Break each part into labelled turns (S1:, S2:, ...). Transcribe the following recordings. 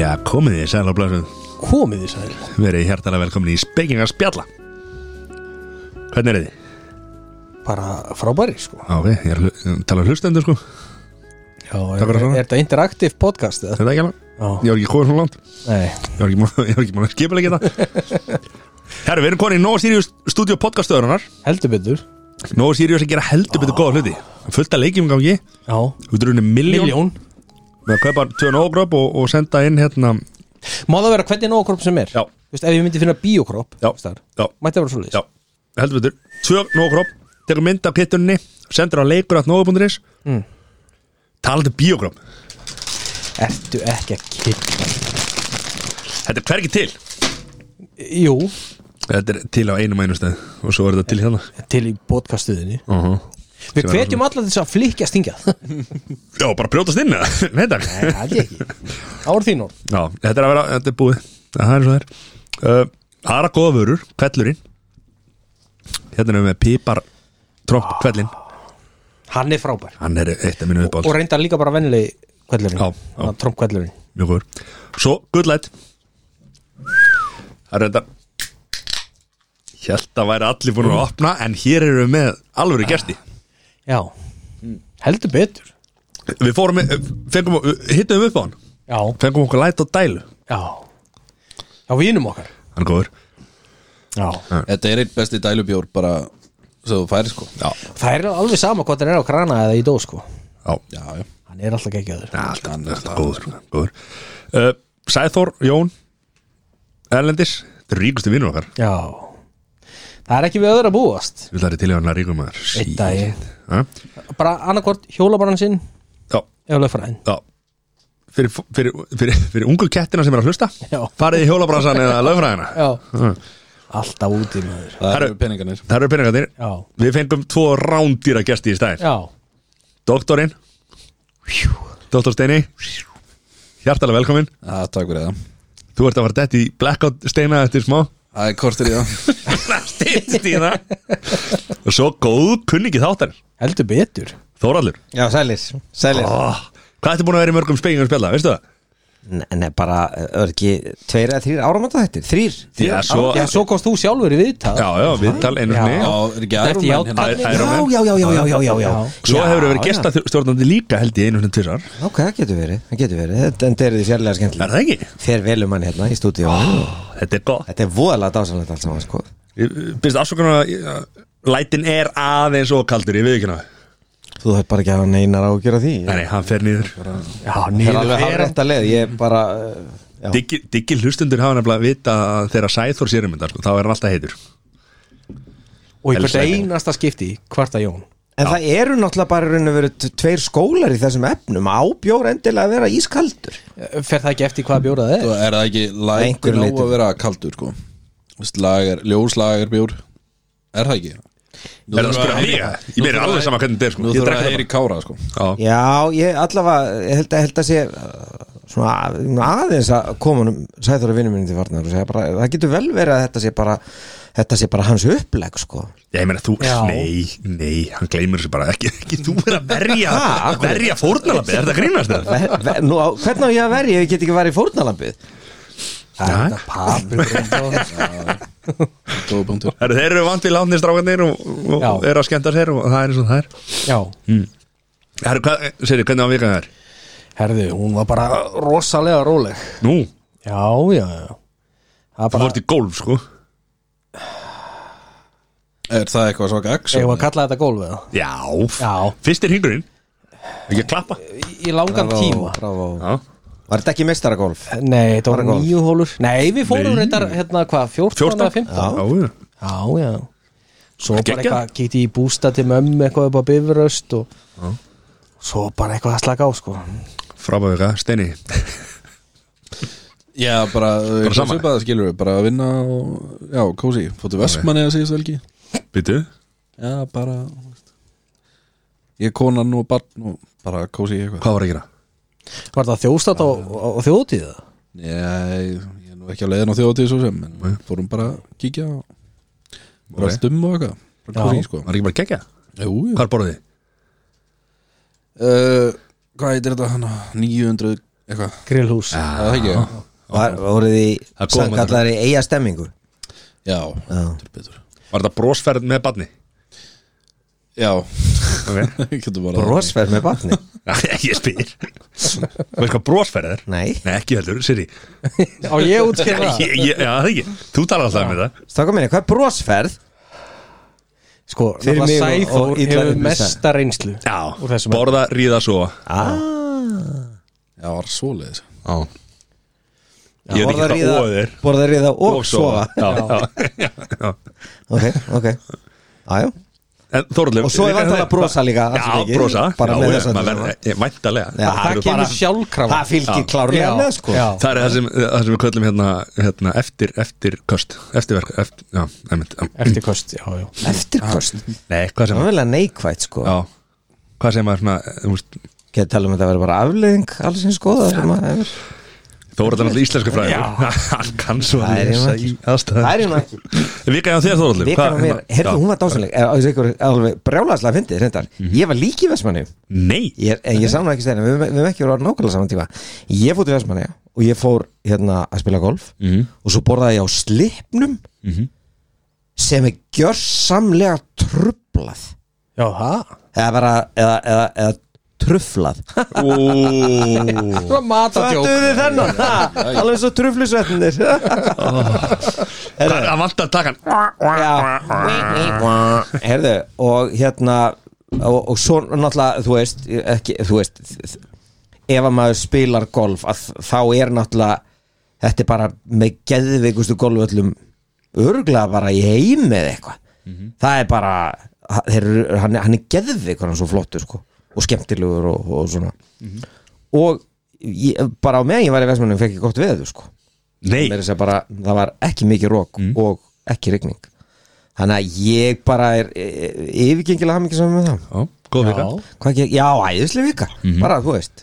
S1: Já, komið þið, sæl og blásið
S2: Komið þið sæl
S1: Verið hjartalega velkomin í Spekinga spjalla Hvernig er þið?
S2: Bara frábæri sko
S1: Ok, ég er að hlu- tala um hlustendur sko
S2: Já,
S1: Takk
S2: er,
S1: fyrir það.
S2: er þetta interaktiv podcast eða?
S1: Þetta er ekki alveg
S2: Já,
S1: Ég var ekki komið svona langt
S2: nei
S1: Ég var ekki búin- ég var ekki múin að skipa leikja þetta Herru, við erum komin í Nóa Sirius stúdíu podcastöðunar
S2: Heldur betur
S1: Nóa Sirius að gera heldur betur góða hluti Fullt að leikjum í gangi
S2: Já,
S1: Við drunum miljón
S2: miljón
S1: Við að kaupa tvö nógröp og, og senda inn hérna
S2: Má það vera hvernig nógkropp sem er
S1: Já.
S2: Þú veist, ef ég myndi finna bíokropp
S1: Já.
S2: veist þar,
S1: Já,
S2: Mætti það vera svo leys
S1: já, heldur betur Tvö nógröp, tekur mynd af kittunni Sendur á leikur að nógröp.is
S2: Mm.
S1: Talandi bíogröp
S2: Ertu ekki að kikka
S1: Þetta er hvergi til
S2: Jú,
S1: Þetta er til á einum einu stað Og svo er þetta til hérna
S2: til í podcastuðinni
S1: uh
S2: Við hvetjum alla til þess að flikja stinga Það
S1: Já, bara brjótast inn eða? Nei, takk
S2: er ekki Ár þín orð
S1: Já, þetta er að vera, þetta er búið Það er svo þær uh, Aðra góða vörur, kvellurinn Hérna erum við með pípar Tromp, kvellinn
S2: Hann er frábær
S1: Hann er eitt af mínu
S2: Og
S1: uppáhalds
S2: reyndar líka bara vennilegi kveldurinn
S1: Já, já.
S2: Tromp kveldurinn
S1: Mjög góður Svo, gullætt Það er þetta Hjælt að væri allir búin að opna En hér erum við með alvöru gesti
S2: Já,
S1: Mm.
S2: heldur betur
S1: Við fórum, með- fengum, hittum upp á hann
S2: Já,
S1: Fengum okkur læt á dælu
S2: Já Já, vinum okkar
S1: Hann er góður
S2: Já
S3: Þetta er einn besti dælubjór bara svo þú færi sko
S1: Já,
S2: Það er alveg sama hvort hann er á krana eða í dó sko
S1: já,
S3: Já, já
S2: Hann er alltaf geggjaður
S1: já alltaf, alltaf góður, góður. Uh, Sæþór, Jón Erlendis, þetta eru ríkustu vinnur okkar
S2: Já Það er ekki við öðru að búast
S1: Við þarfum til í hann að ríkum maður
S2: Einn daginn.
S1: Ha?
S2: Bara annarkvort hjólabaran sinn
S1: Já,
S2: eða lögfræðin
S1: já Fyrir, fyrir, fyrir, fyrir ungu kettina sem er að hlusta
S2: Já.
S1: Farið í hjólabransan eða lögfræðina
S2: Já
S1: Mm.
S2: Alltaf úti maður
S3: Það
S1: Herru.
S3: eru peningarnir
S1: Það eru peningarnir
S2: Já
S1: Við fengum tvo rándýra gesti í stæðin
S2: Já
S1: Doktorinn Doktor Steini Hjartalega velkomin
S3: Já, takk fyrir það
S1: Þú ert að fara dætt í blackout steina eftir smá
S3: Það er kortir í það
S1: Stittst í það Og svo góð kunningi þáttar
S2: Heldur betur
S1: Þóraldur
S4: Já, sælir Sælir
S1: oh, Hvað ertu búin að vera í mörgum spengingum spjalla, veistu það?
S4: Nei, nei, bara, er ekki tveir eða þrýr áramönda þættir? Þrýr? Þrýr?
S1: Já, svo
S2: Já,
S1: Já,
S2: svo komst þú sjálfur í viðtal
S1: já, viðtal einu
S2: Já.
S1: sinni
S3: Já, er ekki
S2: Þetta
S3: aðrum
S2: er
S3: menn
S2: jákvætt.
S3: hérna
S1: Æ- Iron
S4: Já,
S1: Man.
S4: já, já, já, já, já, já, já.
S2: Já.
S1: Svo
S4: Já,
S1: hefur verið
S4: já.
S1: gestastjórnandi líka held ég einu sinni tvisar
S4: Ok, það getur verið, það getur verið Þetta en þetta er því sérlega
S1: Er
S4: skemmtilega
S1: það ekki?
S4: Fer velum hann hérna í stúdíu
S1: Þetta er gott
S4: Þetta er voðalega dásanlegt allt saman, sko
S1: Ég Byrst afsökunar að ég- Lætin er aðeins og kaldur, ég við ekki náðu
S4: Þú þarf bara ekki að hafa neinar ágjör á því
S1: Nei, hann fer nýður
S2: já
S4: Það er
S2: nýður
S4: alveg
S2: fer
S4: hafði rétt að leið Ég bara, uh, já
S1: Diggi Diggi hlustundur hafa nefnilega að vita að þegar Sæþór sér um þetta, sko, þá er hann alltaf heitur
S2: Og í hvert
S1: Elsku.
S2: einasta skipti hvarta Jón
S4: En það eru náttúrulega bara raun og veru t- tveir skólar í þessum efnum Ábjór endilega að vera ískaldur
S2: Eh, Fer það ekki eftir hvað bjórað er?
S3: Svo er það ekki lægur
S4: Einhverju
S3: nóg
S4: leyti.
S3: að vera kaldur sko Vist, lager, ljóslager bjór Er það ekki? Nú
S1: Er það að
S3: þurfum
S1: spyrja
S3: við
S1: mig?
S3: heyri-
S1: Ég
S3: nú
S1: meira
S3: þurfum
S1: alveg
S3: við-
S1: sama hvernig þetta er, sko.
S3: Nú
S1: Ég
S3: þurfum
S1: drekk
S3: við
S1: það
S3: að heyri kára sko
S1: Já,
S4: Já, ég allavega ég held, að- held að sé uh, svona að- aðeins að koma um sæður að vinnu minni til varnar og segja bara, það getur vel verið að þetta sé bara þetta sé bara hans uppleg sko
S1: Ég meina þú,
S2: Já.
S1: nei, nei, hann gleymur þessu bara ekki, ekki þú er að verja,
S4: Ha, af hverju?
S1: verja fórnalabið, er þetta að grínast það?
S4: ver, ver, nú, á- Hvernig á ég að verja ef ég get ekki verið í fórnalambið?
S2: Það er paprikur
S3: Góða punktur
S1: Heru, þeir eru vant við látni strákanir og, og, og
S2: Já.
S1: eru að skemmta sér og það er eins og það er.
S2: Já
S1: Heru, hvað, seri, hvernig var vikað það er?
S2: Herði, hún var bara rosalega róleg
S1: Nú,
S2: Já, já, já Það er
S1: þú
S2: bara,
S1: fórst í golf, sko.
S3: Er það eitthvað svaka sko?
S2: ég
S3: action?
S2: var að kalla þetta gólf eða
S1: Já,
S2: Já.
S1: fyrst er hingurinn, ekki að klappa.
S2: Í- Í langan tíma
S4: bravo.
S1: Já.
S4: Var þetta ekki mestaragolf?
S2: Nei, þetta var
S4: Bara golf.
S2: nýju hólur Nei, við fórum
S1: Nei.
S2: reyndar, hérna, hvað, 14
S1: 14?
S2: eða 15
S1: Já, já.
S2: Já, já Svo bara
S1: Geggjað.
S2: eitthvað, kíkti í bústa til mömmu eitthvað upp á bifröst og Svo bara eitthvað að slaka á, sko
S1: Frábæðu eitthvað, Steini.
S3: Já, bara, bara
S1: saman.
S3: Svipaða skilur við, bara að vinna og, Já, kósi, fóttu vestmanni að síðast velgi
S1: Býtu?
S3: Já, bara þú veist. Ég er konan og barn og bara kósi í eitthvað
S1: Hvað var að gera?
S2: Var það þjóðstátt á, á, á þjóðtíða?
S3: Nei, ég er nú ekki að leiðin á þjóðatíð svo sem en fórum bara að kíkja og okay. rastum og eitthvað Bara kúring, sko.
S1: Var ekki bara gegja?
S3: Jú, jú.
S1: Hvar borðið þið?
S3: Uh, Hvað heitir þetta hann? 900 eitthvað
S2: grillhús
S3: Já, það ekki Já,
S4: Var, voruð þið
S1: Það kom að
S4: sannkallar í eiga stemmingu
S3: já. þetta er betur
S1: Var þetta brósferð með badni?
S3: Já,
S1: Okay.
S3: getur bara
S4: Brosferð með batni
S1: ég spyr Veist hvað brósferð er?
S4: Nei,
S1: Nei, ekki heldur, Siri
S2: á ég útskýra
S1: Ég- ég-
S2: það
S1: Já, það ekki Þú talar alltaf með það
S4: stakka minni, hvað er brosferð?
S2: sko,
S4: Fyrir
S2: náttúrulega
S4: mig og- og
S2: Sæþór
S4: illa
S2: hefur
S4: upplýsta.
S2: mesta reynslu úr
S1: Já,
S2: þessum
S1: borða, ríða, sofa
S4: Ah.
S3: Já, var svoleiðis
S1: Já Ég veit
S4: Borða
S1: ekki hvað óið
S4: ríða-
S1: er
S4: borða ríða og sofa
S1: Já, já, já
S4: Ok, ok Ajú.
S1: En Þorleif
S4: Og svo er vantanlega brosa líka
S1: Já,
S4: aftur ekki.
S1: brosa
S4: Bara með þess að
S1: að Væntalega
S4: Já,
S1: eh, Það
S2: það
S1: eru bara-
S2: kemur sjálfkrafa
S4: Það fylgir klárlega
S2: Já.
S4: með sko
S2: Já.
S1: Það er það sem, það sem við köllum hérna, hérna eftir, eftir köst, eftirverk eftir, Já, um, einmitt já.
S2: eftir kost, já, já
S4: Eftirkost Það
S1: Nei, hvað sem
S4: er vel að neikvægt sko
S1: Já, hvað sem að svona, þú veist
S4: Getur tala um að þetta verður bara afleðing alls eins góða sem maður hefur.
S1: Þó er þetta náttúrulega íslenska fræður Hann kann svo
S4: Það
S1: að
S4: er
S1: lesa
S4: hérna
S1: í
S4: Það
S1: aðstæðan
S4: er hérna ekki
S1: Vika hjá þér Þorleif
S4: Vikan á mér, heyrðu hún var dásanleg Er þessi ykkur alveg brjálaðslega fyndið reyndar Ég var líki í Vestmanni
S1: Nei,
S4: ég, er- En ég sá nú ekki stæðin, við við höfum ekki verið nákvæmlega saman tíma Ég fór til Vestmanni og ég fór hérna að spila golf Og svo borðaði ég á slipnum Sem er gjörsamlega trublað
S2: já, það
S4: Eða bara, eða, eða, eða trufflað
S1: Ó,
S2: það var matadjók
S4: Fattuðu þið þennan? Ha, Alveg svo truflusvetnir
S1: það vant að taka hann
S4: Herðu, og hérna og, og svo náttúrulega, þú veist ekki, þú veist þ- ef að maður spilar golf að, þá er náttúrulega þetta er bara með geðveikustu golföllum örglega bara í heimi eða eitthvað það er bara þeir, eru- hann, er- hann er geðveikur hann er svo flottur sko og skemmtilegur og, og svona og ég, bara á meðan ég var í Vestmannum fekk ég gott veður sko
S1: Nei, Mm.
S4: meira þess að bara, það var ekki mikið rók og ekki rigning þannig að ég bara er e, e, yfirgengilega hafði mikið saman með það
S1: Ó, góð vika
S4: Hvað ekki, já, æðislega vika,
S1: Mhm.
S4: bara þú veist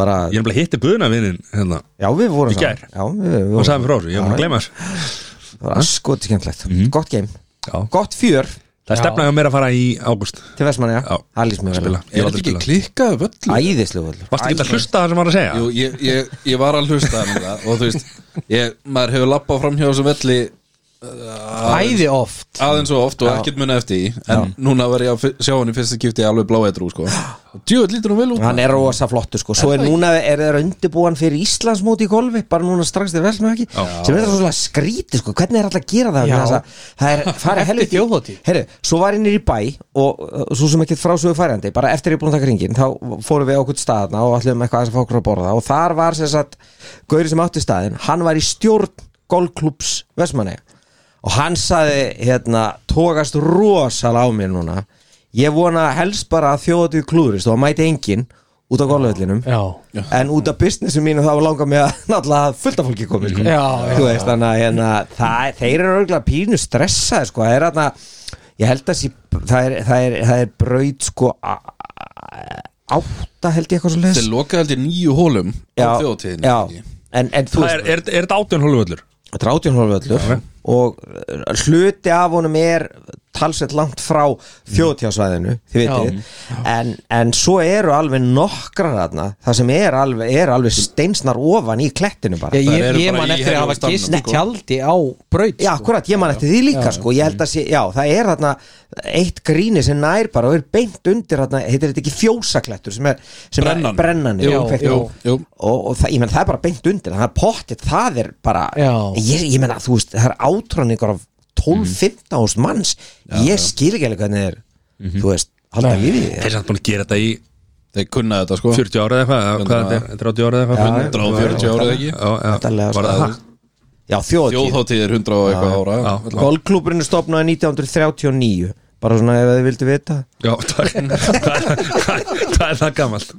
S4: bara,
S1: Ég er nefnilega hitti buðunarvinnin hérna
S4: já við vorum
S1: Í gær.
S4: saman já, við, við
S1: og
S4: vorum
S1: sagði mér frá þessu, ég var búin að gleyma þessu
S4: það var skoti skemmtlegt,
S1: Mhm.
S4: gott game
S1: Já.
S4: gott fjör
S1: Það er stefnaði á mér að fara í ágúst
S4: til Vestmanni,
S1: Já.
S4: það lýst mér vel
S1: Spila, ég var
S3: Er
S4: á.
S3: þetta
S1: aldrei
S3: ekki
S1: spilað
S3: klikkað völlur?
S4: æðislega völlur
S1: Varstu ekki að hlusta það sem var að segja?
S3: Jú, ég, ég, ég var að hlusta hana, og þú veist, ég, maður hefur lappað fram hjá þessum velli
S2: æði oft
S3: aðeins og oft og ekkert munið eftir í en núna var ég að fi- sjá hann í fyrsta skipti alveg bláeitrú sko. og djúið lítur hún vel út
S4: hann er rosa flottur sko, svo er núna er þeir undirbúan fyrir Íslandsmóti í golfi bara núna strax til Vestmanni sem er það svona skríti sko, hvernig er alltaf að gera það
S2: Já.
S4: Vegna þess að það er farið
S2: Eftir
S4: helviti
S2: þjóðhátíð.
S4: Herru, svo var ég nýri bæ og uh, svo sem ekkert frásögu færandi bara eftir ég er búin að taka ringin þá fórum við á okkur staðna og ætlum eitthvað aðeins að fá okkur að borða og þar var sem sagt Gauri sem átti staðin, hann var í stjórn golfklubs Vestmanneja og hann saði hérna tókast rosal á mér núna ég vona helst bara að þjóðatíð klúðurist og að mæti engin út á golföllinum
S2: já,
S4: en út af businessu mínu þá langar mér að náttúrulega að fullta fólki komið sko.
S2: Já,
S4: þú veist þannig að hérna, það, þeir eru örgulega pínu stressaði sko. það er hérna ég held að sé, það er, það er, það er braut sko a- a- átta held ég eitthvað svo les
S3: þeir lokaði heldur nýju hólum á þjóðtíðin
S4: já, en, en þú
S1: Það er, er, er þetta átjón hóluvöllur?
S4: Þetta er átjónhólföllur og uh, hluti af honum er talsett langt frá þjóðtjásvæðinu, þið vitið en, en svo eru alveg nokkrar þarna, það sem er alveg, er alveg steinsnar ofan í klettinu bara
S2: ég,
S3: Þær
S2: ég,
S3: eru
S2: ég
S3: bara
S2: man
S3: í
S2: eftir að hafa
S3: Herjólfsdalnum,
S2: gist í
S3: sko.
S2: tjaldi á braut sko.
S4: Já, akkurat, ég man eftir því líka sko Ég held að sé, já, það er þarna eitt gríni sem nær bara og er beint undir þarna, heitir þetta ekki fjósaklettur sem er, sem
S3: Brennan.
S4: er brennan
S2: Jú, jú,
S3: jú.
S4: og, og það, ég menn það er bara beint undir það er pottitt, það er bara
S2: Já.
S4: ég, ég menna, þú veist, það er átráningur af 12-15 ást manns ég skil ekki alveg hvernig er þú veist, halda lífið í
S1: Þeir
S4: því.
S1: er samt búin að gera þetta í
S3: þeir kunnaði þetta sko
S1: 40 ára eða eitthvað, eða hvað er þetta, 30 ára eða eitthvað
S3: 140 ára eða ekki
S1: Já, já,
S4: Væntanlega,
S1: var það
S4: sko.
S1: það?
S4: Já, þjóðtíð
S3: þjóðhátíð er 100 og eitthvað ára
S1: Já.
S3: Alla-
S4: Golfklúburinn er stopnaði 1939 bara svona ef þið vildu vita
S1: Já, takk Hvað er- hvað er- Hvað er það gamalt?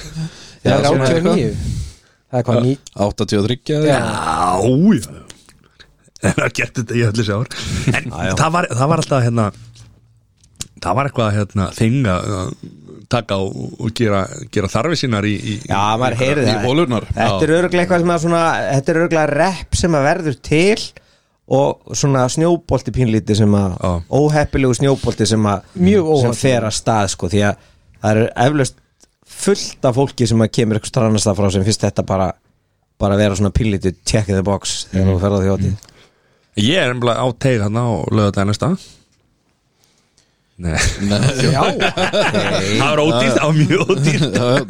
S2: það er
S3: Já, svona
S2: 89 það er hvað ný
S3: 83 eða
S2: Já.
S3: eitthvað.
S1: Já, já En það gert þetta í öllu sér En það var, það var alltaf hérna það var eitthvað hérna, þing að að taka og, og gera, gera þarfi sínar í, í
S4: Já, maður heyrði
S3: í
S4: það
S3: holurnar.
S4: Þetta er örglega eitthvað sem að svona Þetta er örglega rep sem að verður til og svona snjóbolti pínlíti sem að
S1: Já.
S4: óheppilegu snjóbolti sem að
S2: Mjög
S4: sem
S2: óheppilegu.
S4: fer að stað sko því að það er eflaust fullt af fólki sem að kemur eitthvað strannast af frá sem finnst þetta bara bara að vera svona pínlíti check in the box þegar þú ferð á þjóti mm.
S1: Ég er nefnilega á teir hann á lögadaginn næsta Nei,
S3: Nei,
S2: Já,
S1: það var ódýrt, það var mjög ódýrt
S3: það er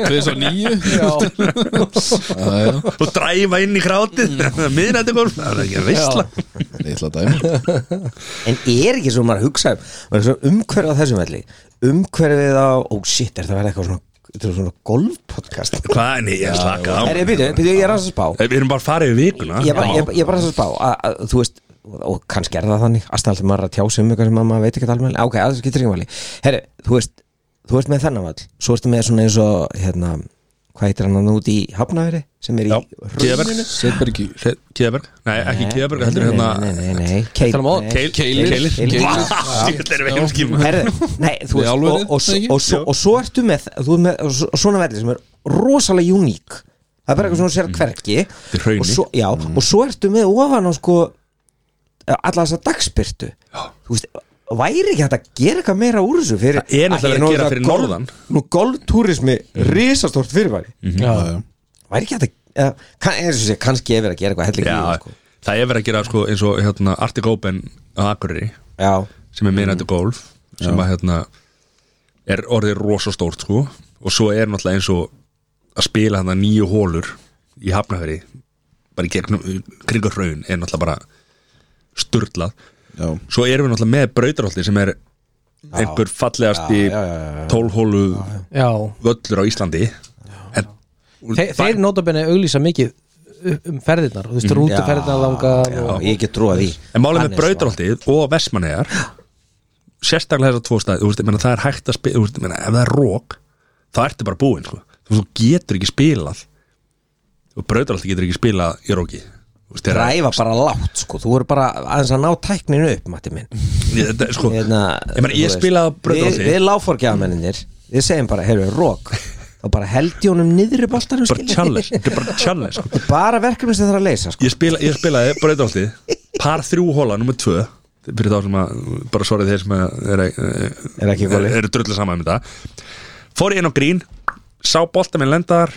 S3: 2009
S2: já,
S3: Já, já,
S1: og dræfa inn í krátið
S4: Mm.
S1: miðnætti golf, það er ekki að veistla
S3: litla dæmi
S4: En er ekki svo maður að hugsa um- maður er svo umhverfið á þessum velli umhverfið á, ó shit, er þetta verið eitthvað svona, þetta er svona golfpodcast
S1: Hvað, nei, ég slaka á
S4: Er, byrju, byrju, ég er að þess að spá
S1: Við erum bara farið við vikuna
S4: Ég er bara, ég, ég er bara að þess að spá að, að, Þú veist, og kannski er það þannig Astanaldi maður er að tjá sig um eitthvað sem að maður veit ekki alveg Ok, að það skiptir ekki máli Herri, þú veist, þú veist með þennan vall Svo ertu með svona eins og, hérna Hvað heitir hann að út í Hafnaveri Sem er í
S1: Já, Kjöberg
S3: Setbergi
S1: Kjöberg, nei, ekki Kjöberg, heldur
S4: Nei,
S1: hérna
S4: Nei, nei, nei, nei, Keil-
S2: Tala um áðan.
S4: nei.
S1: Keil-
S3: Keilir.
S1: Keilir
S4: Keilir.
S1: Vá, þetta er við heimskjum
S4: Herri, nei, þú
S3: Við
S4: veist
S3: álverið,
S4: og, og,
S3: það ekki?
S4: og, og, og svo ertu með, þú ert með svo- svona velli sem er rosalega uník það er bara eitthvað svona sér
S1: Mm.
S4: hverki
S1: Þetta er hraunið.
S4: og svo, já,
S1: Mm.
S4: og svo ertu með ofan á sko alla þessa dagspyrtu þú veist, væri ekki hægt að gera eitthvað meira úr þessu fyrir,
S1: Það er náttúrulega
S4: Æ, ég
S1: að
S4: nú
S1: gera
S4: það
S1: fyrir
S4: golf-
S1: norðan. Mm. Mhm.
S4: nú golftúrismi risastort fyrirbæri
S2: já.
S4: væri ekki hægt að eða, kann, eins og sé, kannski er verið að gera eitthvað hellingi
S1: Já,
S4: í því, sko.
S1: það er verið að gera sko eins og hérna Arctic Open á Akureyri
S4: já,
S1: sem er
S2: Mm.
S1: minnættu golf sem að hérna er orðið rosa stórt sko og svo er náttúrulega eins og að spila hann nýju hólur í hafnafæri bara í gegnum kringur hraun er náttúrulega bara sturlað
S3: Já,
S1: svo erum við náttúrulega með brautarholti sem er einhver fallegast í tólhólu
S2: já.
S1: völlur á Íslandi en,
S2: Þe, Þeir notabenni auglýsa mikið um ferðirnar, þú veist,
S3: Mm,
S2: rútuferðirnar langar
S4: já,
S2: og,
S4: ég get trúa því
S1: En málið með
S4: Hannes var-
S1: brautarholtið og vestmannegar sérstaklega þessar tvo stæði veist, ég meina, það er hægt að spila veist, ég meina, ef það er rók þá ertu bara búinn sko. Þú veist, þú getur ekki spilað og brautarholtið getur ekki spilað í róki Þú veist, þegar-
S4: dræfa bara látt sko, þú voru bara aðeins að ná tækninu upp, Matti minn
S1: Ég- þetta er, sko,
S4: hérna,
S1: ég, meina,
S4: þú
S1: ég
S4: veist,
S1: spilaði á
S4: við,
S1: brautarholtið
S4: við láforgjaðamenninir, við segjum bara heyrðu, rók, þá bara held ég honum niður í boltanum,
S1: bara
S4: skilur.
S1: challenge, þetta er bara challenge sko.
S4: Þetta er bara verkefni sem það er að leysa sko.
S1: ég, spila, ég spilaði brautarholtið par þrjú hóla, nummer tvö fyrir þá sem að, bara sorry þeir eh, sem að er,
S4: Er ekki í golfi.
S1: eru drullu saman um þetta fór ég inn á grín sá bolta minn lendaðar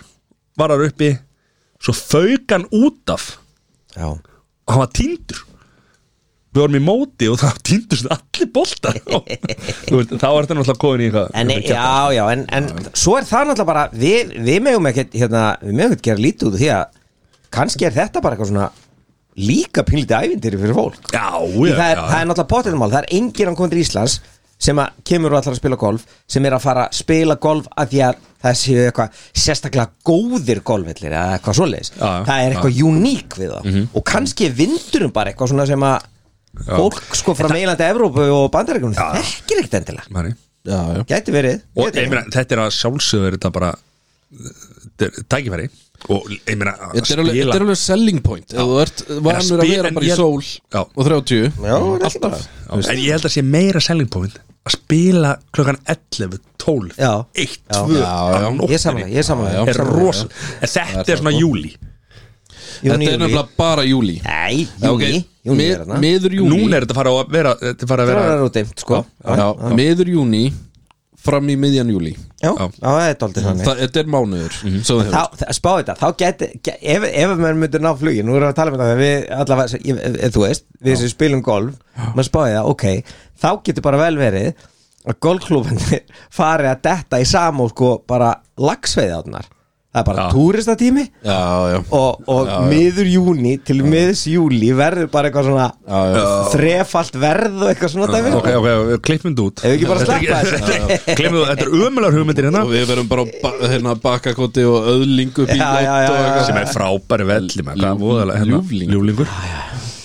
S1: varar uppi, svo fauk hann út af
S4: já,
S1: og hann var tindur við vorum í móti og það tindust allir bolta Þú veist, þá er þetta náttúrulega komin í eitthvað
S4: en,
S1: eitthvað kjaft.
S4: já, já, en, en svo er það náttúrulega bara, við, við megum ekkert hérna, við megum ekkert gera lítið út af því að kannski er þetta bara eitthvað svona líka pílítið ævindir fyrir fólk
S1: já, já,
S4: það, er,
S1: já,
S4: það er náttúrulega pottetumál, það er enginn hann komið til Íslands sem að kemur og ætlar að spila golf sem er að fara að spila golf að því að það séu eitthvað sérstaklega góðir golfvellir eða eitthvað svoleiðis
S1: Já, já.
S4: það er eitthvað uník við það og kannski er vindurum bara eitthvað svona sem að fólk sko frá meilandi Evrópu og bandarækjum þekkir ekkert endilega
S1: Mari.
S3: já, já
S4: gæti verið
S1: og
S4: Gæti
S1: ég meina, þetta er að sjálfsögur þetta bara þetta er tækifæri og ég meina að
S3: Þetta er alveg, þetta er alveg selling point Ef þú ert vanur að
S1: spila-
S3: vera
S1: en
S3: bara í
S1: ég-
S3: sól
S1: Já.
S3: og 30
S4: Já, þetta er bara-
S3: alltaf
S1: Já, En ég held að sé meira selling point að spila klokkan 11, 12,
S4: Já.
S1: 1,
S4: Já.
S1: 2
S3: Já, já.
S1: á nóttinni.
S4: ég samanlega, ég
S3: Já,
S4: samanlega
S1: er rosa En þetta er svona júli
S3: Þetta er nefnilega bara júli
S4: nei,
S3: Já,
S4: júni,
S3: ok.
S4: júni
S3: Mi-
S4: er þarna
S3: Miður júni
S1: Núna er þetta fara að vera Þetta er fara að
S4: það
S1: vera
S4: er úti, sko
S3: Já, miður júni fram í miðjan júli
S4: já, já, það er doldið þannig
S3: Þetta er mánuður sem þú hefur.
S4: þá, þá- spá þetta, þá geti ge- ef, ef maður myndur ná flugi, nú erum við að tala um þetta við allavega, ég- ef- ef þú veist við sem spilum golf, maður spáði það ok, þá getur bara vel verið að golfklúfandir fari að detta í sam og sko bara lagsveið átnar, það er bara
S1: Já.
S4: túristatími
S3: Já, já
S4: og, og miður júni til miðs júli verður bara eitthvað svona
S3: Já, já.
S4: þrefalt verð og eitthvað svona dæmi
S1: Ok, ok, klippum þetta út
S4: Ef við ekki bara
S1: Þetta er
S4: sleppa
S1: ekki-
S4: þessu.
S1: Þetta er- Klippum þetta, þetta er ömulegar hugmyndir hérna
S3: Og við verum bara á ba- hérna, bakkakoti og öðlingu
S4: Já, já, já, já.
S1: sem er frábæri velli með hvað
S3: Ljúfling-
S1: voðalega hérna,
S3: ljúflingur.
S1: ljúflingur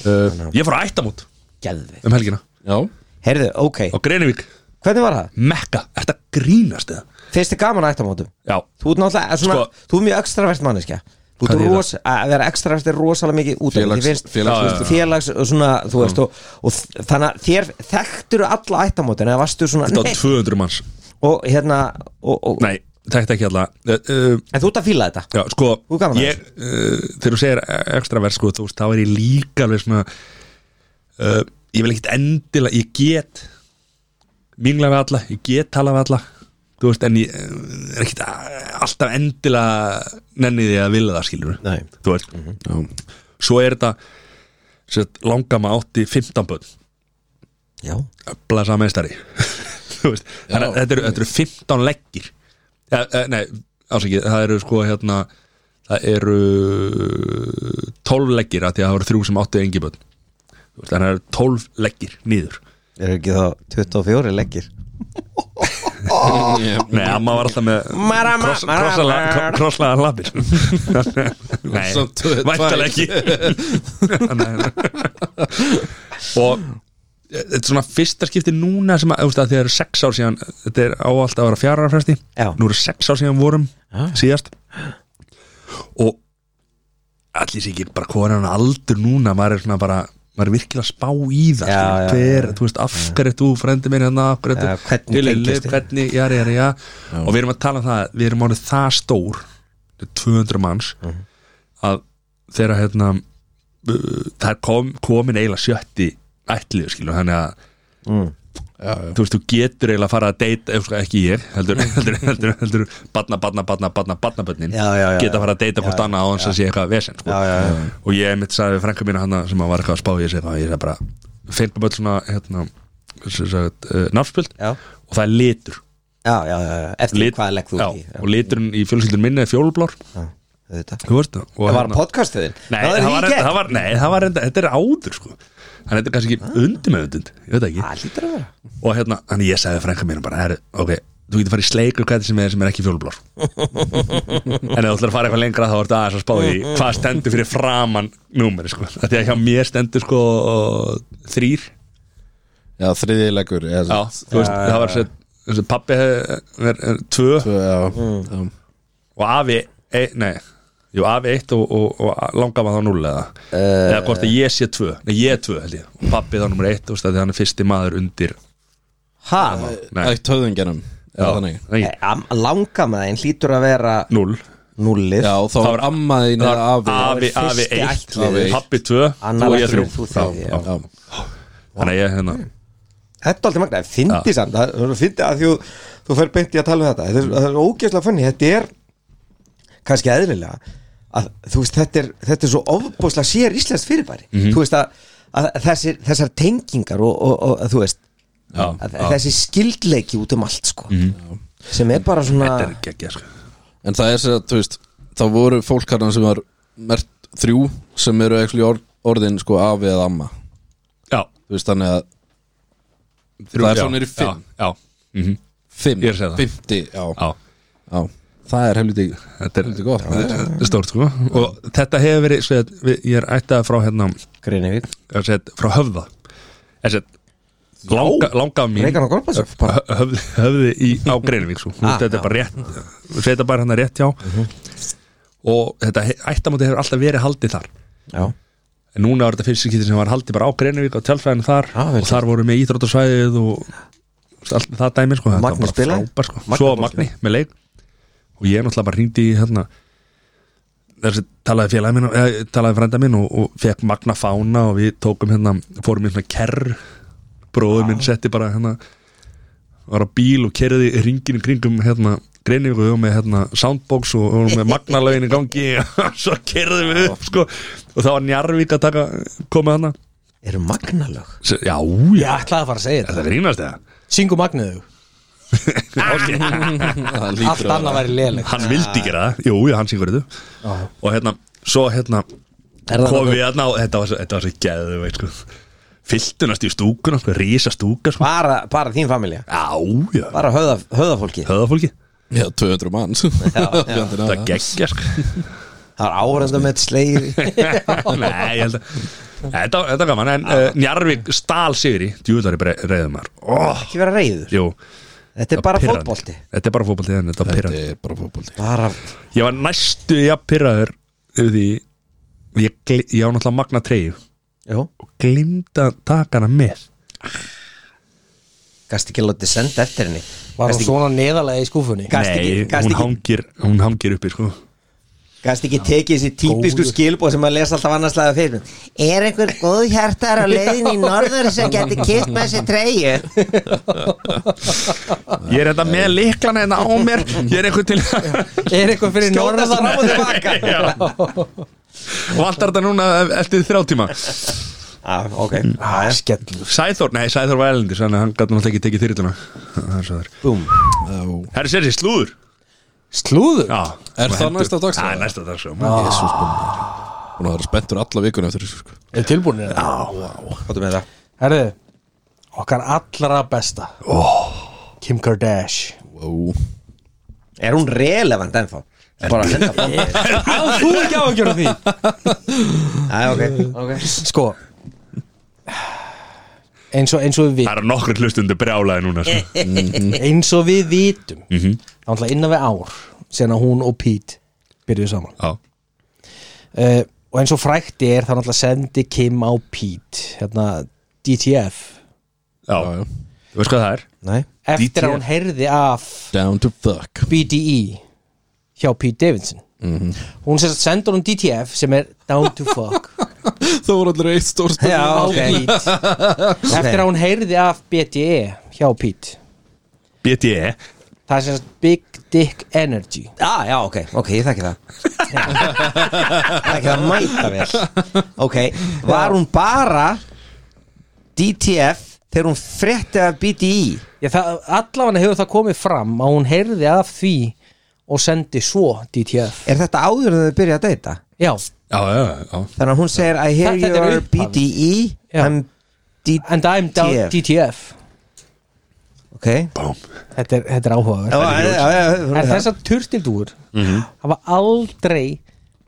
S1: uh, Ég fór að ættamót
S4: Geðveikt.
S1: um helgina
S3: já
S4: heyrðu, ok,
S1: á Greinivík,
S4: hvernig var það?
S1: Mekka, er þetta grínast eða?
S4: fyrst er gaman að ættamótum
S1: Já,
S4: Þú ert náttúrulega, eh, svona,
S1: Sko-
S4: þú ert mjög extravert manneskja Þú
S1: Hvað
S4: ert
S1: þýðir
S4: rosa, að vera ekstra er rosalega mikið út af því,
S3: Félags-
S4: þér finnst-
S3: félagsvísindi.
S4: Já, já, já. félags og svona, þú veist og, og þ- þannig að þér þekktur alla ættamótin eða varstu svona,
S1: Þetta
S4: nei,
S1: var 200 manns
S4: og hérna og, og,
S1: Nei, þetta ekki alla uh, uh,
S4: en þú ert að fíla þetta
S1: Já, sko
S4: Þú gaman að
S1: ég, uh, Þegar þú segir extravert sko, þú veist, þá er ég líka alveg svona uh, Ég vil ekkit endilega Ég get mingla við alla, ég get tala við alla þú veist, en ég eh, er ekkit a- alltaf endilega nenni því að vilja það skilur
S4: Nei. Mhm.
S1: þú veist Svo er þetta sett, langama átti 15 bönn
S4: já,
S1: blasa meistari Þú veist, þannig að
S3: Já.
S1: þetta eru, þetta eru 15 leggir ja, eh, nei, ásækið, það eru sko hérna það eru 12 leggir að því að það voru þrjú sem áttu engi börn Þú veist, þannig að það eru 12 leggir nýður
S4: eru ekki þá 24 leggir
S1: nei, amma var alltaf með
S4: Mara, mara,
S1: kross-
S4: mara,
S1: krossala-
S4: mara.
S1: kro- krosslaðar labir nei,
S3: Samt tvö-
S1: væntalega
S3: tvær.
S1: ekki Nei, nei. og þetta er svona fyrsta skipti núna sem að, þú veist, að þegar eru sex ár síðan þetta er áallt að vera fjara fresti
S4: Já.
S1: nú eru sex ár síðan vorum
S4: Já.
S1: síðast og allir sér ekki bara hvað er hann aldur núna maður er svona bara maður er virkilega að spá í það
S4: Já,
S1: skilur.
S4: já,
S1: hver, þú veist, af hverju ert þú frendi minn hérna, af hverju ert
S4: Já,
S1: þú-
S4: hvernig
S1: Lilli,
S4: tengist þið?
S1: hvernig, já, já, já og við erum að tala um það, við erum árið það stór þetta er 200 manns
S4: Mhm.
S1: að þegar hérna uh, það er kom, komin eiginlega sjötti ætliðu skilur, þannig að
S4: Mm.
S1: þú veist, þú getur eiginlega að fara að deyta ef sko ekki ég, heldur, heldur, heldur, heldur barna, barna, barna, barna, barnabönnin
S4: Já, já, já,
S1: geta
S4: já.
S1: að fara að deyta hvort annað á hans að sé eitthvað vesen sko.
S4: já, já, já.
S1: og ég mitt sagði við frænka mína hana sem að var eitthvað að spá ég segi það, ég segi bara finnum öll svona hérna, sagt, uh, nafnspjöld
S4: Já.
S1: og það er litur,
S4: já, já, já, já. eftir
S1: Lit-
S4: hvað legg þú
S1: já,
S4: í
S1: og liturinn í fjölskyldun minni er fjólublár
S4: já, auðvitað.
S1: þú veist það og
S4: það var
S1: hérna-
S4: podcastuðin
S1: Nei, það var, það var, nei, það var enda, þetta er áður sko Þannig þetta er kannski
S4: Ah.
S1: ekki undir með undir Ég veit það ekki
S4: það lítur að vera
S1: Og hérna, þannig ég sagði frænka mér bara Herru, ok, þú getur farið í sleik og hvað sem er sem er ekki fjólublár En ef þú ætlar að fara eitthvað lengra þá ertu aðeins að spá í Hvað stendur fyrir framan númeri sko Af Því að hjá mér stendur sko þrýr
S3: Já, þriðilegur
S1: Já, þú veist, það var sér Pappi er, eh, er, er tvö
S3: Já,
S1: Mm.
S3: já.
S1: og afi e, nei, jú, afi eitt og, og, og langar maður þá núl eða eða hvort að ég sé tvö, nei ég er tvö held ég og pappi þá nummer eitt, þú veist að hann er fyrsti maður undir
S4: ha,
S1: Nei.
S3: Ætt höfðingenum Já, þannig
S1: nei,
S4: langamæðin hlýtur að vera
S1: núl
S4: nullið
S3: Já, þá var amma þín eða afi
S1: afi,
S4: Það var
S1: afi
S4: fyrsti
S1: eitt,
S4: ættliður.
S1: afi eitt. pappi tvö
S4: Annar
S1: og ég
S4: ættliður,
S1: þrjú
S4: þú
S1: Já,
S4: þrjú,
S1: já.
S3: Já,
S1: þannig að ég hérna
S4: Þetta er aldrei magna, fyndi
S1: Já.
S4: samt það er fyndi að því þú, þú fer beint í að tala um þetta þetta er, það er ógeðslega funni, þetta er kannski eðlilega að þú veist, þetta er, þetta er svo ofbúslega sér íslenskt fyrirbæri
S1: Mhm.
S4: þú veist að, að þessir, þessar tengingar og, og, og þú veist
S1: Já,
S4: að,
S1: já. Mhm.
S4: þessi skildleiki út um allt sko sem er bara svona
S1: þetta er geggja sko
S3: En það er sér að, þú veist, þá voru fólk hérna sem var mert þrjú sem eru ekki or, orðin sko afi eða amma
S1: já,
S3: Þú veist, þannig að
S1: þrjú,
S3: Það er
S1: já,
S3: svona niður í fimm.
S1: já, já, mhm,
S3: fimm,
S1: Ég er að segja það.
S3: fimmti, já,
S1: já
S3: já Það er helviti,
S1: Þetta er-
S3: helviti gott
S1: þetta er stórt sko og þetta hefur verið, svo að við- ég er ættað frá hérna,
S4: Greinivík,
S1: eða sett, frá höfða eða sett, langa, langa mín
S4: Reykján og Gorbátsjóf bara,
S1: Hö- höfði, höfði í, á Greinivík svo. Þú
S4: Ah, Mhm.
S1: veist, þetta er bara rétt við setja bara hann rétt hjá og þetta he- ættamóti hefur alltaf verið haldið þar
S4: já,
S1: en núna var þetta fyrst skipti sem var haldið bara á Greinivík á tjálfræðinu þar
S4: Ah, vel
S1: og þar voru með íþróttasvæðið og allt það dæmi sko, þetta
S4: Magni
S1: var bara
S4: spilaði?
S1: frábær, sko.
S4: Magni
S1: svo
S4: fór að
S1: Magni með leik og ég náttúrulega bara hringdi í hérna þessi talaði félagi minn eða, talaði frænda minn og, og fekk Magna fána og við tókum hérna fórum í svona kerr bróður minn setti bara hérna var á bíl og kerði ringin í kringum hérna greinir við og með hérna soundbox og við vorum með magnalögin í gangi og svo kerðum við upp sko og það var Njarvík að taka komið hana
S4: eru magnalög
S1: S- já,
S2: Ég
S1: já,
S2: ætlaði að fara að segja
S1: þetta
S2: þetta
S1: grínast eða
S2: Syngu magniðu
S3: Það
S2: Allt
S3: lítur að
S2: annað væri léleg
S1: hann vildi gera það, jú, jú, hann syngur þetta og hérna, svo hérna
S4: Er það
S1: komum
S4: nokkuð-
S1: við hérna og þetta var svo, þetta var svo geðu veit sko, fylltunast í stúkuna sko, rísa stúka sko,
S4: bara, bara þín familja
S1: já, já
S4: bara höða, höðafólki
S1: höfðafólki,
S3: Já, 200 manns Fjandinn
S1: það
S3: að-
S1: geggja sko
S4: það er áhörðandum með slegir
S1: Nei, ég held að Þetta, þetta er gaman, en uh, Njarvík stál sigri Djúðlari reyðum maður oh,
S4: ekki vera reyður
S1: Jú,
S4: Þetta er bara fótbolti
S1: Þetta er bara fótbolti, en þetta er
S3: Þetta
S1: pyrrandi
S3: er bara fótbolti
S4: bara,
S1: Ég var næstu, já, pyrraður yfir því ég, gle- ég á náttúrulega magna treyju
S4: já,
S1: og glimta að taka hana með
S4: gast ekki látið senda eftir henni
S2: Var hún
S4: gast ekki,
S2: svona neðalega í skúfunni?
S4: Gast ekki- gast
S1: hún
S4: ekki-
S1: hangir, hún hangir uppi sko.
S4: gast ekki tekið þessi típisku
S2: Góður.
S4: skilbóð sem að lesa alltaf annarslega fyrir er einhver góðhjartar á leiðin í norður sem geti kipt með þessi treyju
S1: ég er þetta með liklana hérna á mér ég er einhvern til og
S2: Er eitthvað fyrir
S4: skjóta
S2: norðan?
S4: það fram og tilbaka
S1: alltaf þetta núna eftir þrjá tíma
S4: ah, ok,
S2: Ah, skellur
S1: Sæþór, nei Sæþór var elendis þannig að hann gæti náttúrulega ekki tekið þyrluna það er svo þar
S4: búm
S1: Herri sér sér slúður
S2: Slúður?
S1: Já, Og
S3: Er það
S1: hendur-
S3: næsta dagskrá?
S1: Það er næsta dagskrá
S3: Jésús Búin að vera spenntur alla vikuna eftir þessu sko.
S2: Er tilbúinir þetta?
S4: hvað með það
S2: Herðu, okkar allra besta Oh. Kim Kardashian
S3: wow.
S4: er hún relevant ennþá bara að senda fram
S2: Að þú ekki á að gera því
S4: ah, okay.
S2: Sko eins og, eins og við
S1: Það eru nokkur hlustundu brjálaði núna sko. Mhm.
S2: vitum eins og við vitum mm -hmm. það var náttúrulega innan við ár síðan að hún og Pete byrjuðu saman
S1: Já,
S2: uh, og eins og frækti er það náttúrulega sendi Kim á Pete hérna DTF
S1: já,
S3: Já, já.
S1: þú veist hvað það er
S4: Nei.
S2: eftir
S1: DTF.
S2: að hún heyrði af
S3: Down to fuck
S2: BDE hjá Pete Davidson hún sem sagt sendur hún DTF sem er down to fuck
S3: Það voru allir eitt stór
S4: Já,
S2: á
S4: ok.
S2: Pete eftir að hún heyrði af BDE hjá Pete
S1: BTE
S2: það er sem sagt Big Dick Energy
S4: ah, já, ok, ok, ég þekki það þekki það mæta vel ok, var hún bara DTF þegar hún frétti af E? BDI
S2: Já, það, allavega hefur það komið fram að hún heyrði af því og sendi svo DTF
S4: er þetta áður en þau byrja að deyta?
S2: Já,
S1: Já, já, já
S4: þannig að hún segir I hear
S2: Þetta- þetta er
S4: your
S2: upphafið.
S4: BDI
S2: Já.
S4: I'm D
S2: and I'm down
S4: DTF.
S2: DTF
S4: ok
S1: Bám
S2: Þetta er, þetta er áhugaverð En
S4: þess
S2: þessar turtildúur
S4: Mhm.
S2: hafa aldrei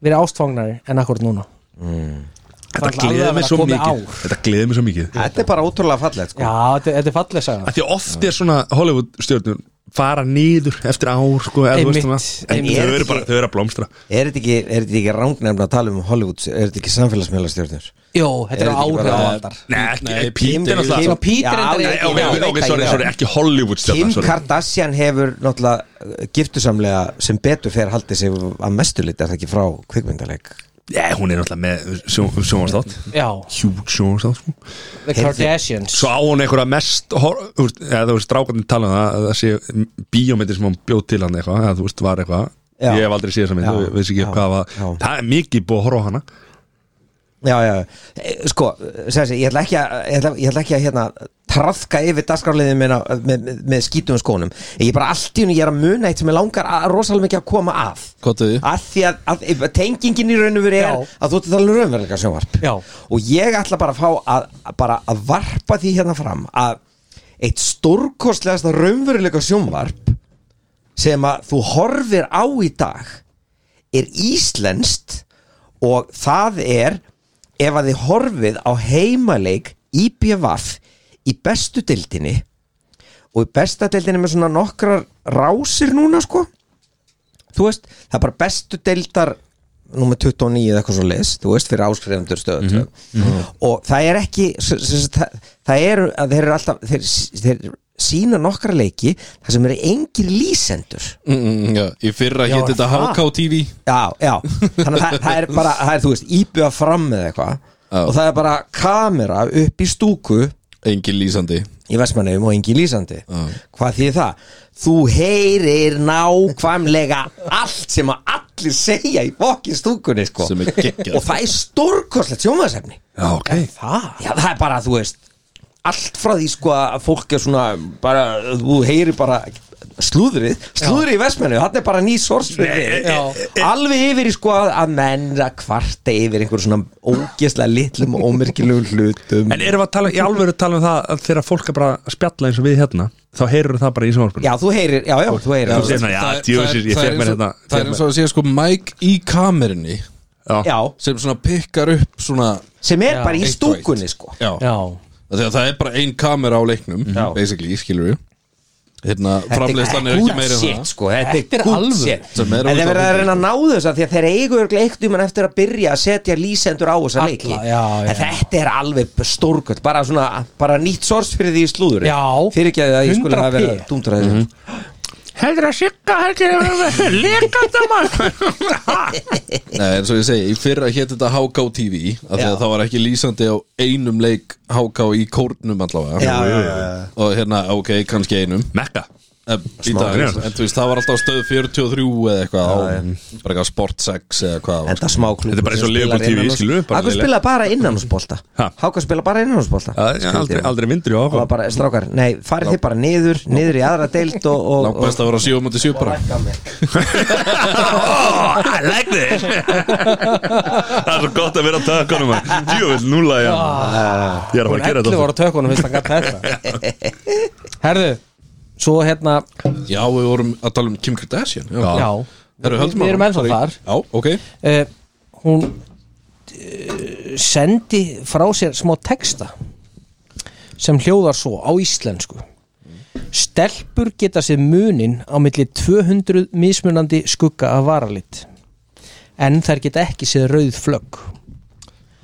S2: verið ástfangnari en akkur núna
S1: Þetta
S2: ætla alveg
S1: gleði
S2: að
S1: mig
S2: vera
S1: svo
S2: komið
S1: mikið
S2: ár.
S1: Þetta gleði mig svo mikið
S4: Þetta er bara ótrúlega fallegt sko
S2: Já, þetta, þetta er falleg saga
S1: Af Því að oft er svona Hollywood stjórnum fara niður eftir ár sko, eða þú veist
S2: Einmitt,
S1: svona. en
S4: einmitt.
S1: þau eru bara, þau eru að blómstra
S4: Er þetta ekki, er þetta ekki rangnefn að tala um Hollywood Er þetta ekki samfélagsmiðlastjórnur?
S2: Jó, þetta er
S4: Er þetta ekki bara-
S2: áhrifavaldar
S1: Nei, ekki,
S3: Nei,
S1: Pete er
S2: Kim og
S1: náttúrulega
S2: Pete er
S4: Já,
S2: endur
S4: nei,
S1: Nei, ok,
S4: Já,
S1: ok,
S4: ég
S1: ok,
S4: veit
S1: sorry,
S4: hvað ég
S1: sorry,
S4: er.
S1: ekki Hollywood
S4: Kim
S1: stjórnum sorry.
S4: Kardashian hefur náttúrulega uh, giftusamlega sem betur fer haldið sig að mestu liti er það ekki frá kvikmyndaleg
S1: Nei, hún er náttúrulega með sjónastátt
S2: Já,
S1: Hjúk sjónastátt sko.
S2: The Kardashians
S1: Svo á hún einhverja mest hor- þú veist, eða þú veist, strákarnir tala um það að það sé bíómyndir sem hún bjóð til hann eitthvað eða þú veist, var eitthvað
S4: Já.
S1: Ég hef aldrei séð þessa mynd,
S4: Já.
S1: þú veist ekki
S4: Já.
S1: hvað var
S4: Já.
S1: Það er mikið búið að horfa á hana
S4: Já, já, Eh, sko, sessi, ég ætla ekki að, ég ætla, ég ætla ekki að hérna, trafka yfir dagskrarliðin með, með, með skítum skónum Ég er bara allt í hún, ég er að muna eitt sem ég langar að, rosalega mikið að koma að
S3: Hvað þau?
S4: að því að, að, að tengingin í raun og veru er
S2: Já.
S4: að þú ert að tala um raunveruleika sjónvarp
S2: Já.
S4: og ég ætla bara að fá að, að bara að varpa því hérna fram að eitt stórkostlegasta raunveruleika sjónvarp sem að þú horfir á í dag er íslenskt og það er ef að þið horfið á heimaleik IPVAF í bestu dildinni og í besta dildinni með svona nokkrar rásir núna sko þú veist, það er bara bestu deildar nummer 29 eða eitthvað svo leis þú veist, fyrir áskrifendur stöðu
S3: Mhm,
S4: og það er ekki s- s- s- það, það eru að þeir eru alltaf þeir, þeir sína nokkra leiki þar sem eru engir lýsendur
S3: Mm, mm, já. Í fyrra
S4: Já,
S3: hétt þetta
S4: það.
S3: HK TV
S4: já, já, þannig að það, það er bara það er, þú veist, íbjöða fram með eitthvað
S3: Já.
S4: og það er bara kamera upp í stúku
S3: Engin lýsandi
S4: í Vestmannheim og engin lýsandi hvað þýðir það? þú heyrir nákvæmlega allt sem að allir segja í fokkin stúkunni sko.
S3: Sem er geggjað.
S4: og það er stórkostlegt sjómaðsefni
S1: Já, ok
S2: Það?
S4: já það er bara þú veist allt frá því sko að fólk er svona bara, þú heyrir bara slúðrið, slúðrið í Vestmannu þetta er bara ný sorsfrið alveg yfir í sko að að menn að kvarta yfir einhver svona ógeslega litlum og ómerkilegum hlutum
S1: En erum við að tala, í alvöru að tala um það að þegar fólk er bara að spjalla eins og við hérna þá heyrur það bara í sjónvarpunum
S4: já þú heyrir, já já þú heyrir
S1: Þú segir svona, já,
S3: Það er-
S1: djöfisir, ég
S3: það er-
S1: fekk mér
S3: það er eins
S1: hérna
S3: og- Það er eins og að segja sko Mike í kamerinni
S4: já,
S3: sem svona pikkar upp svona
S4: sem er
S2: Já,
S4: bara í
S3: eitt og eitt.
S4: stúkunni sko
S3: Já,
S2: Já,
S3: Af því að það er bara ein kamera á leiknum
S4: Já.
S3: basically, skilur við hérna, framleiðslan er ekki meira en
S4: shit,
S3: það
S4: sko, þetta
S2: Þetta er
S4: er good
S2: alvöru.
S3: Sem er
S4: shit en þeir
S3: auðvitað
S4: verða að
S3: mikið.
S4: reyna að ná þess að því að þeir eigu örugglega eitt um hann eftir að byrja að setja lýsendur á þessa
S2: Alla,
S4: leiki
S2: já, já.
S4: en þetta er alveg stórgöld bara, svona, bara nýtt sors fyrir því í slúður
S2: Já.
S4: fyrir ekki að ég skulle
S2: 100p.
S4: hafa verið dúndraði
S1: Mhm.
S4: mm
S1: Heldur að sigga, heldur að Lekanda mann
S3: Nei, eins og ég segi, í fyrra hétt þetta HK TV af því að
S4: Já.
S3: það var ekki lýsandi á einum leik HK í kórnum allavega
S4: já, já, já, já.
S3: og hérna, ok, kannski einum
S1: Mekka
S3: en, í
S1: Smá
S3: dag,
S1: greinar.
S3: en þú veist, það var alltaf stöð 43 eða eitthvað á, bara eitthvað Sport 6 eða hvað á,
S4: Enda smá klúb
S1: Þetta er bara eins og Liverpool TV, skilur við, bara
S4: Akkur
S1: leiðilegt.
S4: spila bara innanúsbolta
S1: Ha?
S4: Háka spila bara innanúsbolta
S1: Aldrei, aldrei vindur í
S4: Það var
S1: áhuga
S4: bara, strákar, nei, farið þið bara niður Niður í aðra deilt og, og,
S3: langt best að vera 7 mútið 7 bara
S1: oh, I like this Það er svo gott að vera að taka honum Jú, núla ég Ég er að fara að gera
S2: Ellu
S1: þetta
S2: voru að tökunum fyrst að gata þetta Herðu, svo hérna
S3: Já, við vorum að tala um Kim Kardashian Já,
S2: Já,
S3: Herru, höldum
S2: við erum
S3: áfram.
S2: ennþá
S3: Sorry.
S2: þar.
S3: Já, ok
S2: uh, Hún uh, sendi frá sér smá texta sem hljóðar svo á íslensku Stelpur geta sér munin á milli 200 mismunandi skugga af varalit en þær geta ekki sér rauð flögg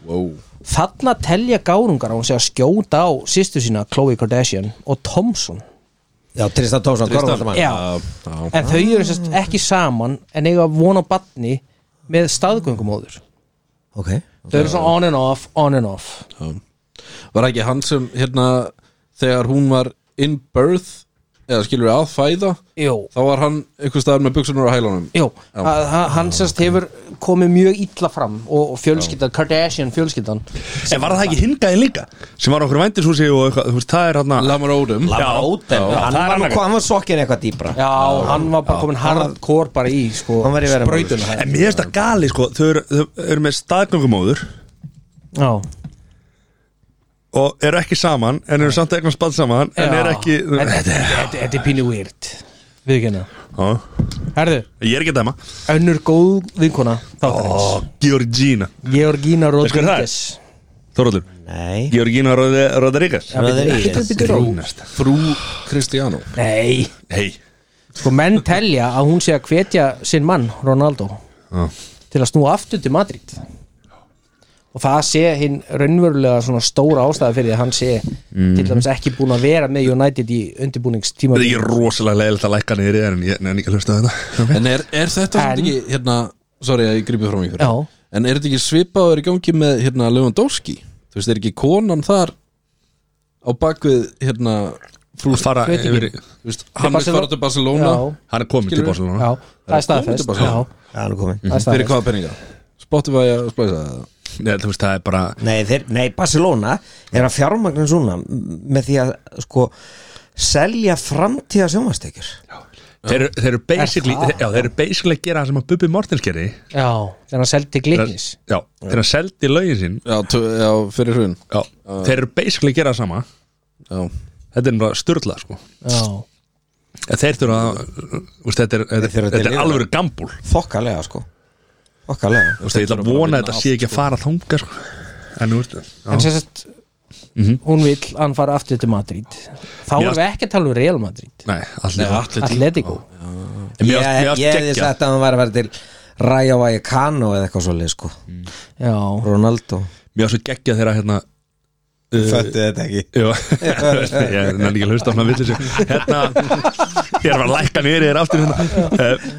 S3: wow.
S2: Þarna telja gárungar á hún sé að skjóta á sýstu sína Khloe Kardashian og Thompson
S4: Já, Tristan Tómsson, korfvaldamann
S2: Já.
S3: já.
S2: en þau eru sérst ekki saman en eiga von á batni með staðgöngumóður
S4: Ok
S2: þau eru svona on and off, on and off
S3: Var ekki hann sem hérna þegar hún var in birth eða skilur við að fæða
S2: Jú,
S3: þá var hann einhvers staðar með buksunur á hælunum
S2: jú, að- að- hann sérst hefur komið mjög illa fram og, og fjölskyldan, Kardashian fjölskyldan
S1: En var það ekki hingaði líka sem var okkur vændishúsi og eitthvað, þú veist, það er hann
S3: Lamar Odom
S1: Láten
S4: Hann var, nú- hann var sokkin eitthvað dýbra
S2: Já, hann var bara komin hardcore bara í sko,
S4: Hann var í verra máli.
S2: sprautuna
S1: En mér finnst það gali sko, þau eru, þau eru með staðgöngumóður
S2: Já,
S1: og eru ekki saman en eru samt eitthvað spalt saman en
S2: Já.
S1: eru ekki
S2: Þetta- Þetta þetta er pínu weird Viðkynna
S1: Já.
S2: Herðu,
S1: Ég er ekki að dæma
S2: önnur góð vinkona þáttarins
S1: Ó, Georgina
S2: Georgina
S1: Veistu hver það er?
S2: Rodríguez
S1: Þorvaldur
S4: Nei
S1: Georgina Rodri- Rodríguez
S4: Rodríguez.
S1: Grúnast
S3: Frú Cristiano
S2: Nei,
S1: Hei
S2: sko menn telja að hún sé að hvetja sinn mann, Ronaldo
S1: Já.
S2: til að snúa aftur til Madrid og það sé hinn raunverulega svona stóra ástæða fyrir því að hann sé til dæmis ekki búin að vera með United í undirbúningstíma
S1: Þetta er ekki rosalega leiðilegt að lækka niður í það en ég nefn ekki að hlusta á þetta
S3: En er, er þetta
S2: En-
S3: en, ekki hérna Sorry að ég grípi fram ykkur
S2: Já.
S3: En er þetta ekki svipaður í gangi með hérna Lewandowski Þú veist, er ekki konan þar á bakvið hérna frú
S1: Þú fara
S2: Veit ekki.
S1: yfir í-
S3: Þú veist, hann er
S2: Barcelona-
S3: farað til Barcelona
S2: Já.
S1: Hann er komin til
S3: Skilurðu?
S1: Barcelona
S2: Já, það er
S3: komið til
S2: staðfest
S3: Barcelona.
S2: Já,
S4: Já, hann er komin
S2: það er
S3: Fyrir
S2: staðfest
S3: hvaða peninga? Spotify að splæsa það
S1: Nei, þú veist, það er bara
S4: Nei, þeir, nei, Barcelona er að fjármagnin svona m- með því að sko selja framtíða sjónvastekjur
S1: Þeir, eru- þeir eru basically
S2: Er það?
S1: Já, þeir eru basically að gera það sem að Bubbi Mortens gerði
S2: Já, þegar hann seldi til Gliknis
S1: Já, þeir eru að seldi lögin sín
S3: Já, tö- já fyrir hrun
S1: Já, þeir eru basically að gera það sama
S3: Já,
S1: Þetta er bara styrla, sko
S2: Já,
S1: En Þeir þurfa að úst, Þetta er, þetta,
S4: Þeir þurfa að
S1: þetta er
S4: deliver.
S1: alvöru gambúl
S4: Þokkalega sko Þokkalega
S1: Þú veist, ég ætla að vona að þetta sé ekki að fara þanga sko. En nú veistu
S2: en sem sagt hún vill að hann fara aftur til Madrid þá
S1: Mér
S2: erum við ekki að tala um Real Madrid
S1: Nei, allir
S3: Nei, Atletico.
S2: Atletico
S1: En mér
S4: Ég
S1: ást- mér ást
S4: ég hefði
S1: geggja.
S4: sagt að hann væri að vera til Raja Vallecano eða eitthvað svolítið sko
S2: Já,
S4: Ronaldo
S1: Mér ást svo geggja þeirra hérna
S4: Föttu þetta ekki
S1: Jú, ég nenni ekki að hlusta á hana vitlis Hérna, ég er bara að lækka niður Ég er aftur hérna uh,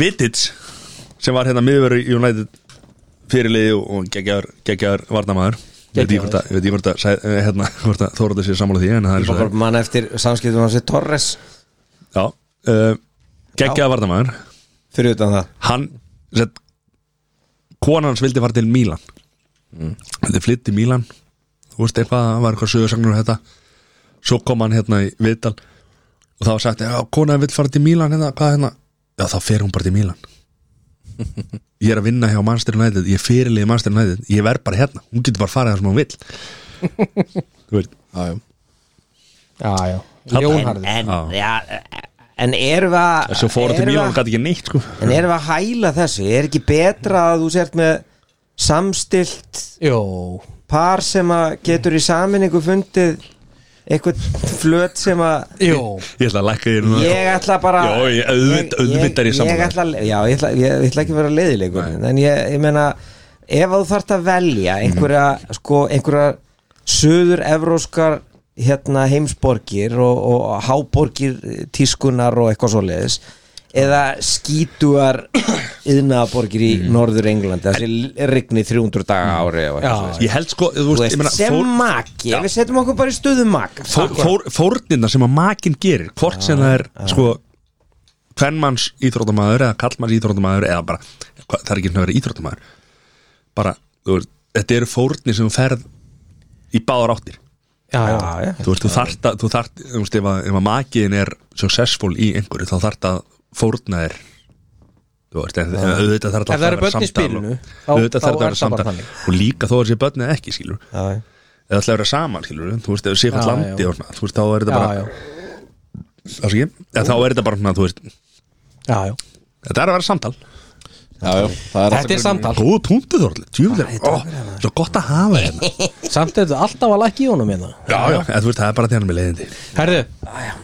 S1: Vitits, sem var hérna miðvöru United fyrirliði og- og geggjaður, geggjaður varnamaður Ég veit ekki hvort að, ég veit ekki hvort að, sæ- eh, hérna, hvort að Þóraði sé sammála því, en það er svo það er.
S4: Bara mann eftir samskiptum hans við Torres
S1: Já, uh, geggjaður varnamaður
S4: fyrir utan það
S1: hann set, konan hans vildi fara til Mílan mm. þið flytti Mílan þú veist eitthvað, það var eitthvað sögursagnur og þetta svo kom hann hérna í Viðdal og þá var sagt, já, konan vill fara til Mílan hérna, hvað hérna, já, þá fer hún bara til Mílan ég er að vinna hjá Manchester United, ég fyrirliði Manchester United ég verð bara hérna, hún getur bara farið það sem hún vill þú veit,
S3: já, já
S2: já, já Ljónharður
S4: En,
S1: Já.
S4: já, en erum við að
S1: svo fór hún til
S4: erum við
S1: Mílan
S4: að-
S1: og gæti ekki neitt sko.
S4: En erum við að hæla þessu? Er ekki betra að þú sért með samstilt
S2: Jó,
S4: par sem að getur í saminningu fundið eitthvað flöt sem að
S2: Jó
S1: Ég ætla að lækka þér núna.
S4: ég ætla bara
S1: Já, ég- auðvitað- auðvitað er ég
S4: ég,
S1: sammála.
S4: ég, ætla, já, ég, ætla, ég, ég ætla ekki að vera leiðilegur
S1: Nei.
S4: en ég, ég meina ef að þú þarft að velja einhverja sko, einhverja söður evróskar hérna, heimsborgir og, og háborgir tískunar og eitthvað svoleiðis eða skítuar yðnaðaborgir í
S1: Mhm.
S4: norður England þessi rigni 300 daga á ári og eitthvað
S2: Já.
S4: svoleiðis.
S1: Ég held sko, þú
S4: Þú
S1: veist,
S4: veist,
S1: ég meina
S4: sem
S1: fór-
S4: maki, við setjum okkur bara í stöðu maka
S1: fór- fór- Fórnirna sem að makin gerir Hvort sem það er sko Hvernmanns íþróttamæður eða kallmanns íþróttamæður Eða bara, hva, það er ekki svona að vera íþróttamæður Bara, þú veist Þetta eru fórnir sem þú ferð Í báðar áttir
S2: Já, já,
S4: já, já.
S1: Þú veist, þú þart að, þú þart Þú veist, ef að, ef að makiðin er successful í einhverju Þá þart að fórna er Þú veist, en en auðvitað þarf
S2: Ef
S1: alltaf að
S2: það eru
S1: vera
S2: börn
S1: samtal
S2: í spilinu,
S1: og-
S2: þá-
S1: Auðvitað
S2: þá
S1: þarf að vera
S2: er það bara
S1: samtal
S2: þannig.
S1: Og líka þó að sé börn eða ekki, skilur
S4: já, já.
S1: eða ætla að vera saman skilur þú veist, ef þú sé hvað
S2: Já,
S1: landi
S2: já.
S1: og svona þú veist, þá er þetta
S2: já,
S1: bara,
S2: já,
S1: afsaki eða þá er þetta bara svona, þú veist,
S2: já, já.
S1: þetta er að vera samtal
S3: já, já, það er
S2: Þetta er samtal
S1: góðu punktu Þorli, djúvileg svo gott að hafa hérna já,
S2: Samt er þetta alltaf að lækki í honum hérna
S1: já, eða þú veist, það er bara því hann er með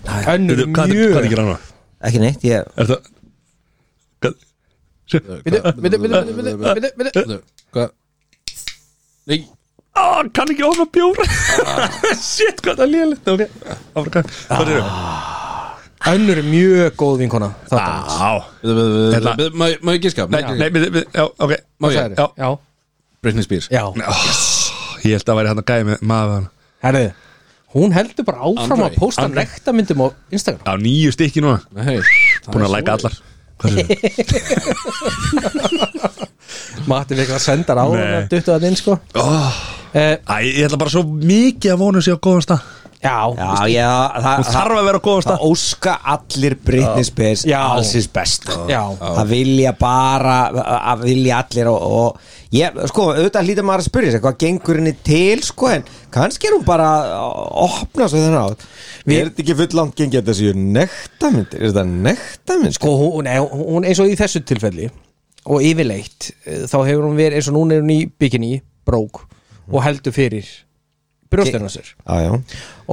S1: leiðindi
S2: Herðu, önnur
S1: Veitu, hvað er- hvað er
S2: mjög
S1: ekki rána?
S4: ekki neitt, ég
S1: er það hvað- Sjö.
S2: Bíddu, bíddu, bíddu, bíddu, bíddu, bíddu.
S3: samtal Hvað? Nei,
S1: Á, hann kann ekki ofna bjór shit, hvað það er lélitt ok, áfram hvað hvað er það?
S2: Önnur mjög góð vinkona Þáttarins.
S1: á
S3: við- við- við-
S1: Hérna.
S3: við- má ég- má ég giska?
S1: nei, nei, við- við- já, ok
S2: Hvað
S3: Má ég?
S2: sagðirðu? Já,
S3: Britney Spears
S2: já,
S1: Ó, ég held að það væri hann að gæja með maður
S2: herðu Hún heldur bara áfram
S3: Andrei,
S2: að posta
S1: Andrei.
S2: nektamyndum á Instagram
S1: á nýju stykki núna
S3: Nei,
S1: búin að læka allar hvað er það?
S2: Matti við eitthvað sendar á
S1: Nei.
S2: hana Duttu það inn sko Eh,
S1: Æ, ég ætla bara svo mikið að vonu sig á góðan stað
S2: Já,
S4: já, já, það,
S1: Hún þarf að vera á góðan
S4: Það
S1: stað
S4: óska allir Britney Spears
S2: Já.
S4: allsins best
S2: Já.
S4: Það vilja bara að vilja allir og, og ég, sko, auðvitað hlýta maður að spyrja sig hvað gengur henni til, sko, en kannski er hún bara að opna svo þennan átt Við erum ekki full langt gengið að þessu nektamyndir, er þetta nektamynd,
S2: sko hún, nei, hún eins og í þessu tilfelli og yfirleitt eh, þá hefur hún verið eins og núna er hún í bikini brók og heldur fyrir brjóstinu sér
S4: Já, já,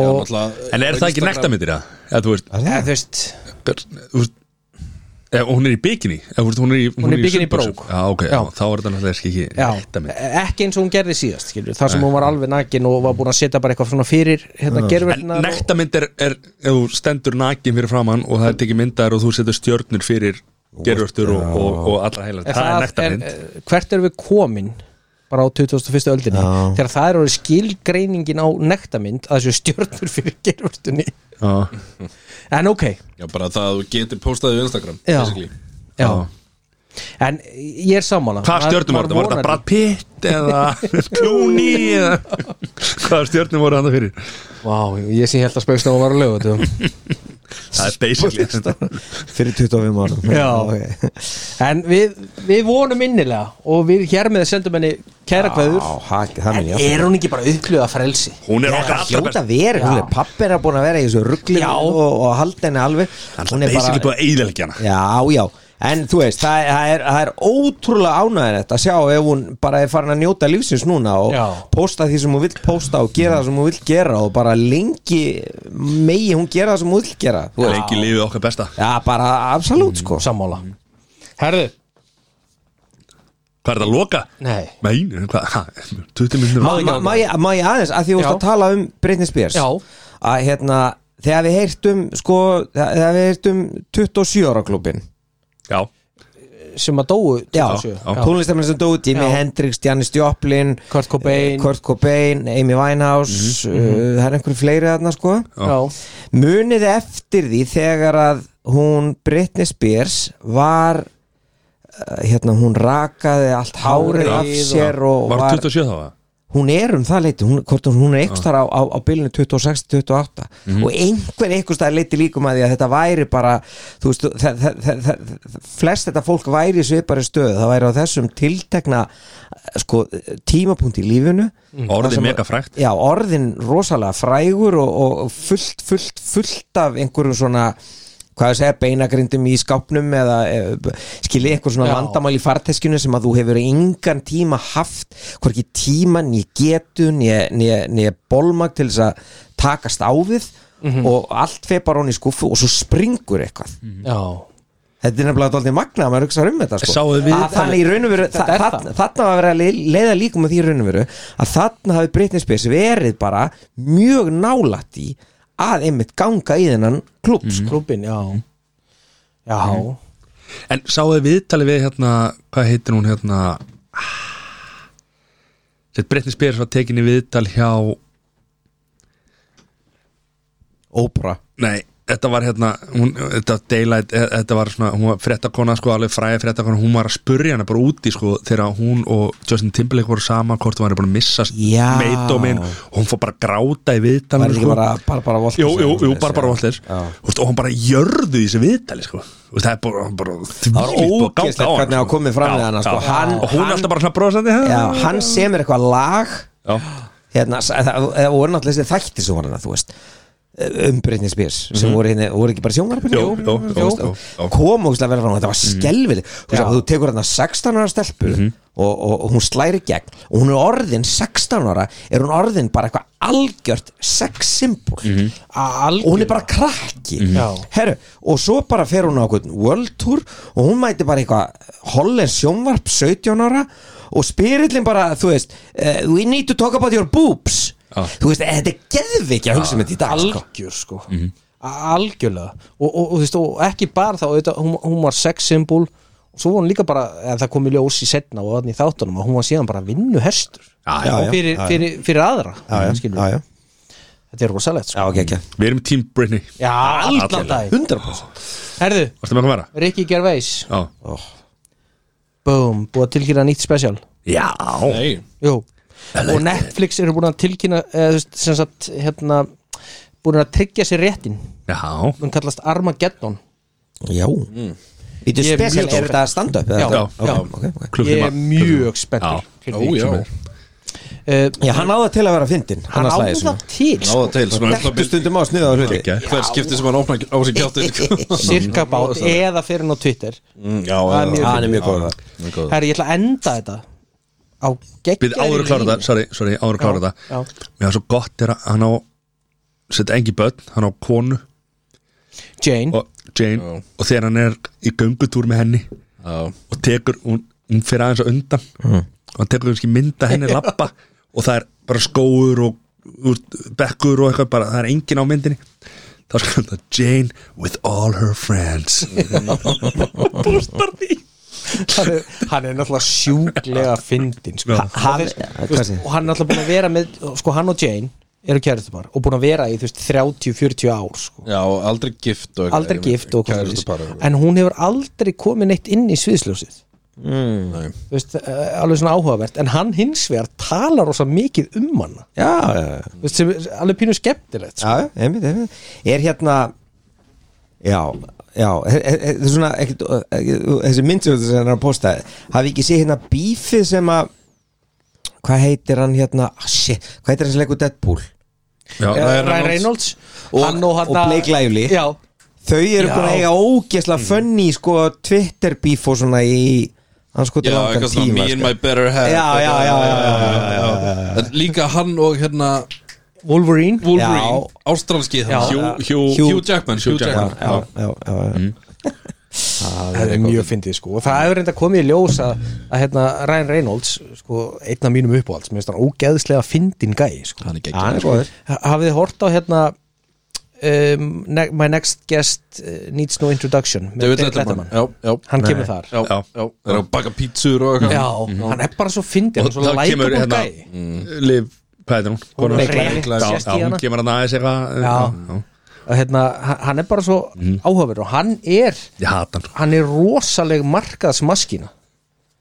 S2: og
S1: En er það ekki nektarmyndir það? Eða þú veist,
S2: ja, þú veist
S1: ber- þú veist eða hún er í bikini eða þú veist, hún er í,
S2: Hún er í bikini
S1: sundbuxum.
S2: brók.
S1: Já, ok, já.
S2: Já.
S1: þá er þetta náttúrulega ekki
S2: já, E,
S1: nektarmynd
S2: ekki eins og hún gerði síðast skilur, þar sem hún var alveg nakin og var búin að setja bara eitthvað svona fyrir hérna
S1: En
S2: gerfirnar og,
S1: nektarmynd er, er ef þú stendur nakin fyrir framann og það er tekið myndar og þú setur stjörnur fyrir gerurtur og, og, og allra heila
S2: En
S1: Það er nektarmynd
S2: er, eh, hvert erum við komin bara á 2001. öldinni þegar það er orðið skilgreiningin á nektamynd að þessu stjörnur fyrir gerfurtunni
S1: Já.
S2: en ok,
S3: Já, bara það að þú getur postaðið við Instagram
S2: Já.
S3: basically.
S2: já En ég er sammála
S1: Hvað stjörnum var þetta? Var þetta Brad Pitt eða Clooney eða Hvað stjörnum voru þetta fyrir?
S2: Vá, ég sé held að spaukstofan var að lögu
S1: Það er basically
S4: fyrir 25 árum
S2: Já.
S4: ok.
S2: En við, við vonum innilega Og við hér með sendum henni kæra
S4: Já,
S2: kveður
S4: hak- það
S2: En
S4: minn ég alltaf.
S2: er hún ekki bara upplöða frelsi?
S1: Hún er okkar
S4: Það
S1: allra best
S4: hljóta verið, hún er- pabbi er að búin að vera í þessu ruggli
S2: Já.
S4: og, og halda henni alveg
S1: Hún er basically búið að eiginlega hana
S4: Já, já, en þú veist það, það, er, það er ótrúlega ánæðinett að sjá ef hún bara er farin að njóta lífsins núna og
S2: Já.
S4: posta því sem hún vill posta og gera það sem hún vill gera og bara lengi megi hún gera það sem hún vill gera
S1: Hún er ekki lífið okkar besta
S4: Já, bara absolutt sko
S2: Sammála Mm. Herðu
S1: Hvað er það að loka?
S2: Nei
S1: Nei, hvað? Ha, 20
S2: Mm.
S1: minnur
S4: Má- má- má ég- Má ég aðeins, að því þú
S2: Já.
S4: veist að tala um Britney Spears
S2: Já.
S4: að hérna, þegar við heyrt um sko, þegar við heyrt um 27 ára klubin
S1: Já,
S2: Sem að dóu
S4: Já,
S2: 27.
S1: já.
S4: tónlistamenn sem dói Jimi
S2: Já.
S4: Hendrix, Janis Joplin
S2: Kurt Cobain. Mhm,
S4: eh, Kurt Cobain, Amy Winehouse uh, það er einhverju fleiri þarna sko
S2: Já.
S4: munið eftir því þegar að hún Britney Spears var eh, hérna hún rakaði allt hárið af
S2: Hárið og-
S4: sér og
S1: var
S4: var,
S1: 27 þá? eða?
S4: hún er um það leiti hún, hvort hún- hún er ekstar á, á, á bylunni 26-28 og einhver einhverstað leiti líkum að því að þetta væri bara þú veist, það, það, það, það, flest þetta fólk væri í svipari stöðu það væri á þessum tiltekna sko, tímapunkt í lífinu
S1: Orðið
S4: Mm. Það sem-
S1: mega frægt.
S4: já, orðin rosalega frægur og, og fullt, fullt, fullt af einhverjum svona hvað ég segja, beinagrindum í skápnum eða e, skilja eitthvað svona
S2: Já.
S4: vandamál í farteskinu sem að þú hefur engan tíma haft, hvorki tíma ný getu, ný, ný, ný bolmag til þess að takast á við og allt feir bara hún í skuffu og svo springur eitthvað
S2: já,
S4: Þetta er nefnilega dálítið magna að maður hugsa um þetta sko.
S1: Sáuð við
S4: Að Þannig í raun og veru
S2: Þetta
S4: þa-
S2: er
S4: þa-
S2: það.
S4: Þarna var að vera að le- leiða líkum að því í raun og veru að þarna hafi Britney Spears verið bara mjög nálætt í að einmitt ganga í þennan
S1: Mhm.
S4: klubb sko.
S2: klubin, já já,
S1: En sáðu viðtalið við hérna Hvað heitir hún hérna Þetta Brittany Spears var tekin í viðtal hjá
S4: Ópra
S1: Nei, þetta var hérna hún, Þetta daylight, eh, þetta var svona Hún var frettakona, sko, alveg fræði frettakona Hún var að spurja hana bara úti, sko Þegar hún og Justin Timberlake voru saman Hvort hún var bara að missa
S4: Já.
S1: meitdómin Og hún fór bara að gráta í sko.
S4: Var
S1: viðtalið
S4: ekki bara Barbara Walters
S1: Jú, jú, jú,
S4: eða
S1: Barbara Walters
S4: Já.
S1: Þú veist, og hann bara jörðu í þessu viðtali sko. Þú veist, það er bara, bara því
S4: var ógeðslegt hvernig hann komið fram við hana, sko. Hann-
S1: og hún
S4: hann-
S1: er alltaf bara svona brosandi ha?
S4: Já, hann semur eitthvað lag
S1: Já.
S4: hérna, s- það það voru náttúrulega þessi þætti sem var hana, þú veist um Britney Spears sem voru, hérna, voru ekki bara sjónvarpinu
S1: Mhm. Jú, jú, jú, jú, jú. Mhm.
S4: kom og vel fram og þetta var skelvileg þú veist,
S2: Já.
S4: að þú tekur hérna 16 ára stelpu og, og, og hún slæri gegn og hún er orðin 16 ára er hún orðin bara eitthvað algjört sexsymbol
S1: Mhm.
S2: algjör
S4: og hún er bara krakki
S2: Já.
S4: Herru, og svo bara fer hún á einhvern World Tour og hún mæti bara eitthvað Hollens sjónvarp 17 ára og spyrillin bara, þú veist uh, we need to talk about your boobs
S1: Já.
S4: þú veist, eh, þetta er geðvikið að hugsa með þetta í dag sko.
S2: algjör sko algjörlega og, og, og, þú veist, og ekki bara þá auðvitað, hún, hún var sex symbol og svo var hún líka bara, eða það kom í ljós í setna og þannig í þáttunum að hún var síðan bara vinnu hestur
S1: Já, já,
S4: já,
S2: fyrir,
S4: já, já.
S2: fyrir, fyrir aðra skilur við.
S4: já, já.
S2: þetta er rosalegt sko.
S4: já ok, ekki
S1: við erum tím Britney
S2: já, allan dag
S4: 100%
S2: herðu,
S1: varstu með hvað vera?
S2: Ricky Gervais
S1: Já.
S4: Oh.
S2: boom, búið að tilkynna nýtt special
S1: já
S3: Nei,
S2: Jú. og Netflix eru búin að tilkynna eða, þú veist, sem sagt, hérna búin að tryggja sér réttin
S1: já
S2: hún kallast Armageddon
S4: já Vídu,
S2: Mm. Ég er
S4: spesial,
S2: mjög-
S4: er þetta stand-up? eða
S2: Já,
S4: þetta-
S1: já.
S4: ok, ok, ok.
S1: Klukkutíma.
S2: ég er mjög
S1: Já.
S2: spenntur fyrir
S3: ó
S2: því.
S3: já
S2: Eh,
S4: Já, hann áða til að vera fyndin
S2: hann á það til
S3: Náða til sko,
S4: Þekktu stundum á að sniða á hluti
S1: Geggjað.
S3: Hver skipti sem hann opna á sig kjáttið
S2: cirka bát eða fyrir hann á Twitter
S3: Mm, Já,
S2: Það er mjög-
S4: Hann er mjög góð
S3: mjög
S2: herri ég ætla að enda þetta á
S1: við
S2: geggjari
S1: áður að klára þetta, sorry, sorry, áður að klára
S2: Já,
S1: þetta mér var svo gott er að hann á setja engi börn, hann á konu
S2: já. Jane
S1: og Jane
S3: Já.
S1: og þegar hann er í göngutúr með henni og tekur, hún, hún fyrir aðeins á undan og hann tekur kannski mynda henni lappa og það er bara skóur og úr, bekkur og eitthvað bara, það er engin á myndinni þá skrifum það Jane with all her friends bústar því
S2: hann er, hann er náttúrulega sjúklega fyndin sko.
S1: Já.
S2: hann,
S4: Hvað
S2: þú veist,
S4: segir?
S2: og hann er náttúrulega búin að vera með sko hann og Jane eru kærið bara og búin að vera í þú veist 30-40 ár sko.
S3: Já, og aldrei gift og
S2: aldrei gift og hvað
S3: Kæristu
S2: svoleiðis.
S3: bara
S2: en hún hefur aldrei komið neitt inn í sviðsljósið
S3: Nei.
S2: mm. veist, eh, alveg svona áhugavert en hann hins vegar talar rosa mikið um hana
S4: Já, já, já
S2: Þú veist, sem er alveg pínu skemmtilegt sko.
S4: Já, einmitt, einmitt Er hérna Já, já er, er, er, er svona, ekkit, ekkit, Þessi myndsjóðu sem hann er að posta Hafi ekki séð hérna bífið sem að Hvað heitir hann hérna ah, shit, Hvað heitir hann sem leikur Deadpool Eh,
S1: já,
S2: Eh, Ryan
S3: Ryan
S2: Reynolds
S4: Og-
S2: hann og,
S4: og
S2: hana-
S4: Blake Lively.
S2: já,
S4: Þau eru
S2: Já.
S4: búin að eiga ógesla mm. funny sko Twitter bíf og svona í Hann sko
S3: Já,
S4: langan
S3: eitthvað svona
S4: tíma
S3: me and
S4: sko.
S3: my better half
S4: Já, já, já, já, já, já, já, já.
S3: En líka hann og hérna
S2: Wolverine
S3: Wolverine, ástralski
S2: Já.
S3: Hugh, Hugh,
S4: Hugh-
S3: Hugh Jackman Hugh
S4: Já,
S3: Jackman
S4: já, já, já, já.
S3: Mm.
S2: það er mjög fyndið sko og það hefur reynda komið í ljós að, að hérna, Ryan Reynolds sko, einn af mínum uppáhalds mér finnst hann ógeðslega fyndin gæ sko.
S3: Hann er
S4: Já, Hann
S3: geggjum
S4: er góður
S2: Ha- hafið þið hort á hérna um, ne My Next Guest uh, Needs No Introduction með
S3: David
S2: David
S3: Letterman Já, já
S2: um hann kemur þar
S3: Já,
S1: Já.
S3: já Það er að baka pítsur og
S2: Já,
S3: eitthvað
S2: hann er bara svo
S1: Mhm. og
S2: fyndin hann er svo
S1: það kemur
S2: likeable
S1: hérna
S2: gæi.
S1: Liv, hvað heitir hún? Konan?
S2: Blake Lively.
S1: Já, já,
S2: Sést í
S1: hún
S2: hana.
S1: kemur hann aðeins eitthvað
S2: Já.
S1: já. Mhm.
S2: og hérna, hann- hann er bara svo mm. áhugaverð og hann er,
S1: ég hata hann
S2: hann er rosaleg markaðsmaskina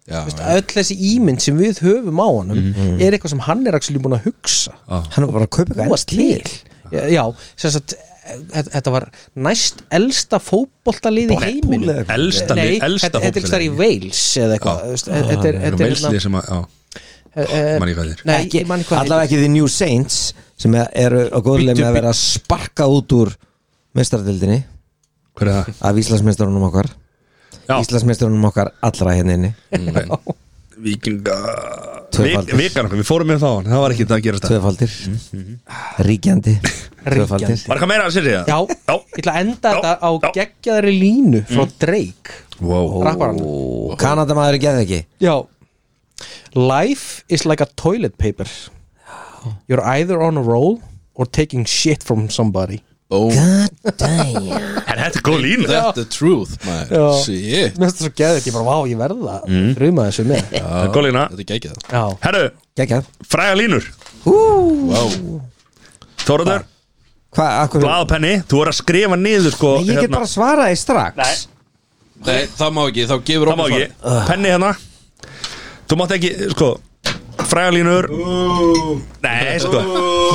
S3: Já,
S2: Veist, öll þessi ímynd sem við höfum á honum
S1: Mhm.
S4: Mhm.
S2: er eitthvað sem hann er actually búin að hugsa
S1: Ah.
S3: Ah.
S4: Hann er bara að kaupa
S2: búa
S4: eitthvað
S2: til já, já sem sagt eh, þetta þetta var næst elsta fótboltalið í heiminu
S4: eða eitthvað?
S1: elsta
S2: Nei,
S1: lið, elsta Ah.
S2: þetta þetta er ekki þar í Wales eða eitthvað Þú veist, eh, þetta er- þetta er
S1: meilslið
S2: hérna-
S1: sem að já,
S2: eh,
S1: mann ég hvað þér
S2: Nei,
S4: ekki,
S2: ég man ekki hvað
S4: allavega ekki The New Saints sem eru á góðlega
S1: Bíddu,
S4: með að vera sparkað út úr mestardildinni
S1: Hver er það?
S4: af Íslandsmeistarunum okkar
S1: Já.
S4: Íslandsmeistarunum okkar allra hérna inni
S1: Víkinga
S4: Tvöfaldir.
S1: Vik- Vikarnir, við fórum með þá hann, það var ekki það að gerast það
S4: tvöfaldir
S1: Mhm,
S4: ríkjandi tvöfaldir
S1: Var eitthvað meira að setja
S2: Já,
S1: Já.
S2: ég ætla að enda
S1: Já.
S2: þetta á
S1: Já. Mm.
S2: geggjaðri línu frá Drake
S1: Wow.
S2: Rapparann
S4: Kanadamaður geði ekki
S2: Já Life is like a toilet paper You're either on a roll or taking shit from somebody
S3: Boom.
S4: God damn
S1: En þetta er góð línu
S3: That's the truth,
S2: Já.
S3: maður Shit
S2: Mér finnst það svo geðið, ég bara, vá, ég verði það mm. Þrjuma þessu með Já,
S1: Þetta er góð lína
S3: Þetta er gekkið
S2: Já.
S1: Herru,
S4: Gekka
S1: fræga línur
S3: Wow
S1: Þóraður,
S4: Hvað, akkur
S1: blað og penni Þú voru að skrifa niður sko
S4: Ég get bara svaraði strax
S1: Nei,
S3: Nei, það má ekki, þá gefur
S1: það má
S3: okkur
S1: ekki Penni hérna Þú mátt ekki, sko Fræga línur Nei, sko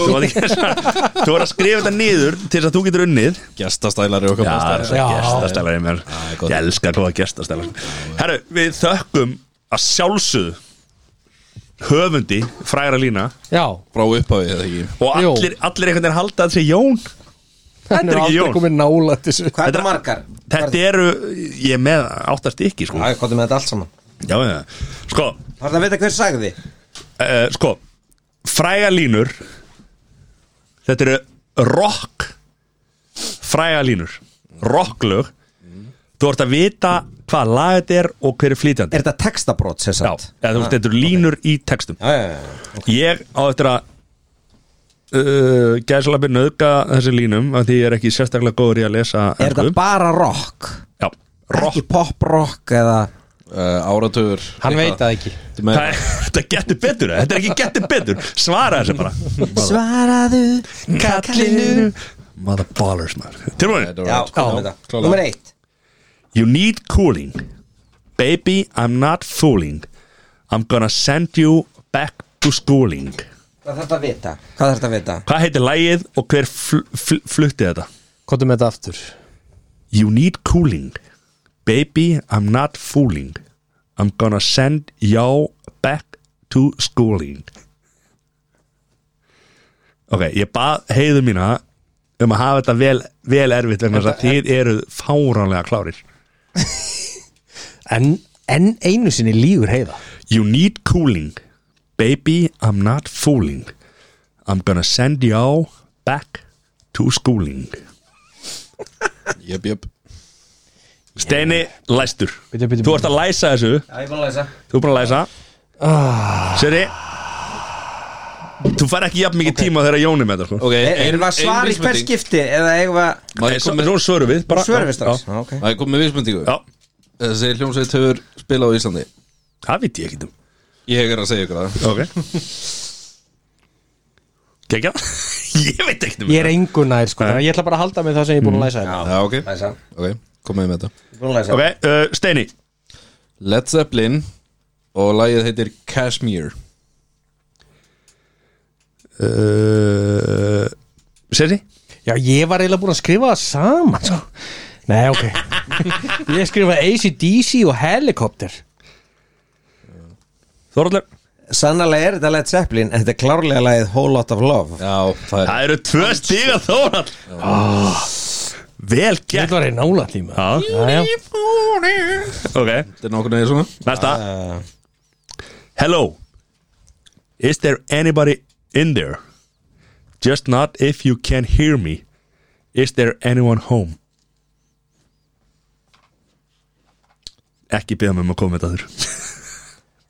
S1: Þú mátt ekki Þú voru að skrifa þetta niður Til þess að þú getur unnið
S3: Gestastælari og
S1: Já,
S3: kompastælari
S2: Já.
S1: gestastælar í mér
S3: gott.
S1: Ég elska góða gestastælar Herru, við þökkum að sjálfsögðu höfundi fræra lína
S2: Já.
S3: Frá upphafi, eða ekki
S1: og
S2: Jó.
S1: allir, allir einhvern veginn halda að sé Jón Þetta
S2: Hann
S1: er ekki
S2: aldrei
S1: Jón
S2: komið nálægt þessu
S4: Hvað er
S1: Þetta-
S4: þetta margar?
S1: Þetta eru, ég er með áttast ekki sko.
S4: Já, ég kóti með þetta allt saman
S1: Já, já, sko
S4: Það er að vita hver sagði
S1: uh, Sko, fræga línur Þetta eru rock fræga línur Rocklög Þú ert að vita hvað lag þetta er og hver er flytjandi
S4: Er þetta textabrót, sér
S1: Já,
S4: sagt?
S1: eða þú veist, þetta eru línur í textum
S4: Já, já, já
S1: Ég á eftir að uh, gæsalabbi nöðga þessi línum af því ég er ekki sérstaklega góður í að lesa
S4: Er þetta
S1: ensku.
S4: bara rock?
S1: Já,
S4: Ekki
S1: rock
S4: pop rock eða
S3: uh, Áratöfur
S2: Hann veit það ekki
S1: Það er- Þetta getur betur, eða? þetta er ekki getur betur Svara þessu bara
S4: Svaraðu kallinu
S1: Mother ballers maður Tilbúin
S4: Já,
S3: sko.
S4: komum við þetta Númer eitt
S1: You need cooling Baby, I'm not fooling I'm gonna send you back to schooling
S4: Hvað þarf þetta að vita? Hvað þarf þetta að vita?
S1: Hvað heitir lægið og hver fl fl flutti þetta?
S2: Kottum þetta aftur
S1: You need cooling Baby, I'm not fooling I'm gonna send you back to schooling Ok, ég bað heiðu mína um að hafa þetta vel, vel erfitt vegna þess að þið eruð fáránlega klárir
S2: En, en einu sinni lígur heiða
S1: You need cooling Baby, I'm not fooling I'm gonna send you back to schooling
S3: Jöp, jöp
S1: Steini, læstur
S2: Bíddu, bíddu,
S1: Þú ert að læsa þessu
S4: Já, ég búin að lesa
S1: Þú er búin að læsa Seri Þú fær ekki jafn mikið tíma þegar Jón er með þetta sko.
S3: Ok,
S4: Erum við að svara í hver skipti? Eða eigum við að
S1: Nei, svo- Svo svörum við bara.
S4: svörum við strax?
S1: Já,
S4: Já, ok
S3: Það er komið með vísmyndingu
S1: já.
S3: Þessi hljómsveit hefur spilað á Íslandi
S1: það veit ég ekki um
S3: Ég er að segja ykkur það
S1: Ok Gekja Ég veit ekki um
S2: Ég er engu nær sko Ég ætla bara að halda með það sem ég er búin að læsa hérna.
S3: Já, ok
S4: Læsa
S3: Ok, komið með þetta
S4: Búin að
S1: Ok,
S4: læsa
S1: uh, Steini
S3: Led Zeppelin Og lagið heitir Kashmir
S1: uh, Seri
S2: Já, ég var eiginlega búin að skrifa það saman sko. Nei, ok Ég skrifaði ACDC og Helicopter
S1: Þorallur
S4: Sannarlega er þetta Led Zeppelin En þetta er klárlega lagið Whole Lot of Love
S3: Já, það er
S1: Það eru tvö stíga Þorall oh. Vel
S2: Þetta
S1: gert
S2: var einn nála tíma
S1: Já,
S2: Já, já.
S1: ok
S3: Þetta er nákvæmlega svona
S1: Næsta
S4: Uh,
S1: Hello. Is there anybody in there? Just not if you can hear me. Is there anyone home? Ekki beða mig um að koma með þetta þurr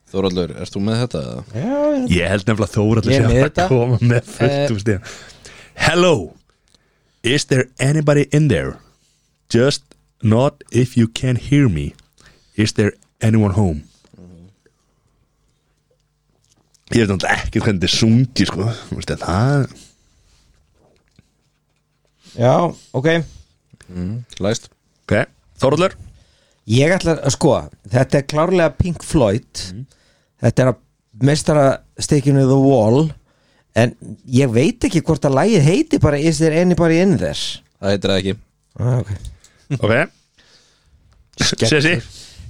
S3: Þóraldur, ert þú með þetta? eða?
S1: Ég held nefnilega Þóraldur
S2: Ég er
S1: sem
S2: með
S1: að
S2: þetta. Eh.
S1: koma með fulltum stíðan Hello Is there anybody in there? Just not if you can hear me Is there anyone home? Ég veit náttúrulega ekki hvernig þetta er sungi sko Þú veist, en Það
S4: Já, ok
S3: Læst
S1: Ok, Þorallur
S4: Ég ætla að sko, þetta er klárlega Pink Floyd Þetta er að mestara stekjunu The Wall En ég veit ekki hvort að lagið heiti bara Is there anybody in there?
S3: Það heitir það ekki
S4: Ah, okay.
S1: Ok Sessi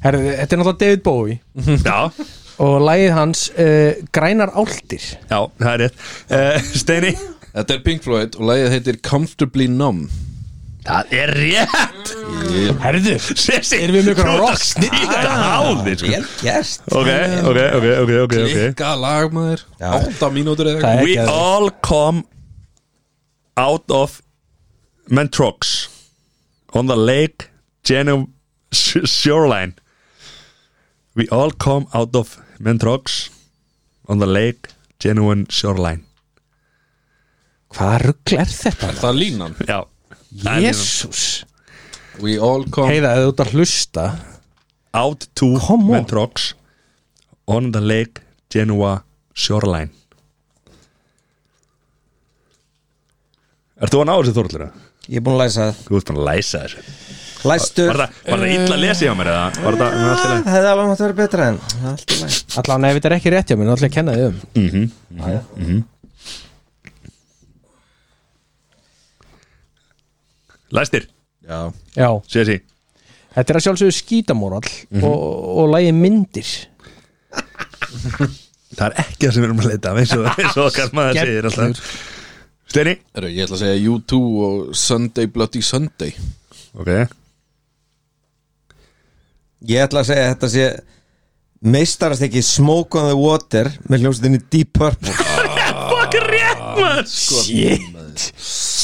S2: Herðu, þetta er náttúrulega David Bowie
S1: Já,
S2: og lagið hans uh, Grænar áltir
S1: já, það er rétt uh, Steini
S3: Þetta er Pink Floyd og lagið heitir Comfortably Numb
S1: Það er rétt
S2: Herðu,
S1: Sessi,
S2: Erum við með einhverja rock? Ah,
S1: snýta háði sko.
S4: Vel gert
S1: Ok, ok, ok, ok, ok, ok
S3: Klikka lagmaður, 8 mínútur eða
S2: Það
S3: eitthvað
S2: er-
S1: We
S2: Geðveikt.
S1: all come out of Mentrox on the lake Geno sh- shoreline. We all come out of Mentrox on the lake Genuine shoreline.
S2: hvaða ruggl er þetta?
S3: Það er línan
S1: Já. Það er
S2: Jésús
S3: We all come
S2: Heiða, ef þú ert að hlusta
S1: Out to
S2: Come on.
S1: Mentrox on the lake Genua shoreline. Ert þú að ná þessu þorlur?
S4: Ég er búin að læsa það
S1: Þú ert búin að læsa þessu.
S4: Læstur
S1: Var það, var það illa að lesa hjá mér eða? Var það, var það
S4: Það hefði alveg mátt að vera betra en það er allt í lagi.
S2: Allan ef þetta er ekki rétt hjá mér, þá ætla ég að kenna þið um
S4: Jæja.
S1: Læstir,
S3: Já,
S2: Já, Mhm.
S1: sé þessi
S2: þetta er að sjálfsögðu skítamórall og, og lægi myndir
S1: Það er ekki það sem við erum að leita af, eins og, eins og okkar maður segir alltaf Steini
S3: Heru, ég ætla að segja U2 og Sunday Bloody Sunday
S1: Ok
S4: Ég ætla að segja að þetta sé meistarast ekki Smoke on the Water með hljómsveitinni Deep Purple
S1: Fuck rétt maður
S2: Shit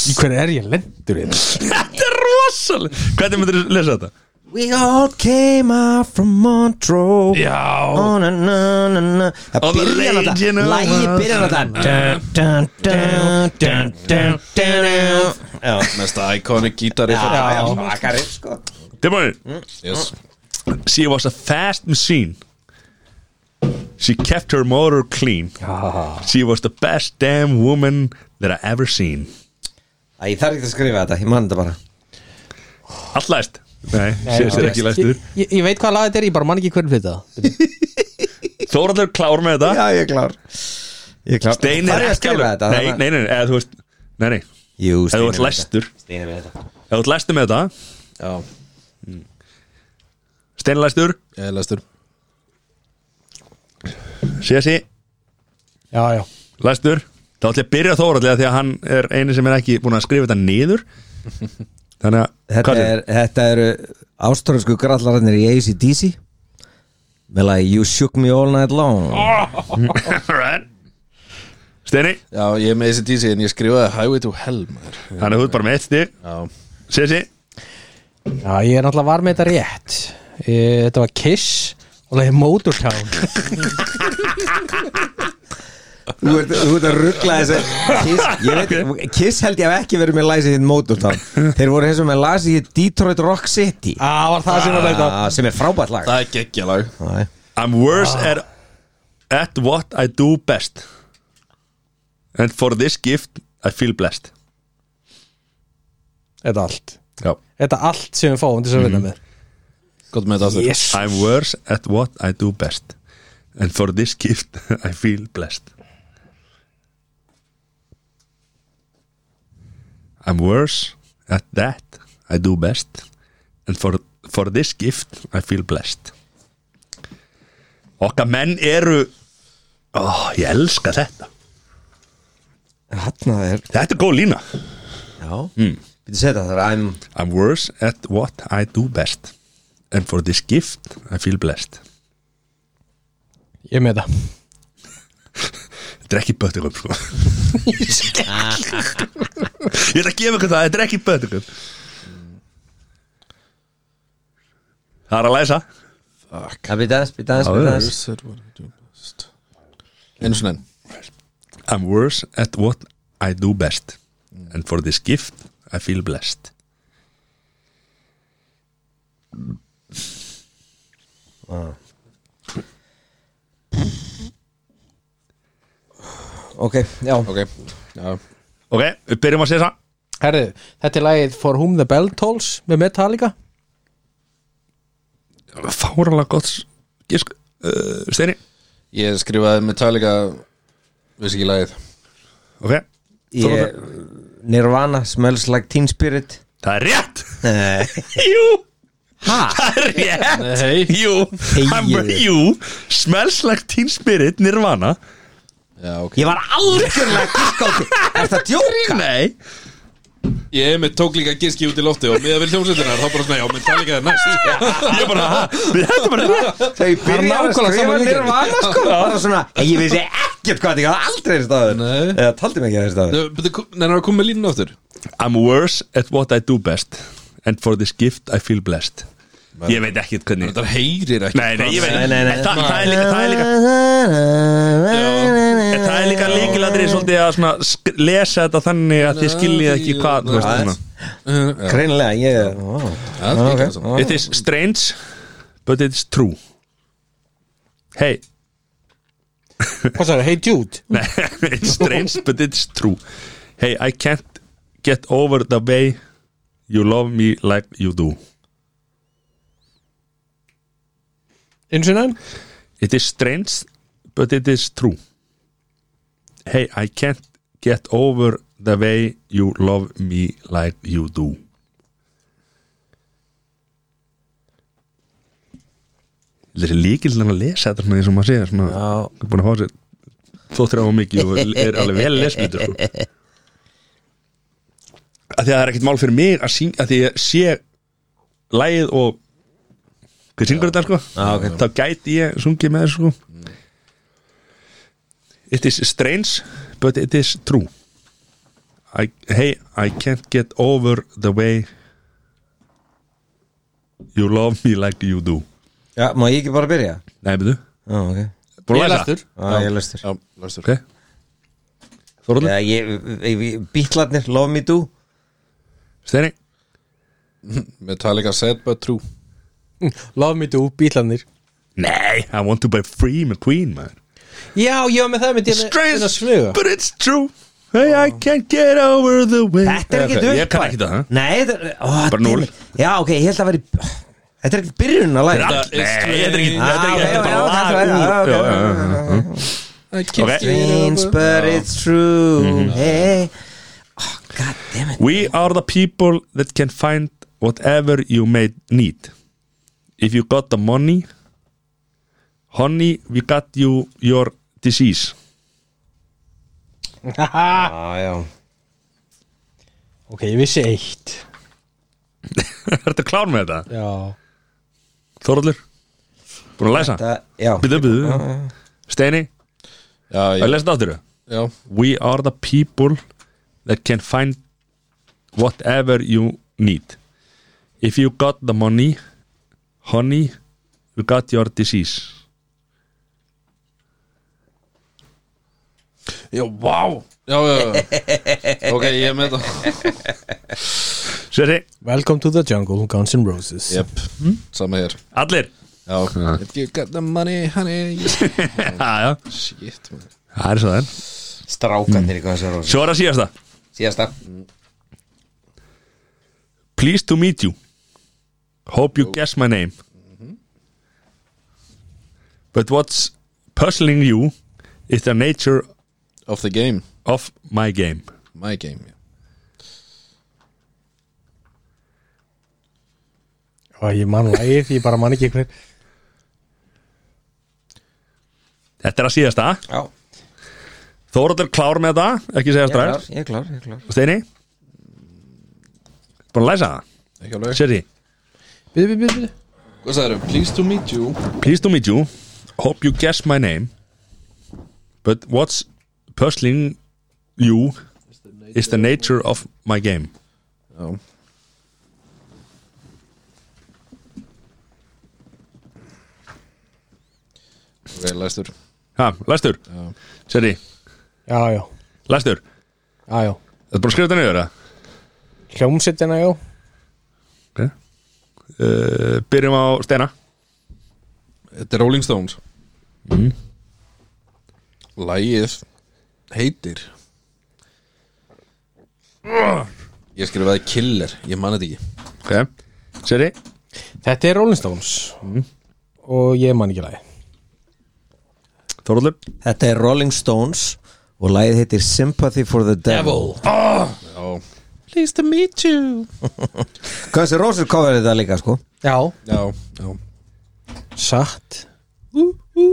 S2: Í hverju er ég lendur í þetta?
S1: Þetta er rosaleg Hvernig myndir þú lesa þetta?
S4: We all came out from Montreux
S1: Já
S4: Oh, na, na, na, na. Það
S1: On the
S4: byrja
S1: lake, you know.
S4: náttúrulega Lægi byrja náttúrulega Já,
S3: Mesta iconic gítari
S4: já, já, smakari sko
S1: Tilbúin
S3: yes.
S1: She was a fast machine She kept her motor clean She was the best damn woman that I ever seen
S4: Æ, ég þarf ekki að skrifa þetta, ég man þetta bara
S1: Allt læst Nei, sé þessi er ekki læstur
S2: Ég- Ég, ég veit hvað lag þetta er, ég bara man ekki hvernig fyrir það
S1: Þóraldur klár með þetta
S4: Já, ég er klár Ég er klár
S1: Steini er
S4: Þarf ég að
S1: ekki
S4: skrifa
S1: alveg
S4: þetta
S1: Nei, nei, nei, nei, eða þú veist Nei, nei, ef þú
S4: Jú, Steini
S1: ert læstur
S4: Steini með þetta
S1: Ef þú ert læstur með þetta
S3: Já,
S1: Steini læstur,
S3: ég er lestur
S1: Sessi
S2: Já, já
S1: læstur Þá ætlum ég að byrja á þórallega því að hann er eini sem er ekki búin að skrifa þetta niður Þannig að
S4: Þetta,
S1: hvað
S4: er, þetta eru ástórensku grallararnir í ACDC með lagi You Shook Me All Night Long
S1: Alright. Steini,
S3: Já, ég er með þessi dísi en ég skrifaði Highway to Hell maður.
S1: þannig að þú ert bara með eitt stig
S3: Já,
S1: Sessi,
S2: Já, ég er náttúrulega var með þetta rétt e, Þetta var Kiss og lagið Motortown
S4: Þú ert, þú ert að ruggla þessi Kiss, ég veit, Kiss held ég hef ekki verið með læsið hinn Motortown Þeir voru þessum með læsið hinn Detroit Rock City
S2: Á, var það sem var Ah, þetta
S4: Ah, sem er frábært lag
S3: það er geggjalag
S4: Æ.
S1: I'm worse at, at what I do best And for this gift I feel blessed
S2: Þetta allt
S1: Já Mhm.
S2: Þetta allt sem við fáum til þess að vinna með
S3: Gott með þetta aftur
S2: Yes
S1: I'm worse at what I do best And for this gift I feel blessed I'm worse at that I do best And for, for this gift I feel blessed Okkar menn eru Ó, ég elska þetta
S4: Þarna er
S1: Þetta er góð lína
S4: Já mm. Býttu segja þetta, það er I'm
S1: I'm worse at what I do best And for this gift I feel blessed
S2: Ég er með það
S1: Þetta er ekki böttingum sko Ég ætla að gefa ykkur það Þetta er ekki böttingum Það er að læsa
S4: Það býttu aðeins, býttu aðeins,
S1: Já, já.
S4: býttu aðeins
S3: Einu svona enn
S1: I'm worse at what I do best And for this gift I feel blessed
S4: Ok, já
S3: Ok, já
S1: Ok, við byrjum að segja það
S2: Herðu, þetta er lagið For Whom the Bell Tolls með Metallica
S1: Fáralega gott gisk uh, Steini,
S3: Ég skrifaði Metallica Vissi ekki lagið
S1: ok
S4: ég, Nirvana, Smells Like Teen Spirit
S1: Það er rétt
S4: Nei
S1: Jú,
S4: Ha?
S1: það er rétt
S3: Nei
S1: Jú, I'm,
S4: Þegiðu.
S1: jú Smells like teen spirit, nirvana
S3: Já, ok
S4: Ég var algjörlega gísk á því Er það djók?
S1: Nei
S3: Ég einmitt tók líka giski út í lofti og miða við hljómsveitirnar þá bara svona, já, menn tala ekki það næst Ég bara, ha, við hættum bara rétt
S4: Þau byrja að
S3: nákvæmlega
S4: skrifa
S3: sama líka.
S4: nirvana sko Bara svona, "Hey, ég vissi ekkert hvað þetta er aldrei þessi staður
S3: Nei.
S4: Eða taldi mig ekki þessi staður
S3: Nennar að koma með línun aftur
S1: I'm worse at what I do best And for this gift I feel blessed Ég veit ekki hvernig
S3: Þetta heyrir ekki
S1: Nei, nei, ég veit
S3: hvað-
S1: ekki En það- það er líka- það er líka En það er líka leikilandri svolítið að svona sk- lesa þetta þannig að þið skiljið ekki hvað þú veist svona
S3: Já,
S4: Greinilega, ég ó.
S3: það er ekki það saman.
S1: It is strange but it is true Hey
S2: Hvað sagði, hey Jude
S1: Nei, it's strange but it's true Hey, I can't get over the way you love me like you do
S2: Eins og næm
S1: It is strange but it is true Hey, I can't get over the way you love me like you do Þessi líkildin að lesa þetta svona eins og maður segir svona, er búin að fá sér þó þrjá mikið og er alveg vel lesmyndur sko. að því að það er ekkert mál fyrir mig að, syng, að því að ég sé lægið og hvað syngur þetta sko ah, okay. þá gæti ég sungið með þessu sko It is strange but it is true I, Hey, I can't get over the way you love me like you do
S4: Já, má ég ekki bara byrja?
S1: Nei, betur
S4: Já, ok
S1: Búin
S3: Ég
S1: að
S3: er
S1: læsa
S3: aftur
S4: Já, ég lestur
S3: Já, læstur
S1: Ok Þorður,
S4: Já, ég, ég, ég- bítlarnir, love me do
S1: Steini
S3: Metallica said but true
S2: Love me do, bílarnir
S1: Nei, I want to be free með Queen, man
S2: Já, ég var með það með dina
S1: Strange,
S2: sviga
S1: but it's true Hey, I can't get over the way
S4: Þetta er ekki
S1: Ok, Ég kann
S4: upplag.
S1: ekki það, ha?
S4: Nei, þetta er ó,
S1: Bara
S4: dimmi.
S1: núll.
S4: Já, ok, ég held að veri Þetta er ekki byrjun að læra
S1: Nei, þetta er ekki Þetta er ekki Þetta er bara lag úr- Já, já, já, já.
S4: Strange, but it's true Hey Oh, god damn it
S1: We are the people that can find whatever you may need. If you got the money, honey, we got you your disease.
S4: Já, já
S2: Ok, ég vissi eitt
S1: Ertu klár með þetta?
S2: Já
S1: Þorallur? Búin að læsa?
S4: Það, já
S1: Býðu, býðu. Steini,
S3: Já,
S1: að
S3: ég-
S1: lesa þetta áttur?
S3: já
S1: We are the people that can find whatever you need. If you got the money, honey, we got your disease.
S3: Já, vá Já, já, já Ok, ég er með það
S1: Sveiri,
S2: Welcome to the jungle, Guns N' Roses
S3: Jep, Hmm? sama hér
S1: allir.
S3: Já, if you got the money, honey
S1: Já, já.
S3: Shit, man
S1: Það er svo það er. Mm.
S4: Strákanir í Guns N' Roses
S1: Svo er að síðasta
S4: Síðasta
S1: Pleased to meet you Hope you guess my name But what's puzzling you is the nature
S3: Of the game
S1: of my game
S3: My game, já
S2: Og ég man lægir, ég bara man ekki hver
S1: Þetta er að síðasta
S4: Já,
S1: Þóraður klár með þetta, ekki segja
S4: ég er
S1: strax
S4: klár, ég er klár, ég er klár
S1: Steini Búin að læsa það
S3: Ekki alveg
S1: Sérri,
S2: Bíðu, bíðu, bíðu
S3: Hvað sagður, pleased to meet you
S1: pleased to meet you Hope you guess my name But what's puzzling you is the nature of my game
S3: Já Ok, læstur
S1: Ha, læstur Sérri,
S2: Já, já,
S1: læstur
S2: já, já
S1: Þetta er bara að skrifa þetta niður, eða?
S2: Hljómsettina, já
S1: Ok uh, Byrjum á Steina
S3: Þetta er Rolling Stones mm. Lægið heitir Ég skrifaði killer, ég man þetta ekki
S1: Ok, Seri
S2: Þetta er Rolling Stones
S4: Mm.
S2: Og ég man ekki lægi
S1: Þorallur
S4: Þetta er Rolling Stones og lagið heitir Sympathy for the Devil,
S3: Já,
S2: Pleased to meet you
S4: Guns N' Roses cover þetta líka sko
S2: Já,
S3: já, já
S2: satt Ú, ú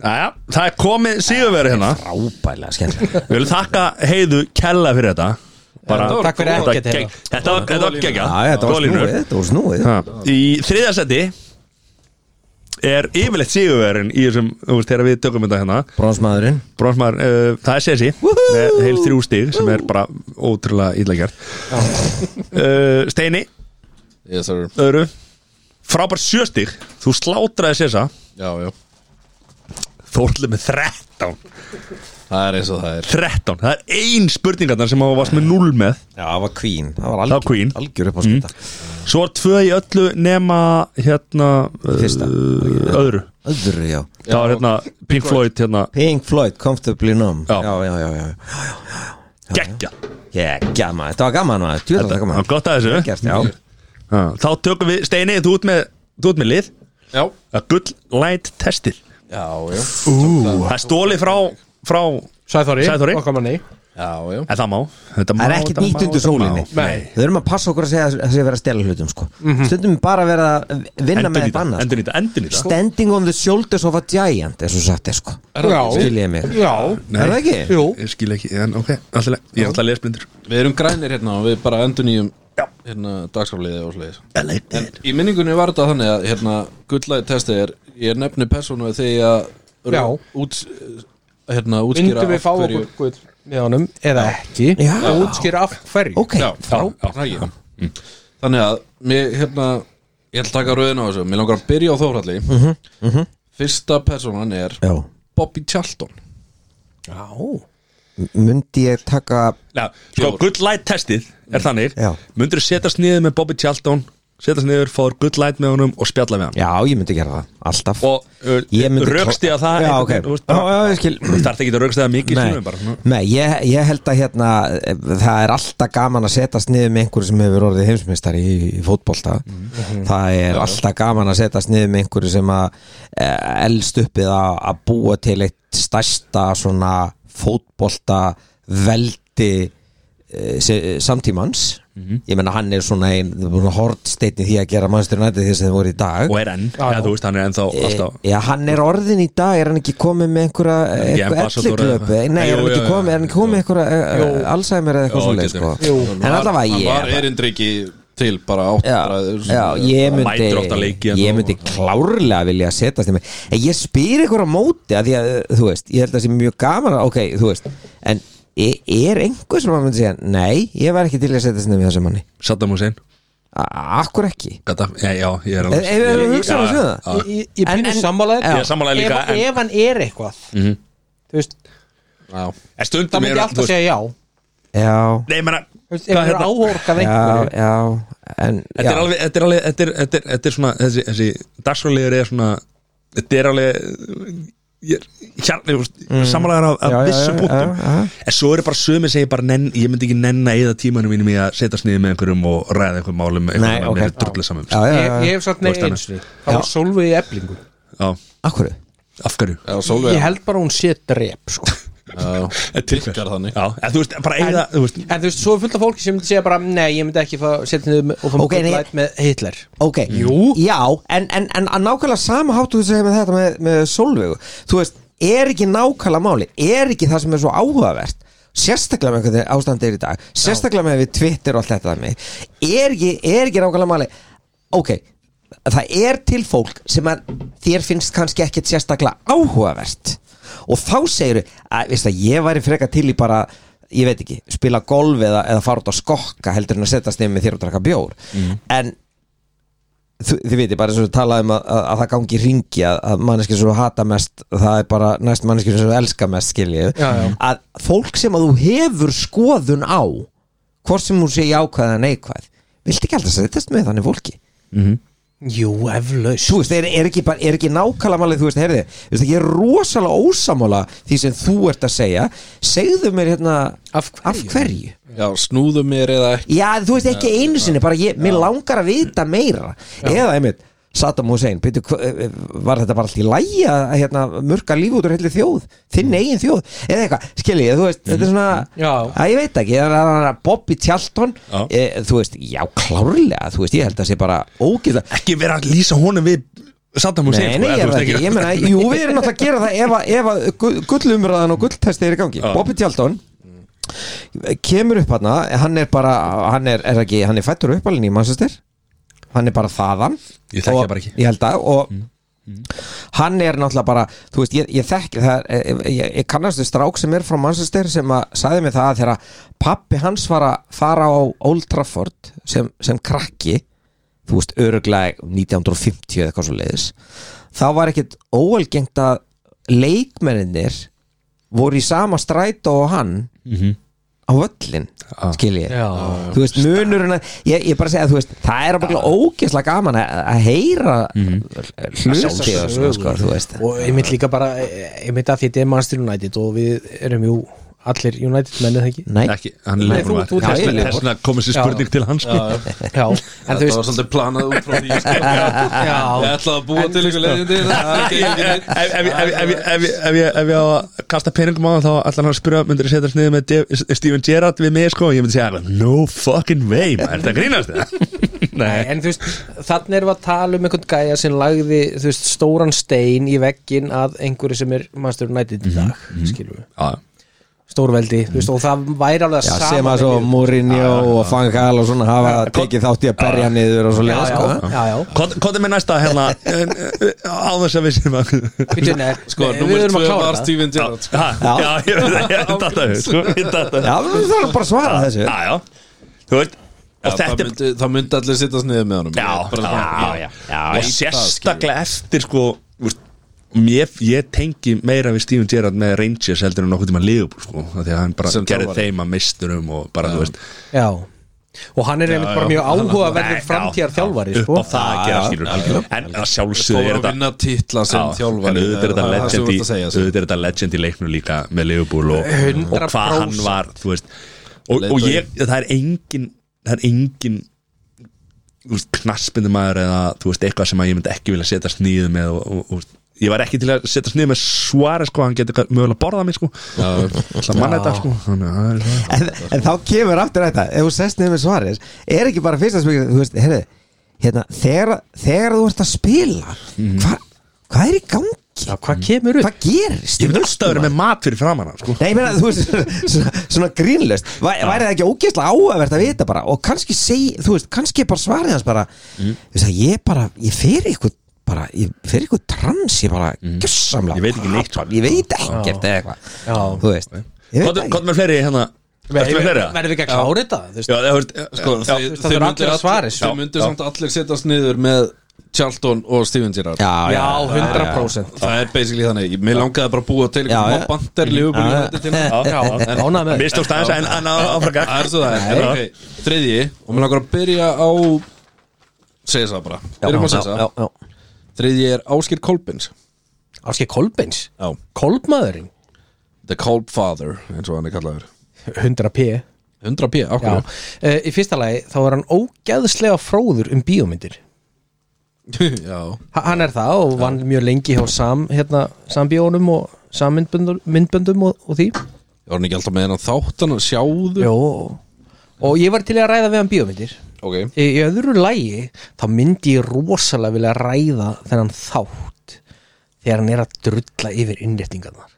S1: Jæja, það er komið sigurveri hérna
S4: Ábælega skemmt
S1: Við viljum þakka heiðu kella fyrir þetta Bara,
S2: Þetta var Takk fyrir góð- ekkert,
S1: þetta
S2: Heiða.
S1: gegn- Þetta var- þetta var gegja
S4: Já, þetta var snúið, þetta var snúið
S1: Í þriðja seti er yfirleitt sigurverin í þessum, þú veist, þegar við tökum þetta hérna
S4: Bronsmaðurinn
S1: Bronsmar, uh, það er Sessi með heil þrjú stig sem er bara ótrúlega illa gert uh, Steini,
S3: Yes sir
S1: öðru frábær sjö stig, þú slátraði Sessa
S3: Já, já
S1: Þórli með 13
S3: Það er eins og það er
S1: 13, það er ein spurningarnar sem hann varst með 0 með
S4: Já, það var Queen Það var
S1: Það var Queen.
S4: algjör upp á skita
S1: Svo var tvö í öllu nema hérna uh,
S4: Fyrsta.
S1: öðru
S4: Öðru, já
S1: Það var hérna Pink Floyd hérna
S4: Pink Floyd, Comfortably Numb
S1: Já.
S4: já, já, já, já.
S1: geggja
S4: Yeah, gaman, þetta var gaman maður, djúðan þetta var
S1: Það var
S4: gaman
S1: gott að þessu
S4: Gert, já
S1: Já, Þá tökum við, Steini, þú ert með, þú ert með lið
S3: Já,
S1: að gull light testir
S3: já, já
S1: Það er stólið frá, frá
S2: Sæþóri,
S1: Sæþóri.
S2: okkar manni
S3: Já, já
S1: En það má Þetta má
S4: Það er ekkert
S1: þetta má,
S4: nýtt undir
S1: þetta má.
S4: sólinni
S2: Nei.
S4: Við erum að passa okkur að segja að segja að vera að stela hlutum sko.
S1: Mhm.
S4: Stundum bara að vera að vinna með
S1: Endurnýta,
S4: þetta sko. annars
S1: endurnýta, endurnýta
S4: Standing on the shoulders of a giant eins og sagt er sko Skil ég mig
S2: Já,
S1: Nei.
S4: Er það ekki?
S2: jú
S1: Ég skil ekki, en ok, alltaf Ég er alltaf lesblindur
S3: Við erum grænir hérna og við bara endur nýjum hérna dagskráliði og sliðis
S1: I like that
S3: Í minningunni var þetta þannig að hérna gullæði testið er ég nefni persónu þegar ég
S2: Já.
S3: að út, hérna, útskýra
S2: Vindum við fá
S3: af
S2: okkur gull með honum eða ekki
S4: Já.
S2: og útskýra af hverju
S4: Ok,
S3: Já, já, já, já. Þannig að mér, hérna, ég ætla að taka rauðin á þessu Mér langar að byrja á Þórhalli
S2: Mhm,
S3: Fyrsta persónan er
S4: já
S3: Bobby Charlton
S2: Já,
S4: Mundi ég taka
S1: Já, sko, good light testið er þannig
S4: Já.
S1: Mundur setast niður með Bobby Charlton Setast niður, fáður good light með honum og spjalla með hann
S4: Já, ég myndi gera það, alltaf
S1: Og
S4: Ég myndi-
S1: raukstiða það
S4: Já,
S1: einhvern
S4: ok
S1: veginn, þú veist,
S4: Já,
S1: bara-
S4: já, ég skil
S1: Þú þarf ekki að raukstiða mikið
S4: Nei,
S1: skilur við bara, svona.
S4: Nei ég, ég held að hérna eh, það er alltaf gaman að setast niður með einhverju sem hefur orðið heimsmeistari í, í fótbolta
S1: Mhm.
S4: það er alltaf gaman að setast niður með einhverju sem að e, elst uppið að, að búa til eitt stærsta svona fótbolta veldi e, samtímans
S1: Mhm.
S4: ég menna hann er svona ein hortsteinni því að gera mannstur nætti því sem þið voru í dag
S1: Og er enn,
S2: Já,
S1: eða
S2: já.
S1: þú veist, hann er ennþá alltaf
S4: Eh, Já, hann er orðin í dag, er hann ekki komið með einhverja
S1: Ekki ambassador eða
S4: elliklöpu
S1: eitthvað.
S4: Nei, er hann
S1: Jú,
S4: ekki
S1: jú,
S4: komið, er hann ekki komið með einhverja eh, Alzheimer eða
S1: Jú,
S4: eitthvað svoleið
S1: getur.
S4: sko.
S2: Jú.
S4: En allavega
S3: Hann var
S4: ég
S3: erindriki til bara átt
S4: Já, já, ég
S1: Mætir oft að
S4: myndi
S1: leiki en
S4: ég
S1: þú-
S4: myndi klárlega vilja setast í mig en ég spyr ykkur á móti að því að, eh, þú veist, ég held að það sé mjög gaman að, ok, þú veist, en e- er einhver sem að myndi segja, nei, ég var ekki til í að setast niður með þessum manni,
S1: Saddam Hussein
S4: A- akkur ekki
S1: Gaddafi- Já, já, ég er
S4: Ef
S1: alveg
S4: ef við erum hugsað að
S1: Já,
S4: segja það
S2: Ég, ég- ég
S4: En-
S2: pínu
S4: en-
S2: sammálaðir
S4: Já. Mhm. Ég
S1: er sammála líka,
S2: ef,
S1: en-
S2: ef hann er eitthvað Þú veist,
S3: Já,
S1: En stundum
S2: það myndi
S1: er-
S2: ég
S1: þú
S2: alltaf
S1: veist- hérna?
S2: segja já Þú
S4: Já,
S1: Nei, menna
S2: veist, Ef hann er áhorkað
S4: já,
S2: einhverju
S4: já en,
S1: Þetta er
S4: já.
S1: alveg, þetta er alveg, þetta er, þetta er, þetta er svona, þessi, þessi dagsfrálegur er svona, þetta er alveg, ég er, hérna, mm. samanlegar af, af
S4: Já, já,
S1: vissu
S4: já,
S1: punktum.
S4: já, já.
S1: En svo eru bara sömi sem ég bara, nenn, ég myndi ekki nenn að eða tímanum mínum í að setjast niður með einhverjum og ræða einhverjum málum,
S4: Nei,
S1: einhverjum
S4: ok.
S1: okay. drullið saman.
S4: Já, já,
S2: Ég,
S4: já,
S2: ég
S4: já.
S2: hef sagt nei
S1: Þú veist
S2: eins og Það var Solveig í eblingu
S1: Já,
S4: Akkur
S1: af hverju?
S3: já Solveig
S2: Ég held bara að hún sé drep sko.
S3: Já,
S1: Til hvers?
S3: virkar þannig
S1: Já, en þú veist, bara
S2: en,
S1: eða, þú veist,
S2: en þú veist, svo er fullt af fólki sem myndi segja bara Nei, ég myndi ekki fá, setja niður með- og fá
S4: Ok,
S2: okay,
S4: en ég-
S2: light með Hitler
S4: Ok,
S2: Jú.
S4: já, en, en, en að nákvæmlega sama háttu þú segir með þetta með, með Solveigu Þú veist, er ekki nákvæmlega máli Er ekki það sem er svo áhugavert Sérstaklega með einhvern ástandi er í dag Sérstaklega með við Twitter og allt þetta með. Er ekki, er ekki nákvæmlega máli Ok, það er til fólk sem að þér finnst kannski ekkit sérstaklega áhugavert Og þá segirðu, að, veist að ég væri freka til í bara ég veit ekki, spila golf eða, eða fara út að skokka heldur en að setja sniðum með þér og draka bjór en Þú- þið veitir bara eins og við talaðum að, að, að það gangi í ringi að, að manneskir sem þú hata mest það er bara næst manneskir sem þú elska mest skiljið,
S2: Já, já.
S4: að fólk sem að þú hefur skoðun á hvort sem þú sé jákvæð eða neikvæð viltu ekki alltaf setjast með þannig fólki
S2: Jú, eflaust
S4: þú veist, er, er, ekki, bara, er ekki nákvæmlega málið þú veist, heyrði, þú veist, ég er rosalega ósamála því sem þú ert að segja segðu mér hérna
S2: Af hverju?
S4: af hverju?
S3: Já, snúðu mér eða ekki
S4: Já, þú veist ekki einu sinni, bara ég, mér langar að vita meira Eða einmitt, Saddam Hussein, byrju, eh, var þetta bara allt í lægi að hérna, mörka líf út úr heilu þjóð, þinn eigin þjóð, eða eitthvað, skilji, þú veist, þetta er svona,
S2: Já.
S4: að ég veit ekki, það er hann Bobby Tjalton,
S1: Já.
S4: e, þú veist, já, klárlega, þú veist, ég held að sé bara ógæðlega
S1: ekki vera að lýsa honum við sko, samt að múið
S4: Nei,
S1: segja
S4: nei, ég er það ekki, ég meina, jú, við erum náttúrulega að gera það ef, að- ef að gu- gullumræðan og gulltesti er í gangi
S1: Já.
S4: Bobby Tjaldón kemur upp hana, hann er bara, hann er, er ekki, hann er fættur uppalinn í mannsastir hann er bara þaðan
S1: Ég þekki
S4: Og-
S1: það bara ekki. Mm.
S4: Ég held að, og hann er náttúrulega bara, þú veist, ég, ég þekki það, er- ég, ég, ég kannast við strák sem er frá mannsastir sem að sagði mig það að þegar pappi hans var að fara á Old Trafford sem, sem krakki þú veist, öruglega 1950 eða eitthvað svo leiðis þá var ekkit óalgengt að leikmenninir voru í sama strætó og hann
S1: Mhm.
S4: á völlin,
S1: Ah.
S4: skil ég
S2: Já.
S4: þú veist, munurinn að ég, ég bara segja, þú veist, það er bara ógeðslega gaman að, að heyra
S2: Mhm.
S4: hluti og svona, sko, þú veist
S2: og einmitt líka bara e, einmitt að því þetta er Manchester United og við erum jú allir United mennið ekki
S4: Nei,
S1: Ekki, hann er
S2: Nei,
S1: leifur
S2: þú- þú-
S1: maður
S4: Já, ég er
S1: Þess vegna komið sér
S2: Já.
S1: spurning til hans sko.
S2: já, en þú
S3: Þetta var
S2: veist
S3: svolítið planað út frá því sko.
S2: já,
S3: Ég ætlaði að búa
S2: En
S3: til
S2: þú
S3: ykkur leiðindi Það er ekki
S1: Ef- ef- ef- ef- ef- ef- ef- ef- ef- ef ég á að kasta peningum á það, þá allan hann að spyrja myndir ég setja sniðið með Dev- Steven Gerrard við mig sko og ég myndi segja no fucking way maður, er þetta að grínast það?
S2: Nei,
S1: Nei,
S2: en þú veist, þannig erum við að tala um einhvern gæja sem lagði, þú veist, stóran stein í veggin að einhverju sem er Manchester
S4: Mhm,
S2: United í dag, skilum við
S1: Já,
S2: Stórveldi, þú veist, og það væri alveg að
S4: já,
S2: sama Ah,
S4: sem að svo
S2: við-
S4: Mourinho og Fangal og svona hafa tekið þátt í að berja niður og svo
S2: Ah, Já, Ah. já,
S4: leiða, sko
S2: já, já
S1: Hvað er með næsta hérna en, eh, á þess að við séum að
S2: Bíddu, nei,
S3: Sko,
S2: nei, Við
S3: númer
S2: erum að
S3: 2
S2: klára
S3: var
S2: það
S3: Steven Gerrard
S1: Ha,
S4: Já.
S1: Já, ég veit það, ég datt að þau sko, ég datt að
S4: Já, við þurfum bara að
S2: Ah.
S4: svara
S1: þau
S4: þessu
S1: Já, já, þú veit
S3: Já,
S1: og
S3: Það
S1: þetta er
S3: myndi, það myndi allir sittast niður með honum
S1: já,
S3: Bara
S1: já,
S3: svona-
S1: já, og sérstaklega eftir sko úst, mér, ég tengi meira við Steven Gerrard með Rangers heldur en nokkuð tíma Liverpool sko, af því að hann bara
S3: Sem
S1: gerði
S3: þjálfari.
S1: þeim að misturum og bara, þú veist
S2: Já, og hann er einmitt bara mjög áhugaverður framtíðar þjálfari,
S1: sko
S2: sko
S1: upp á það að gera skilur en að sjálfsögðu
S3: Góður
S1: er
S3: að
S1: þetta
S3: vinna titla sem
S1: Já, en
S3: þjálfari
S1: auðvitað er þetta
S3: Það það sem
S1: legend
S3: þú
S1: í-
S3: ert að segja, sko.
S1: auðvitað er þetta legend í leiknum líka með Liverpool og, og
S2: 100%
S1: hvað hann var þú veist, og, og
S3: Leiðtogi.
S1: ég, það er engin það er engin knaspindu maður eða þú veist, eitthvað sem að ég myndi ekki vilja setja sniðu með og, og, og ég var ekki til að setja sniðu með svara sko, hann getur mögulega borðað mig sko það manna þetta sko Þannig að það er það.
S4: en, en þá kemur aftur þetta ef þú sest niður með svarir er ekki bara fyrsta spurning þú veist, herri, hérna, þegar, þegar þú ert að spila
S2: Mhm.
S4: hva, hvað er í gangi?
S2: Já, Hvað kemur upp?
S4: hvað gerist?
S1: ég myndi alltaf vera með mat fyrir framan hann sko
S4: Nei, ég meina, þú veist, svona, svona grínlöst Væ, Væri það ekki ógeðslega áhævert að vita bara Og kannski segi, þú veist, kannski er bara svarið hans bara
S1: Mm.
S4: Þú veist að ég bara, ég fer ykkur bara, ég fer ykkur trans Ég bara,
S1: Mm.
S4: gjössamlega
S1: Ég veit ekki neitt, sko.
S4: Ég veit ekkert eða eitthvað
S2: Já.
S4: Þú veist, ég veit
S1: hvað
S4: ekki
S1: hvað með fleiri hérna Ertu með fleiri?
S2: Verðum við ekki að klára þetta? þú veist?
S1: Já, það veist,
S3: Sko,
S1: já,
S3: þið-
S2: veist, það
S3: Þið
S2: þurfa
S3: myndir
S2: allir að svara
S3: all-
S2: þessu.
S3: þið myndir samt allir sittast niður með Charlton og Steven Gerrard
S2: Já, 100%
S3: Það er basically þannig, mér langaði bara að búa til
S4: Já,
S3: eitthvað
S4: já.
S3: bandir Liverpool
S4: Já, já.
S3: United til hann.
S1: já,
S2: Já, ánægður með þetta.
S1: mistókst aðeins en- en áfraka
S3: Það er svo það er,
S1: Nei.
S3: ok, þriðji og mér langar að byrja á segja það bara, byrjum á segja það
S4: já, já.
S3: Þriðji er Áskir Kolbins
S2: Áskei Kolbens
S3: Já.
S2: Kolbmaðurinn
S3: The Kolb Father, eins og hann er kallaður
S2: 100 p
S3: 100 p,
S2: Já.
S3: okkur
S2: Uh, í fyrsta lagi þá er hann ógæðslega fróður um bíómyndir
S3: Já,
S2: ha, hann er það og vann mjög lengi hjá sam, hérna, sambíónum og sammyndböndum og, og því
S3: ég var hann ekki alltaf með hennan þáttan og sjáðu
S2: Jó, og, og ég var til í að ræða við hann bíómyndir
S3: Ok,
S2: í, í öðru lagi þá myndi ég rosalega vilja ræða þennan þátt þegar hann er að drulla yfir innréttingarnar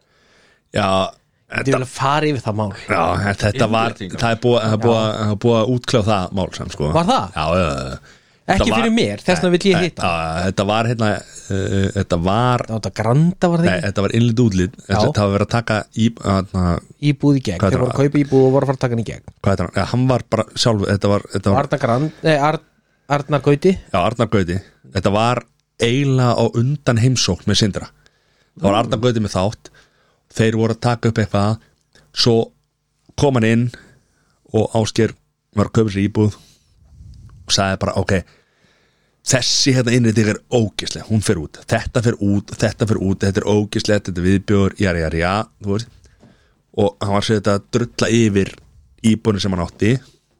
S1: Já,
S2: ég
S1: þetta,
S2: vilja fara yfir það mál
S1: já, þetta var
S3: Innréttingar.
S1: það er búið það er búið- það er búið að útklá það mál sem sko
S2: Var það?
S1: Já, já, já
S2: Ekki
S1: Þetta
S2: fyrir mér, þess vegna vill ég
S1: Nei,
S2: hitta.
S1: já, Þetta var hérna uh, Þetta var
S2: þá þetta granda var það
S1: Nei,
S2: ekki
S1: þetta var innlit útlit
S2: Já.
S1: Þetta var verið að taka í, hana,
S2: íbúð í gegn,
S1: Hvað
S2: þeir
S1: þetta
S2: voru að kaupa íbúð og voru að fara að taka hann í gegn
S1: Hvað heitir hann? Já, hann var bara sjálf Þetta var, þetta var
S2: Arna Grand, nei, Ar, Arnar Gauti
S1: Já, Arnar Gauti Þetta var eiginlega á undan heimsókn með Sindra Það var Arnar Gauti með þátt Þeir voru að taka upp eitthvað Svo kom hann inn Og Ásker var að köpa sér íbúð Og sagði bara, ok Þessi hérna innrétting er ógislega Hún fer út, þetta fer út, þetta fer út Þetta er ógislega, þetta er viðbjör Jari, jari, já, þú veist og hann var sér þetta að drulla yfir íbúinu sem hann átti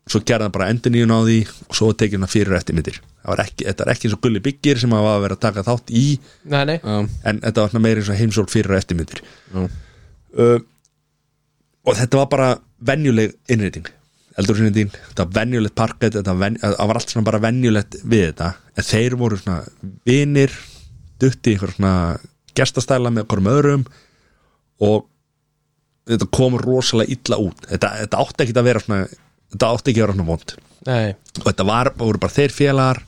S1: svo gerði hann bara endur nýjun á því og svo tekið hann fyrir eftir myndir ekki, þetta er ekki eins og gulli byggir sem hann var að vera að taka þátt í
S2: Nei, nei
S3: já,
S1: en þetta var svona meira eins og heimsól fyrir eftir myndir uh, og þetta var bara venjuleg innrýting eldurinnrýting, þetta var venjulegt parkett þetta var, ven, það var allt svona bara venjulegt við þetta en þeir voru svona vinir dutti einhver svona gestastæla með einhverjum öðrum og þetta kom rosalega illa út þetta, þetta átti ekki að vera svona þetta átti ekki að vera svona vond
S2: Nei,
S1: og þetta var, voru bara þeir félagar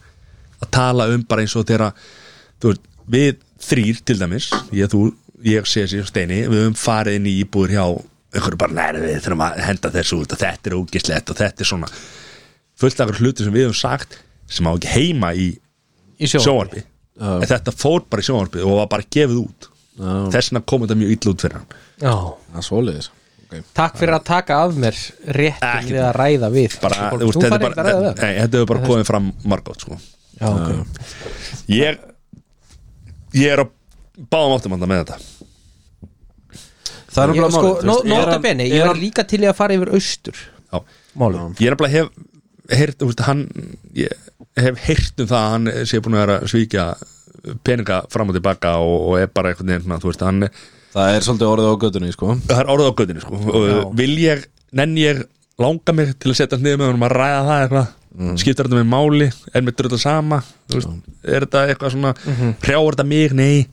S1: að tala um bara eins og þeirra þú veist, við þrýr til dæmis ég, þú, ég sé sér steini við höfum farið inn í íbúður hjá einhverju bara næri við þurfum að henda þessu út og þetta er ógislegt og þetta er svona fullt af einhverju hluti sem við höfum sagt sem á ekki heima í
S2: í sjón
S1: sjónvarpi en þetta fór bara í sjónvarpi og var bara gefið út
S3: Já.
S1: þess vegna kom þetta mjög illa út fyrir hann
S2: Já.
S3: Það er svoleiðis okay.
S2: Takk fyrir að taka af mér réttin
S1: Ekki-
S2: við að ræða við
S1: bara,
S2: Fólk,
S1: þú veist,
S2: Þú
S1: þetta
S2: farið
S1: er
S2: ekki að
S1: bara
S2: ræða
S1: nei,
S2: við
S1: þetta hefur bara komið fram margótt sko.
S2: Já, ok
S1: ég ég er á báðum áttum handa með þetta
S3: Það er
S2: Ég,
S3: nefnilega
S2: sko,
S3: málið, þú
S2: nó-
S3: veist, er
S2: Nota
S3: hann-
S2: bene,
S3: er
S2: ég var
S3: hann-
S2: líka til í að fara yfir austur
S1: Já.
S2: Málum
S1: ég er nefnilega hef heyrt, úst, hann, ég hef heyrt um það að hann sé búin að vera að svíkja peninga fram og tilbaka og, og er bara einhvern veginn svona, þú veist, hann,
S3: Það er svolítið orðið á göttunni sko.
S1: það er orðið á göttinu sko. og vil ég, nenn ég langa mér til að setja hann niður með honum að ræða það eitthvað, skiptir þetta með máli er mér dröðla sama þú veist, er þetta eitthvað svona, mm hrjáur þetta mig nei,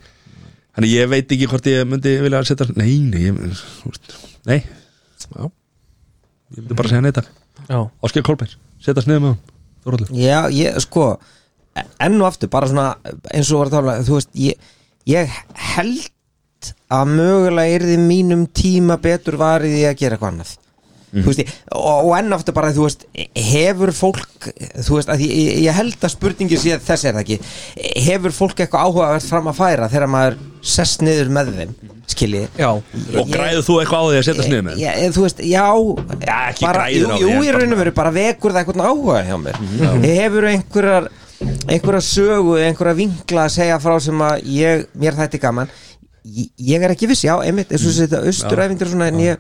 S1: þannig ég veit ekki hvort ég myndi vilja að setja, nei, nei ég, þú veist, nei,
S3: Já.
S1: ég myndi bara að segja neita
S2: Já,
S1: Áskil Kolbein, setja niður með honum Þorvaldur.
S4: Já, ég, sko enn og aftur, bara svona eins og var að tala, um, þú veist ég, ég held að mögulega yrði mínum tíma betur varið í að gera eitthvað annað Þú veist, ég- og, og enn og aftur bara, þú veist hefur fólk, þú veist að ég, ég held að spurningi sé þess er það ekki hefur fólk eitthvað áhugavert fram að færa þegar maður sest niður með þeim skilji
S2: já,
S1: Og græðu þú eitthvað á því að setja niður með
S4: Já, ég- þú veist, já,
S1: Já, ekki
S4: bara,
S1: græðir á
S4: jú,
S1: Mhm. því,
S4: jú,
S1: en
S4: í
S1: bara-
S4: raun og veru bara vekur það eitthvað áhuga hjá mér hefur einhverjar einhverja sögu, einhverja vinkla að segja frá sem að ég, mér þætti gaman ég, ég er ekki viss, já, einmitt
S1: Mm.
S4: eins og þessi þetta austuræfindur svona en ég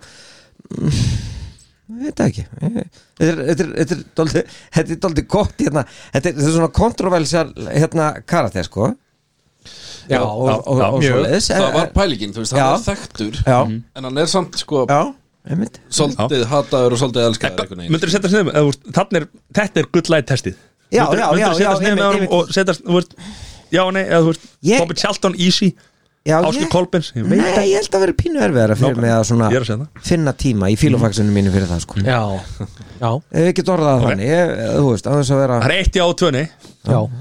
S4: mm, veit það ekki Ég- þetta er- þetta er- þetta er dálítið- þetta er dóldi gott hérna þetta er, þetta er svona kontroversial hérna karate sko
S2: já,
S4: og, og, og,
S1: já,
S4: og
S2: mjög.
S4: svoleiðis
S3: Það var pælíkin, þú veist, hann
S4: Eh, Já.
S3: er þekktur
S4: Já.
S1: Mhm.
S3: En hann er samt sko
S4: já, einmitt
S3: Svolítið hataður og svolítið
S1: Eh,
S3: elskaður einhvern veginn.
S1: Myndur þú setja niður með eða, þú veist, þarna er, Þetta er gullæði testið
S4: Já,
S1: Myndirðu-
S4: já,
S1: myndirðu
S4: já,
S1: setjast
S4: já,
S1: niður með
S4: einmitt,
S1: honum
S4: einmitt.
S1: Og setjast, þú veist Já, nei, eða þú veist
S4: Ég-
S1: Bobby Charlton, Easy
S4: Já,
S1: Áskil
S4: ég-
S1: Kolbeins Ég veit
S4: Nei, ég held að vera pínu erfiðara fyrir
S1: Nákvæmlega.
S4: mig að svona
S1: Ég er að segja Mm.
S4: finna tíma í fílofaxinu mínu fyrir það sko
S2: já, já,
S4: Ef ekki orðað það þannig, ég, þú veist, aðeins að vera
S1: Það er eitt já og tvö nei
S2: já.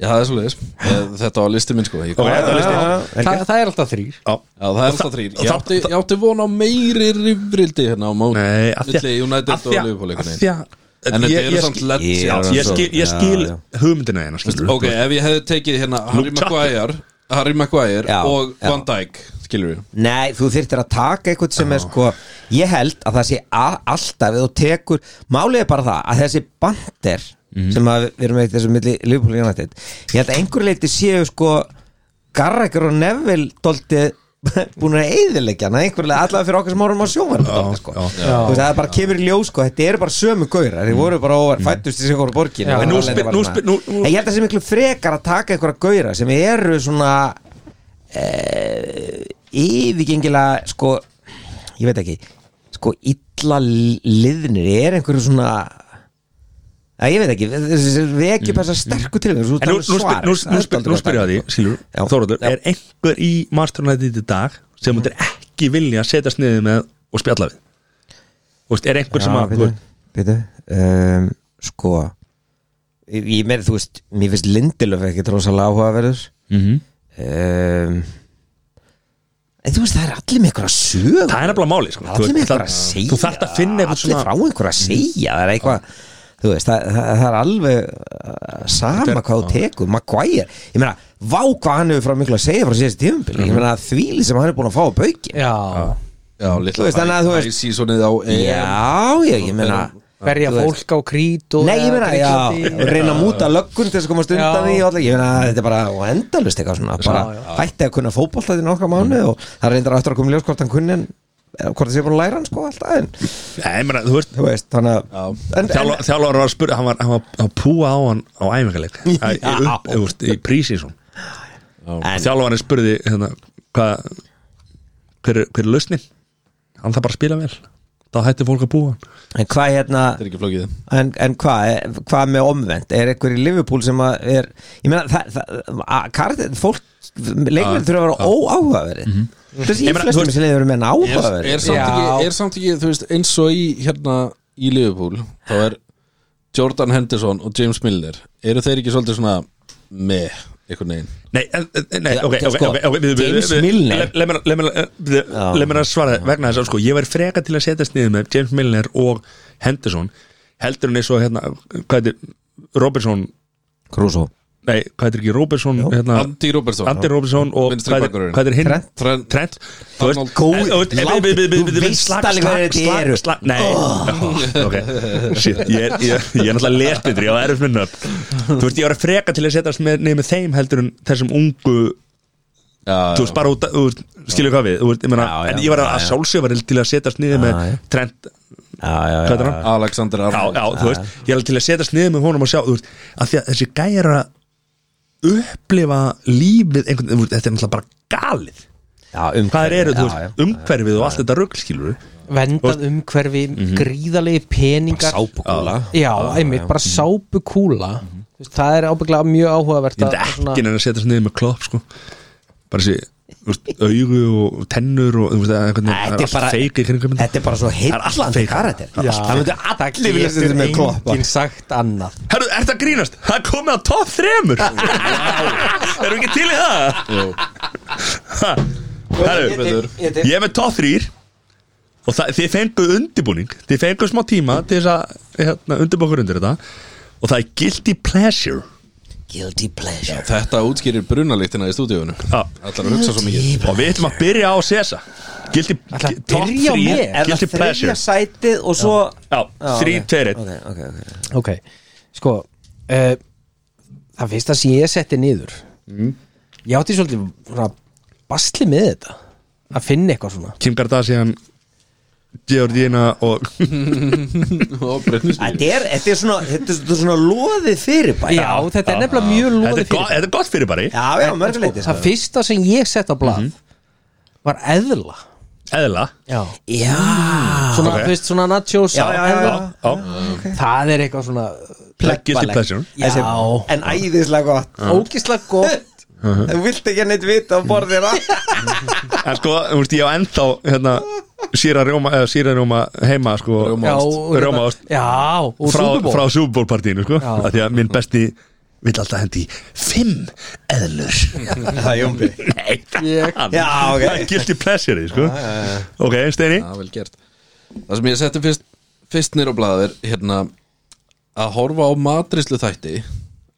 S3: Já, það er svolítið Þetta var listi minn sko Ég kom-
S1: Ok, það er listi.
S2: Þa, Það er alltaf þrýr
S1: Já.
S3: Já, það er alltaf þrýr Ég
S1: það-
S3: átti,
S1: það-
S3: ég átti vona á meiri rifrildi hérna á mót
S1: Nei, af því að
S3: Milli United
S1: af því
S3: og
S1: að-
S3: Liverpool
S1: af
S3: einhvern
S1: því
S3: veginn
S1: að-
S3: En þetta
S1: ég-
S3: eru
S1: ég
S3: samt
S1: skil-
S3: legends
S4: Já,
S1: Ég skil, ég skil
S4: Já, já.
S1: hugmyndina hérna skilur
S3: Ok, ef ég hefði tekið hérna Harry
S1: Luke Chapman.
S3: Maguire Harry Maguire
S4: Já,
S3: og
S4: já.
S3: Van Dijk Skilur við
S4: Nei, þú þyrftir að taka eitthvað sem er sko Ég held að það sé a, alltaf eða þú tekur, málið er bara það að þessi bandir
S1: Mhm.
S4: sem að við erum eitt þessu milli Liverpool og United Ég held að einhverju leiti séu sko Garraker og Neville dólti búin að eyðileggja hana einhverjulega allavega fyrir okkar sem árum á sjónvarp dálítið, sko.
S1: já. Mhm.
S4: Þú veist, það bara kemur í ljós sko, þetta eru bara sömu gaurar þeir voru bara óvar, fættust í sig voru borgin
S2: Já. En
S1: nú spyr- nú spyr- nú- nú-
S4: en ég held að það sé miklu frekar að taka einhverja gaurar sem eru svona e, yfirgengilega sko, ég veit ekki sko, illa li- liðnir er einhverju svona að ég veit ekki, þessi vekjum mm. þessar sterku til þeim, svo
S1: En nú, nú,
S4: talar
S1: spyr,
S4: svarið
S1: nú, nú, spyr, nú spyr ég að því, skilur,
S4: Já.
S1: Þóraður,
S4: Já.
S1: er einhver í masternætið í dag sem hundir ekki vilja að setjast niður með og spjalla við? Þú veist, er einhver sem að, þú veist,
S4: Býtu, um, sko Ég, ég meina, þú veist, mér finnst Lindelöf ekki trósalega áhugaverður
S1: Mhm.
S4: um, En þú veist, það er allir með einhverja sög
S1: það er nefnilega máli, sko.
S4: Það er allir með einhverja að segja
S1: Þú þarft að finna einhvern
S4: Allir frá
S1: svona,
S4: einhverja að segja Það er eitthvað Þú veist, það, það, það er alveg uh, sama hvað þú tekur, Maguire ég meina, vá hvað hann hefur frá miklu að segja frá síðast tíðumbili,
S1: Mhm.
S4: ég meina þvíli sem hann er búin að fá að bauki
S2: Já,
S3: Já,
S4: Þú
S3: litla
S4: veist, þannig að þú veist-
S3: Æsísonið á EM.
S4: Já, já, ég meina
S2: verja
S4: þú veist.
S2: fólk á krít og
S4: Nei, ég meina, já,
S2: Grikklandi.
S4: reyna að múta löggun til þess að komast undan
S2: Já.
S4: því og allir, ég meina, þetta er bara endalust eitthvað svona, bara
S2: já.
S4: hætti að kunna fótbolta í nokkra mánu
S1: Mhm.
S4: og það reyndar aftur að koma í ljós hvort hann kunni en eða hvort það sé búin að læra hann sko alltaf en,
S1: nei, ég meina, þú veist,
S4: þú veist, þannig
S3: Já.
S4: að en, en,
S1: þjálfur var að spura, hann var, hann var að púa á hann á æfingarleik, Það
S4: Já.
S1: er upp- þú veist, í prísísum.
S4: en,
S1: Þjálfur spurði, hérna, hvað, hver, er- hver er lausnin? Hann þarf bara að spila vel. þá hætti fólk að búa hann.
S4: en hvað hérna
S3: er ekki flókið
S4: en, en hvað eh, hvað með omvend er einhver í Liverpool sem að er ég meina það, það að, karakter, fólk leikmenn þurfa að vera óáhugaverið mm -hmm. þessi í
S1: Mhm. meina, þú
S4: flestum
S1: veist-
S4: sem leiður menn
S3: er,
S4: áhugaverið
S3: er, samt ekki, er samt ekki, þú veist, eins og í hérna í Liverpool, þá er Jordan Henderson og James Milner eru þeir ekki svolítið svona með einhvern veginn
S1: Nei, en- en- nei, ok, ok,
S4: sko,
S1: ok, ok við- við-
S4: James
S1: við-
S4: Milner.
S1: le- leið mér að- leið mér að- við- Leið mér að svara vegna þess að sko, ég væri freka til að setjast niður með James Milner og Henderson heldur hann eins og hérna, hvað heitir Robertson,
S4: Krúsó
S1: nei, hvað heitir ekki Robertson, hérna
S3: Andy Robertson
S1: Andy Robertson og
S3: Vinstri
S1: hvað er,
S3: bakvörðurinn.
S1: hvað er hinn?
S4: Trent.
S3: Trent.
S1: Trent Þú veist,
S3: Arnold.
S4: Góð-
S1: en- og- en-
S4: látur.
S1: við- við- við-
S4: Þú
S1: við- við-
S4: veist
S1: slag,
S4: alveg
S1: slag,
S4: hverjir þetta
S1: slag,
S4: eru. Oh.
S1: slag, Nei, Ó, ok Shit, ég er ég- ég er náttúrulega lesbindri og erfis minna Þú veist, ég var að freka til að setjast með, nefnir með þeim heldur en þessum ungu
S3: Já,
S1: þú veist bara út, að- þú veist, skilur hvað við þú veist, ég meina,
S4: Já, já,
S1: en ég var að,
S4: já,
S1: að
S4: já.
S1: sjálfsögvaril til að setjast niður með
S4: Já, já.
S1: Trent, hvað er
S4: já,
S1: hann?
S3: Alexander
S1: Já,
S3: Arnold
S1: já, þú veist, ég er til að setjast niður með honum og sjá, þú veist, að því að þessi gæjar að upplifa lífið einhvern, þú veist, þetta er náttúrulega bara galið
S4: já, um
S1: hvað þeir eru, þú
S4: já,
S1: veist, umhverfið og allt þetta rugl, skilur við
S2: vendað umhverfi, gríðalegi peningar
S4: sápukúla
S2: já, einmitt, bara sápukúla Þú veist, það er ábygglega mjög áhugavert
S1: ég myndi
S2: svona-
S1: ekki neina að setjast niður með klopp, sko bara þessi, þú veist, augu og tennur og, þú veist, það er einhvern
S4: Þetta
S1: veginn, það
S4: er
S1: er
S4: bara-
S1: alltaf feik í kringum þetta.
S4: þetta er bara svo
S1: Það er alltaf
S4: heitlandi
S1: feik.
S4: karakter
S2: Já.
S4: það myndi allir vilja
S2: getur
S4: setja með kloppa
S2: enginn sagt annað
S1: Herru, ert það grínast? Það er komið á topp þremur Erum við ekki til í það?
S3: Jú.
S1: Ha,
S4: Ég- ég-
S1: Herru,
S4: ég-
S1: ég er með topp þrýr Og það, þið fenguð undirbúning Þið fenguð smá tíma til þess að hérna, undirbúkur undir þetta Og það er guilty pleasure
S4: guilty pleasure
S3: Þetta útskýrir brunalíktina í stúdíunum
S1: Já.
S3: Allar að hugsa svo mikið
S1: Og við ætlum að byrja á Sesa Guilty,
S2: Ætla að
S1: topp
S2: byrja á
S1: þrír
S2: mér? Er
S1: Guilty pleasure
S4: sætið og svo
S1: Já,
S4: Já,
S1: þrý,
S4: ok.
S1: tveir, einn
S4: ok, ok, ok
S2: ok, sko uh, það fyrsta sem ég setti niður ég átti svolítið svona, basli með þetta að finna eitthvað svona
S1: Kim Kardashian Georgina og
S3: Og Britney Spears
S4: Þetta er, þetta er svona, þetta er svona, svona loðið fyrirbæri
S2: já, þetta er nefnilega mjög
S1: Þetta
S2: loði
S1: er gott- þetta er gott fyrir bara
S4: já, já mörguleiti
S2: það fyrsta sem ég sett á blað var eðla
S1: Eðla
S2: já.
S4: Já,
S2: svona,
S1: ok.
S2: þú veist, svona nachos
S4: já, já, já.
S1: Já,
S2: það er eitthvað svona
S1: guilty pleasure
S2: já,
S4: Þessi- En æðislega gott
S2: ógislega gott
S1: Uh-huh.
S4: Þú vilt ekki að neitt vita á borðina
S1: En sko, þú veist, ég á ennþá hérna, síra rjóma, eða síra rjóma heima sko,
S2: já,
S3: Rjómaost.
S2: og-
S1: Rjómaost.
S2: já, og
S1: frá,
S2: hérna- Super Bowl.
S1: frá Super Bowl partíinu sko,
S2: Já.
S1: af því að minn besti vill alltaf hendi í fimm eðlur
S4: Það er jumbi
S1: Nei, það
S2: Ég-
S4: Já, ok
S1: er guilty pleasure sko. Ok, Steini
S3: Já, vel gert Það sem ég setti fyrst, fyrst nýr á blaðið er hérna að horfa á matrislu þætti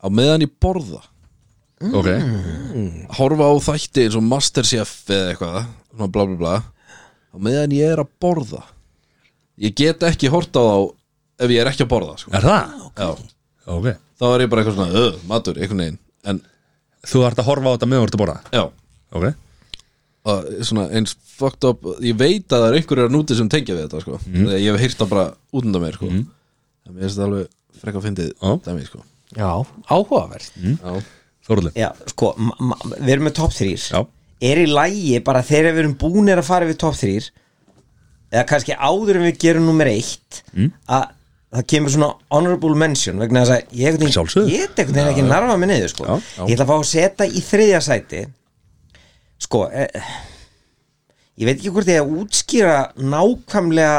S3: á meðan ég borða
S4: Mm.
S1: Ok,
S3: horfa á þætti eins og Masterchef eða eitthvað, svona bla bla bla á meðan ég er að borða ég get ekki horta á þá ef ég er ekki að borða sko.
S1: er það?
S3: Já,
S1: Ok
S3: þá er ég bara eitthvað svona "Ugh, matur, einhvern veginn en
S1: Þú þarft að horfa á þetta með þú ert að borða
S3: já,
S1: Ok
S3: og svona eins fucked up ég veit að það er einhverjir að núti sem tengja við þetta sko. þegar ég hef heyrt það bara út undan mér sko. en mér finnst þetta alveg frekka fyndið
S1: Já.
S3: dæmi sko.
S2: já, áhugavert
S3: Já.
S1: Þórlega
S4: Já, sko, ma- ma- við erum með top 3
S1: Já.
S4: Er í lægi bara þegar við erum búnir að fara við top 3 Eða kannski áður en við gerum nummer 1
S1: Mm.
S4: Að það kemur svona honorable mention Vegna þess að ég einhvern
S1: Sjálfsögðu.
S4: veginn Ég get einhvern veginn ekki narfa mig niður sko
S1: Já, já.
S4: Ég ætla að fá að setja í þriðja sæti Sko, eh, ég veit ekki hvort ég að útskýra nákvæmlega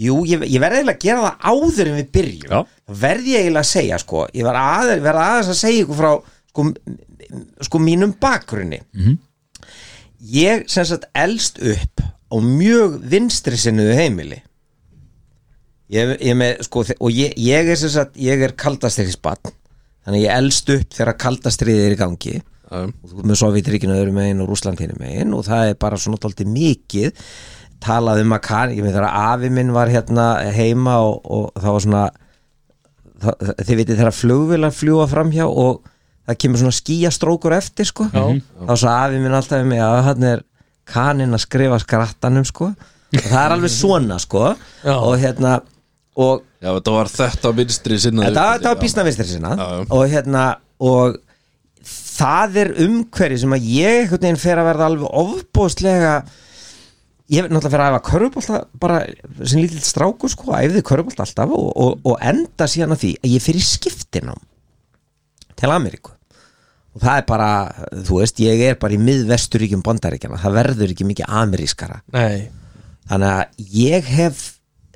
S4: Jú, ég, ég verði eiginlega að gera það áður en við byrjum
S1: Já.
S4: verði ég eiginlega að segja sko ég verði aðeins, verð aðeins að segja ykkur frá sko, m- sko mínum bakgrunni -hmm. ég sem sagt elst upp á mjög vinstri sinnuðu heimili ég, ég með sko þe- og ég, ég er sem sagt, ég er kaldastriðisbann þannig ég elst upp þegar kaldastriðið er í gangi
S3: Já.
S4: og þú ert með Sovjetríkinu öðru megin og Rússland hinu megin og það er bara svona tólti mikið talað um að kann, ég með þegar afi minn var hérna heima og, og það var svona það, það- þið vitið þegar flugvilar fljúa framhjá og það kemur svona skíastrókur eftir sko, þá svo afi minn alltaf með að hann er kaninn að skrifa skrattanum sko og það er alveg svona sko
S2: Já.
S4: og hérna og
S3: Já, þetta var þetta vinstri sinna
S4: þetta, þetta var býstna vinstri sinna
S3: Já, já.
S4: og hérna og það er umhverfi sem að ég einhvern veginn fer að verða alveg ofbóðslega ég hef náttúrulega fyrir að æfa körfubólta bara sem lítill strákur sko æfði körfubólta alltaf og, og, og enda síðan að því að ég fyrir skiptinum til Ameríku og það er bara, þú veist, ég er bara í miðvesturíkjum bandaríkjana, það verður ekki mikið amerískara
S2: Nei,
S4: þannig að ég hef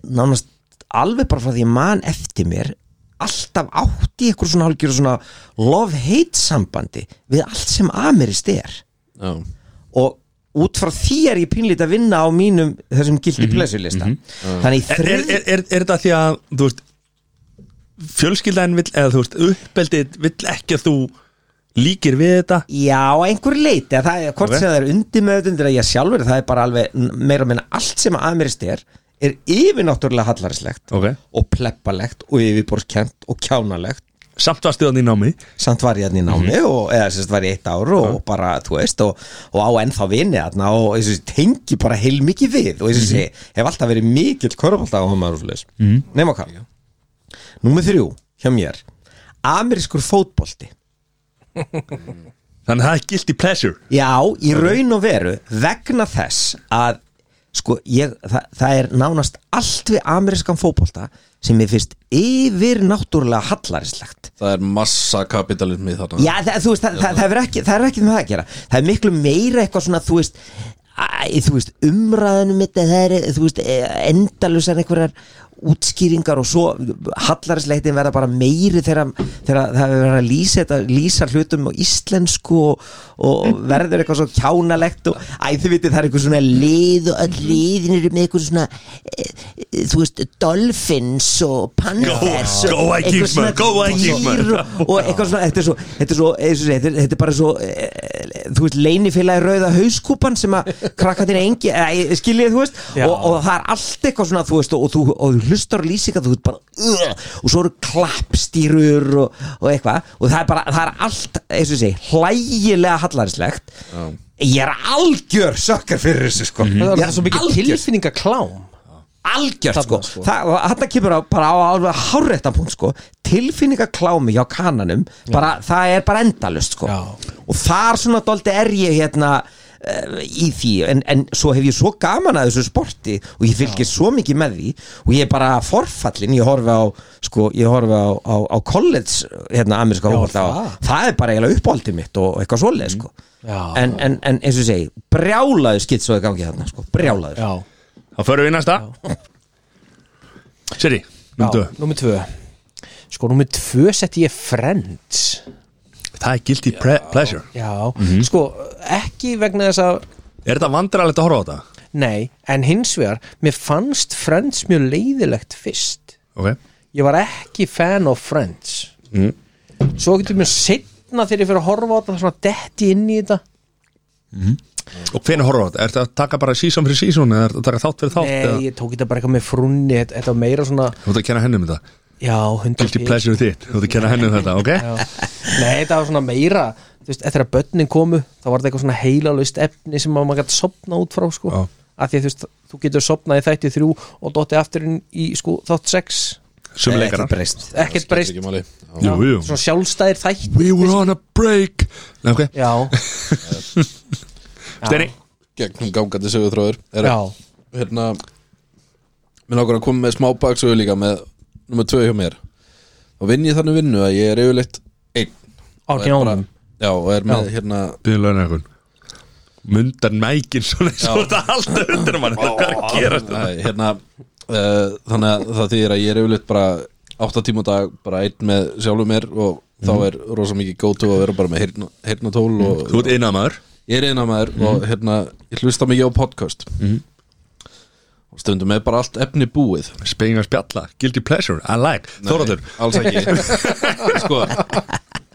S4: nánast alveg bara frá því ég man eftir mér alltaf átt í ykkur svona hálfgjör svona love-hate sambandi við allt sem amerist er
S3: já,
S4: og út frá því er ég pínlít að vinna á mínum þessum gildi plessulista þannig
S1: Mhm, Er, er,
S4: þrið
S1: er, er, er þetta því að þú veist fjölskyldan vill eða þú veist uppeldið vill ekki að þú líkir við þetta
S4: Já, að einhverju leiti, að það er hvort
S1: Ok.
S4: sem það er undir meðutundir að ég sjálfur, það er bara alveg n- meira að minna allt sem að amirist er er yfirnáttúrulega hallarislegt
S1: Ok.
S4: og pleppalegt og yfirborskent og kjánalegt
S1: samt varstu þannig í námi
S4: samt var ég hann í námi og eða sérst var ég eitt ár og, bara, þú veist og, og á ennþá vini þarna og eins og þessi, tengi bara heil mikið við og eins og þessi, hef alltaf verið mikill körfald á maður og svoleiðis. nema hvað Númer þrjú, hjá mér Amerískur fótbolti
S1: þannig að það er guilty pleasure
S4: Já, í raun og veru vegna þess að sko, ég, það, það er nánast allt við amerískan fótbolta sem ég finnst yfir náttúrulega hallarislegt
S3: það er massa kapitalismi þarna
S4: Já, það, þú veist, það, það, það, er ekki, það er ekki með það að gera Það er miklu meira eitthvað svona, þú veist Æ, þú veist, umræðanum mitt það er, þú veist, endalusar einhverjar útskýringar og svo hallarisleitin verða bara meiri þegar, þegar það er verið að lýsa, þetta, lýsa hlutum á íslensku og, og verður eitthvað svo kjánalegt og æ, þið vitið, það er eitthvað svona lið og öll liðin eru með eitthvað svona e, e, þú veist, dolphins og panthers
S1: Go- go
S4: og
S1: Vikings,
S4: eitthvað svona
S1: man, go Vikings, man.
S4: dýr og- og eitthvað svona, þetta er svo þetta er, svo, eins og ég segi, þetta er, þetta er bara svo e, e, þú veist, leinifélagi rauða hauskúpan sem að krakkatin engi e, skiljið, þú veist,
S2: Já.
S4: og, og það er allt eitthvað svona, þú veist, og, og, þú, og þú hlustar á lýsingar, þú veist bara, uh, og svo eru klappstýrur og, og eitthvað og það er bara, það er allt, eins og ég segi hlægilega hallarislegt ég er algjör sökkar fyrir þessu sko,
S2: það er
S4: ég er
S2: svo mikið
S4: algjör
S2: tilfinningaklám
S4: algjört sko,
S2: Þarna,
S4: sko. Það, þetta kemur á, bara á alveg háréttan punkt sko tilfinningaklámi hjá kananum bara, það er bara endalust sko
S2: Já.
S4: og þar svona doldi er ég hérna eh, í því, en, en svo hef ég svo gaman að þessu sporti og ég fylgir svo mikið með því og ég er bara forfallin, ég horfi á sko, ég horfi á, á, á college, hérna, ameríska hófólta
S2: það. Mm.
S4: það er bara eiginlega uppáldið mitt og eitthvað svoleið sko,
S2: Já.
S4: en, en, en eins og ég segi, brjálaður skitt svo í gangi þarna sko, brjálaður
S2: Já,
S1: þá förum við í næsta Siri, myndu
S2: númer tvö Sko, númer tvö setti ég Friends
S1: það er guilty pre pleasure
S2: Já, sko, ekki vegna þess að
S1: er þetta vandrarlegt að horfa á þetta?
S2: Nei, en hins vegar Mér fannst Friends mjög leiðilegt fyrst
S1: ok
S2: Ég var ekki fan of Friends
S1: Mm.
S2: Svo getur mér setna þegar ég fyrir að horfa á þetta Svona detti inn í þetta
S1: Og hvernig horfum við? Er þetta að taka bara sísón fyrir sísón eða er þetta að taka þátt fyrir þátt? eða?
S2: Nei, ég tók þetta bara eitthvað með frunni Þetta þetta var meira svona,
S1: Þú ert að kenna henni um þetta
S2: já, hundar
S1: Guilty pleasure þitt Þú ert að kenna henni um þetta, ok?
S2: Nei, þetta var svona meira Þú veist, eftir að börnin komu þá var þetta eitthvað svona heilalaust efni sem að maður gæti sopna út frá sko.
S1: Já.
S2: að því að þú veist, þú getur sopnað í þætti þrjú og dotti afturinn í sko, þátt sex
S1: Sumi leikarar
S4: Ekkert Eh, breyst
S2: ekkert breyst,
S3: Skiptir ekki máli. Já.
S1: Jú, jú
S2: svona sjálfstæðir þætt
S1: We were on a break Nei, ok
S2: Já,
S1: Steini
S3: gegnum gangandi sögutróður er
S2: já,
S3: hérna minn okkur að koma með smá baksögu líka með nummer tvö hjá mér og vinn ég þannig vinnu að ég er yfirleitt einn
S2: á
S3: Og er bara-
S2: knjánum
S3: já og er með hérna
S1: Byrðu lögna einhvern Mundar mækin svona eins og þetta alltaf undir mann Hvað er að gera þetta?
S3: Æ, hérna uh, þannig að það þýðir að ég er yfirleitt bara 8 tíma á dag bara einn með sjálfum mér og þá er rosa mikið gótu að vera bara með heyrna, heyrnatól og
S1: Mhm. Þú ert Mhm. innað maður
S3: ég er eina maður og hérna ég hlusta mikið á podcast
S1: Mhm.
S3: og stundum er bara allt efni búið
S1: Spengið að spjalla Guilty pleasure I like Þóratur
S3: alls ekki sko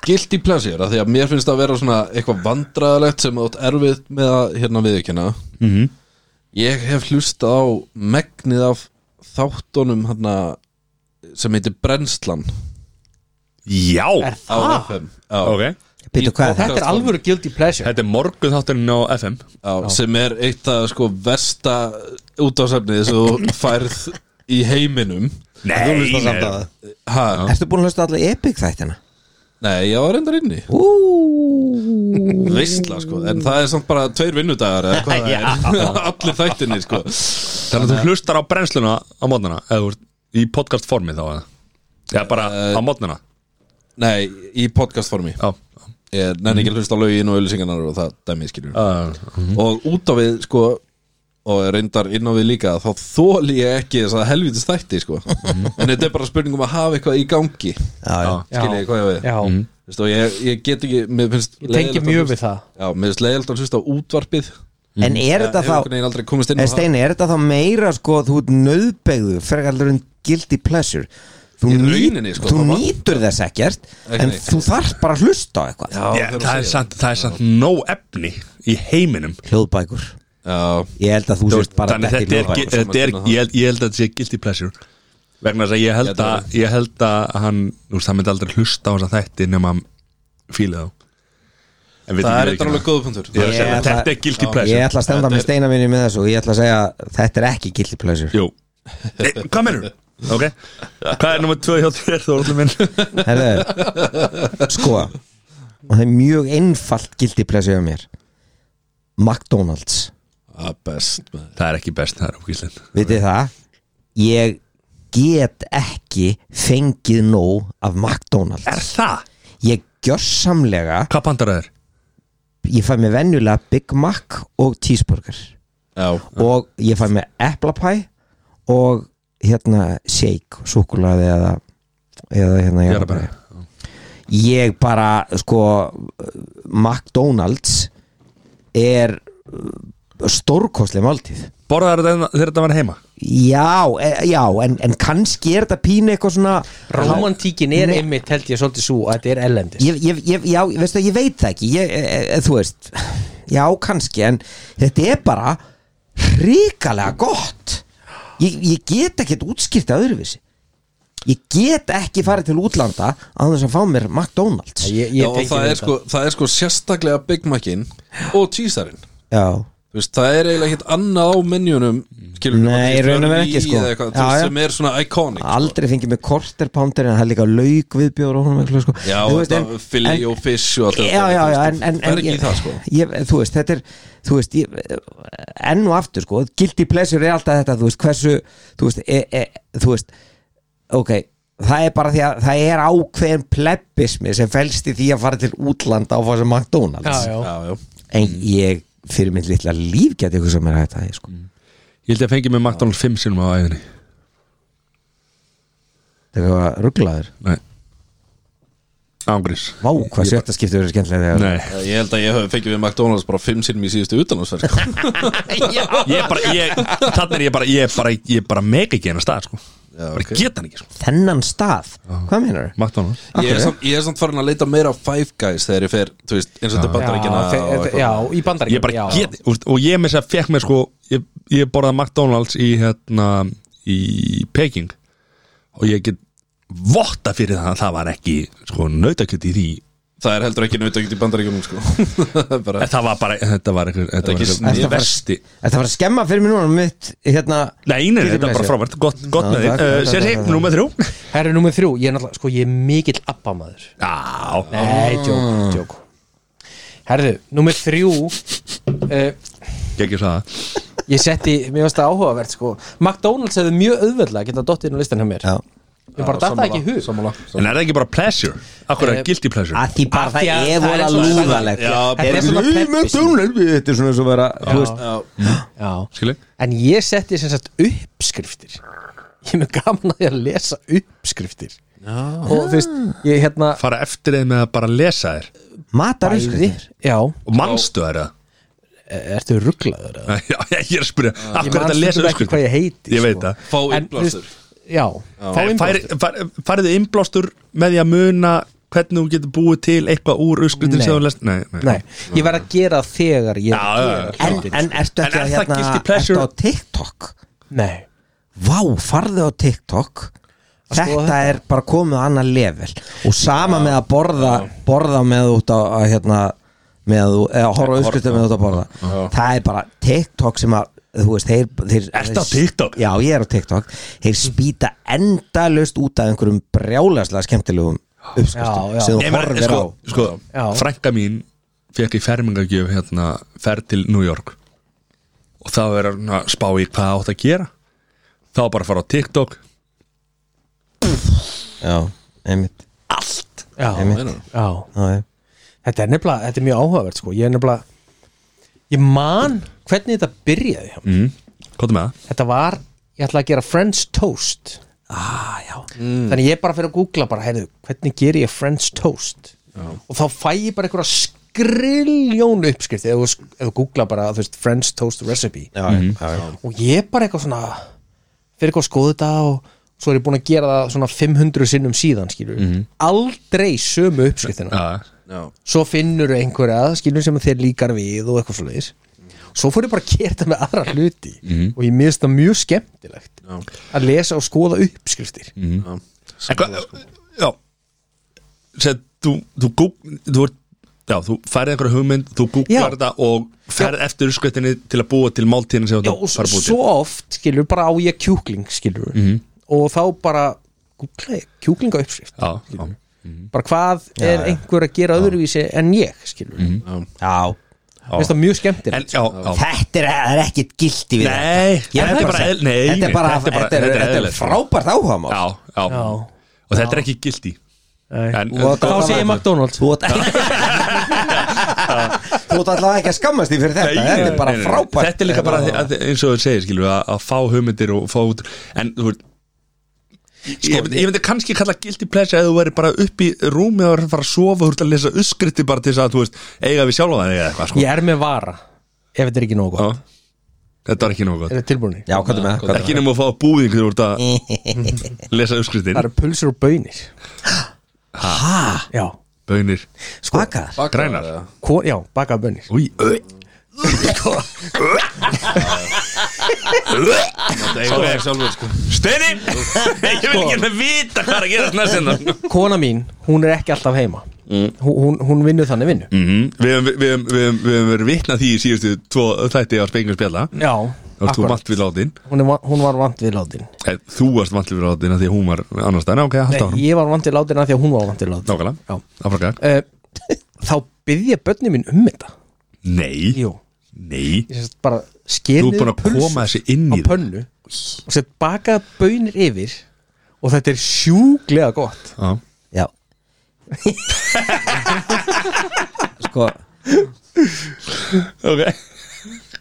S3: guilty pleasure af því að mér finnst það að vera svona eitthvað vandræðalegt sem þú átt erfið með að hérna viðkynna mm
S1: Mhm.
S3: ég hef hlustað á megnið af þáttunum hérna sem heitir Brennslan
S1: Já
S2: Er
S3: á
S2: það?
S3: FM á,
S1: Ok
S4: Býtu, hvað er
S3: Í-
S4: það?
S2: Ah, Þetta er alvöru guilty pleasure
S1: Þetta er morgun þátturinn á FM
S3: á, sem er eitt að sko versta útásefnið sem þú færð í heiminum
S1: Nei
S4: hlustar samt á það.
S3: ha,
S4: Ertu búin að hlusta allir epic þættina?
S3: Nei, ég var reyndar inni Veistla, sko En það er samt bara tveir vinnudagar eða hvað það er Allir þættinni, sko
S1: Þannig að þú hlustar á brennsluna á mótnana eða þú ert í podcast formi þá eða Já, bara á mótnana
S3: Nei, í podcastformi
S1: Já,
S3: Ég nenni ekki að hlusta á lögin og ölsingarnar og það dæmi skilur
S2: Ah,
S1: uh,
S2: mhm.
S3: Og út á við, sko og reyndar inn á við líka þá þóli ég ekki þess að helvitis þætti sko.
S2: Mhm.
S3: en þetta er bara spurningum að hafa eitthvað í gangi
S4: já.
S3: skiljið hvað ég á við
S2: Já,
S3: Vist, og ég, ég get ekki mér finnst
S2: ég tengi
S3: leiðinlegt að
S2: mjög
S3: hlusta-
S2: við það
S3: já, mér finnst leiðilegt að hlusta á útvarpið
S4: En er
S3: Hefur
S4: þetta
S3: einhvern
S4: þá
S3: veginn aldrei komist inn á
S4: En
S3: það.
S4: Steini, er þetta þá meira sko að þú ert nöðbegðu fyrir allur en guilty pleasure Þú,
S3: Í
S4: nýt-
S3: rauninni, sko,
S4: þú
S3: það var-
S4: nýtur þess ekkert
S3: Ekki
S4: En
S3: neitt.
S4: þú þarf bara að hlusta á eitthvað
S3: Já,
S1: yeah,
S3: þegar þú
S1: það, er
S3: segir
S1: samt, það er samt nóg efni í heiminum
S4: Hljóðbækur
S3: Já,
S4: Ég held að
S1: Þú
S4: þú sért
S1: veist,
S4: bara
S1: Þannig
S4: dett í
S1: þetta er,
S4: hljóðbækur. sko.
S1: ekki- þetta er
S3: Sammála
S1: ég, held, ég held að þetta sé guilty pleasure vegna þess að ég held
S3: Ég held
S1: að ég held að hann, þú veist, hann myndi aldrei hlusta á þess að þætti nema hann fíla þá En við
S3: það
S1: vitum
S3: er
S1: ekki
S3: eitthvað alveg góða punktur
S1: Ég er að segja,
S4: Ég ætla-
S1: Þetta er guilty
S4: Ég
S1: pleasure
S4: ætla að stenda
S3: Þetta
S4: með
S3: er-
S4: Steina minni með þessu og Ég ætla að segja að þetta er ekki guilty pleasure
S1: Jú Nei, Hvað mennur? Ok Hvað er nummer 2 hjá þér þó allir minn?
S4: Herðu, sko og það er mjög einfalt guilty pleasure á mér McDonalds,
S3: Það er "Ah, best maður.
S1: Það er ekki best, það er ógíslinn
S4: vitið það ég get ekki fengið nóg af
S1: Er
S4: McDonalds
S1: það?
S4: ég gjörsamlega
S1: Hvað pandar það er?
S4: ég fæ mér venjulega Big Mac og cheeseburger
S3: Já,
S1: Ah.
S4: og ég fæ mér eplapæ og hérna shake, súkulaði eða eða hérna jarðarberja.
S1: Jarðarberja.
S4: ég bara sko McDonalds er stórkostlega máltíð
S1: Borðar þetta hérna- þegar þetta var heima?
S4: já, e, já en, en kannski er þetta pínu eitthvað svona
S2: Romantíkin er
S4: Nei.
S2: einmitt held ég svolítið svo að þetta er ellendis
S4: ég, ég, ég, já, veistu, ég veit það ekki ég, e, e, þú veist, já kannski en þetta er bara hrikalega gott ég, ég get ekkert útskýrt að öðruvísi ég get ekki farið til útlanda á þess að fá mér McDonalds
S2: Ég, ég
S3: já og
S2: tengi
S3: það
S2: við
S3: er, sko, það er sko sérstaklega Big Macin og cheesearinn
S4: já,
S3: Þú veist, það er eiginlega ekkit annað á menjunum skilur,
S4: Nei,
S3: hvort
S4: í raun og veru
S3: í
S4: ekki, sko.
S3: eða eitthvað, þú
S4: Já,
S3: veist,
S4: já.
S3: sem er svona iconic
S4: aldrei fengið mér quarter pounder en það er líka lauk viðbjóður og honum eitthvað sko.
S3: Já,
S4: Þú
S3: þetta
S4: en-
S3: fili
S4: en-
S3: og fish og allt
S4: já, já, já, en, en,
S3: Það
S4: en
S3: er ekki
S4: ég,
S3: í það, sko
S4: ég, þú veist, þetta er þú veist, ég, enn og aftur sko, guilty pleasure er alltaf þetta þú veist, hversu, þú veist, e, e, þú veist ok, það er bara því að það er ákveðin plebbismi sem felst í því að fara til útlanda og fá sem
S2: Já,
S4: McDonalds
S2: já,
S3: Já, já,
S4: en ég fyrir mitt litla líf geti eitthvað sem er hægt að ég sko
S3: Mm.
S1: Ég held ég að fengi með McDonalds 5 sinum á æðinni
S4: það var rugglaður,
S1: Nei Ángrís
S4: vá hvað sjötta skiptur er skemmtilega þegar
S1: Nei
S3: ég held að ég hef fengið við McDonalds bara fimm sinnum í síðustu utanásferð sko.
S1: Ég er bara, ég, þannig er ég bara, ég er bara, ég er bara mega ekki hennar stað, sko
S3: Já,
S1: Bara
S3: ok.
S1: get hann ekki, sko
S4: þennan stað, hvað meinar
S1: McDonalds
S3: Ég er samt- ég er samt farin að leita meira á Five Guys þegar ég fer, þú veist, eins og þetta bandaríkina
S2: já,
S3: og
S2: þe-
S3: eitthvað.
S2: já, í bandaríkina
S1: Ég bara
S2: já.
S1: get, úst, og ég með þess að fekk með, sko Ég, ég borðaði McDonalds í, hérna, í Peking Og ég get votta fyrir það að það var ekki, sko, nautakjöt í því
S3: Það er heldur ekki nautakjöt í bandaríkunum sko. bara,
S1: En það var bara, þetta var eitthvað, þetta var
S3: ekki
S1: eitthvað
S4: sniðugt.
S1: versti
S4: þetta var að skemma fyrir mér núna mitt, hérna,
S1: Nei, nei, nei,
S4: Guilty
S1: þetta er bara
S4: pleasure.
S1: frávært, gott, gott
S4: Já,
S1: með því
S4: takk, takk,
S1: Sér
S4: takk,
S1: sér,
S4: takk.
S1: númer þrjú
S2: Herri nummer þrjú, ég er náttúrulega, sko, ég er mikill abbamaður
S1: Já,
S2: Nei, djók, djók Herðu, nummer þrjú uh,
S1: ég ekki það
S2: Ég setti, mér finnst það áhugavert, sko McDonalds hefði mjög auðveldlega að geta dottið inn á listan hjá mér
S4: já
S2: Ég bara datta ekki í hug
S3: sammála, sammála.
S1: En er það ekki bara pleasure? Akkur er
S2: Eh,
S1: guilty pleasure?
S4: að því bara
S2: Af því
S4: það
S2: að það
S4: er
S2: er
S4: vola
S2: svo-
S4: lúðalegt
S3: Já,
S2: Þetta er svona peppism
S4: þetta er svona svo vera þú veist,
S3: Já,
S2: Já,
S1: Skilji?
S2: en ég setti sem sagt uppskriftir Ég er með gaman að ég að lesa uppskriftir Já Og þú veist, ég hérna
S1: Fara eftir þeim með að bara lesa þér
S4: matar
S2: Bæði, já,
S1: Og manstu þær það?
S2: E, ertu rugglaður eða?
S1: Já, ég er að spyrja, akkur
S2: Ég
S1: er þetta að
S2: man
S1: lesa
S2: stundum ekki
S1: öskur
S2: hvað ég heiti
S1: Ég veit
S2: sko.
S1: það
S3: Fá
S2: En, þú veist,
S3: innblástur.
S2: Já, fá
S1: En
S2: innblástur
S1: fær- fær- Færðu innblástur með því að muna hvernig þú getur búið til eitthvað úr öskutin
S2: Nei.
S1: sem þú lest? Nei, nei,
S2: Nei, ég var að gera þegar
S1: Já,
S2: ég
S1: já, já.
S4: en,
S2: já,
S4: en ertu
S1: En er
S4: ekki að
S1: það
S4: hérna
S1: guilty
S4: ertu
S1: pleasure?
S4: á TikTok
S2: Nei,
S4: vá, farðu á TikTok
S2: Að skoða
S4: þetta
S2: þetta.
S4: er bara komið á annan level og sama með að borða borða með út á að, hérna, með að þú, eða horfa auðskritum með út að borða það er bara TikTok sem að þú veist, þeir, þeir
S1: Ertu á TikTok?
S4: Já, ég er á TikTok Þeir spýta endalaust út af einhverjum brjálaslega skemmtilegum
S2: Já, já.
S4: uppskriftir sem
S1: Nei,
S4: þú
S1: maður-
S4: horfir
S1: sko,
S4: á
S1: sko,
S2: Já.
S1: frænka mín fekk í fermingagjöf hérna, ferð til New York og þá er hann að spá í hvað átt að gera þá bara að fara á TikTok
S4: Já, einmitt
S1: allt
S2: já,
S4: Einmitt.
S2: já.
S4: Já, já.
S2: Þetta er nefnilega, þetta er mjög áhugavert sko. Ég er nefnilega Ég man hvernig þetta byrjaði hjá mér.
S1: mm. hvað er með það?
S2: Þetta var, ég ætla að gera French toast ah, Þannig ég er bara fyrir að googla bara, heyrðu, hvernig ger ég French toast já. og þá fæ ég bara einhverja skrilljón uppskrift eða þú- ef þú googla bara, þú veist, French toast recipe
S4: Já, já, já, já.
S2: og ég er bara eitthvað svona fyrir eitthvað að skoða þetta og svo er ég búin að gera það svona 500 sinnum síðan skilur, aldrei sömu uppskriftina
S3: Já,
S2: svo finnur einhverja skilur sem þeir líkar við og eitthvað svoleiðis svo fór ég bara að gera þetta með aðra hluti
S1: Mhm.
S2: og ég miðst það mjög skemmtilegt
S3: já,
S2: að lesa og skoða uppskriftir
S1: Mhm.
S3: já.
S1: En hvað, já Sér, þú, þú, gúgl, þú, ert- já, þú færið einhverja hugmynd þú
S2: Já.
S1: googlar þetta og ferð eftir skvettinni til að búa til máltíðin sem
S2: Já,
S1: þú
S2: og
S1: ert að
S2: s-
S1: fara að búa til Mhm.
S2: svo oft skilur bara á ég kjúkling skilur og þá bara googla ég kjúklinga uppskrift
S1: já, já. Mhm.
S2: bara hvað er einhver að gera öðruvísi en ég skilur mm miðst það mjög
S1: Mhm. En,
S2: skemmtilegt
S1: já, já.
S4: Þetta er, það er ekkit gildi við
S1: Nei,
S4: Ég
S1: þetta
S4: verð
S1: er
S4: bara
S1: bara
S4: að
S1: eðl- nei,
S4: þetta er bara,
S1: þetta er bara-
S4: þetta er,
S1: þetta er
S4: þetta er
S1: eðlilegt.
S4: frábært áhugamál
S1: já, já.
S2: Já.
S1: og þetta er ekki gildi
S2: Nei.
S1: en,
S4: Og
S2: þá
S4: það-
S2: sé ég McDonalds
S4: Þú ert Þú ert allavega ekki að skammast því fyrir þetta Þetta er bara frábært
S1: Þetta er líka bara að, að, eins og þú segir skilur, við, að, að fá hugmyndir og fá út en þú veist Sko, ég, myndi- ég myndi kannski kalla guilty pleasure eða þú væri bara upp í rúmi og er að fara að sofa þú ert að lesa uskriti bara til þess að þú veist eiga við sjálfa þig eða eitthvað sko.
S2: ég er með vara ef þetta er ekki nógu gott
S1: Já. Þetta var ekki nóg
S2: er
S1: gott
S2: þetta tilbúinni
S4: Já, hvað er með það?
S1: Ekki nema að fá búðing þegar þú ert að lesa uppskristin
S2: það eru pulsur og bönir ha? já,
S1: Bönir,
S2: sko,
S4: Bakar
S3: Bakar,
S1: Grænar.
S3: eða?
S2: ko, já, bakaða bönir
S1: úi, öi
S3: Sko, ég sjálfur, sko.
S1: Steini, ég vil ekki hérna vita hvað er að gera næst hérna
S2: kona mín, hún er ekki alltaf heima
S1: Mm.
S2: hún, hún, hún vinnur þannig vinnu
S1: Mhm. Við höfum- við höfum- við höfum við höfum verið vitna því í síðustu tvo þætti á Spengjum spjalla
S2: já,
S1: Þá varst þú
S2: akkurat.
S1: vant við látin
S2: hún, er, va- hún var vant við látin
S1: Eh, Þú varst vant við látin að því að hún var annars staðar Ok, halda áfram
S2: Nei, ég var vant við látin að því að hún var vant við látin
S1: Nákvæmlega,
S2: Já.
S1: áfram gag
S2: uh, þá byrði ég bönni mín um þetta
S1: Nei,
S2: jú,
S1: nei
S2: ég sérst bara
S1: Þú
S2: skerið
S1: er búin að koma þessi inn
S2: á
S1: í það
S2: pönnu og sett bakaða bönir yfir og þetta er sjúglega gott
S1: Já.
S4: Já Sko
S1: Ok,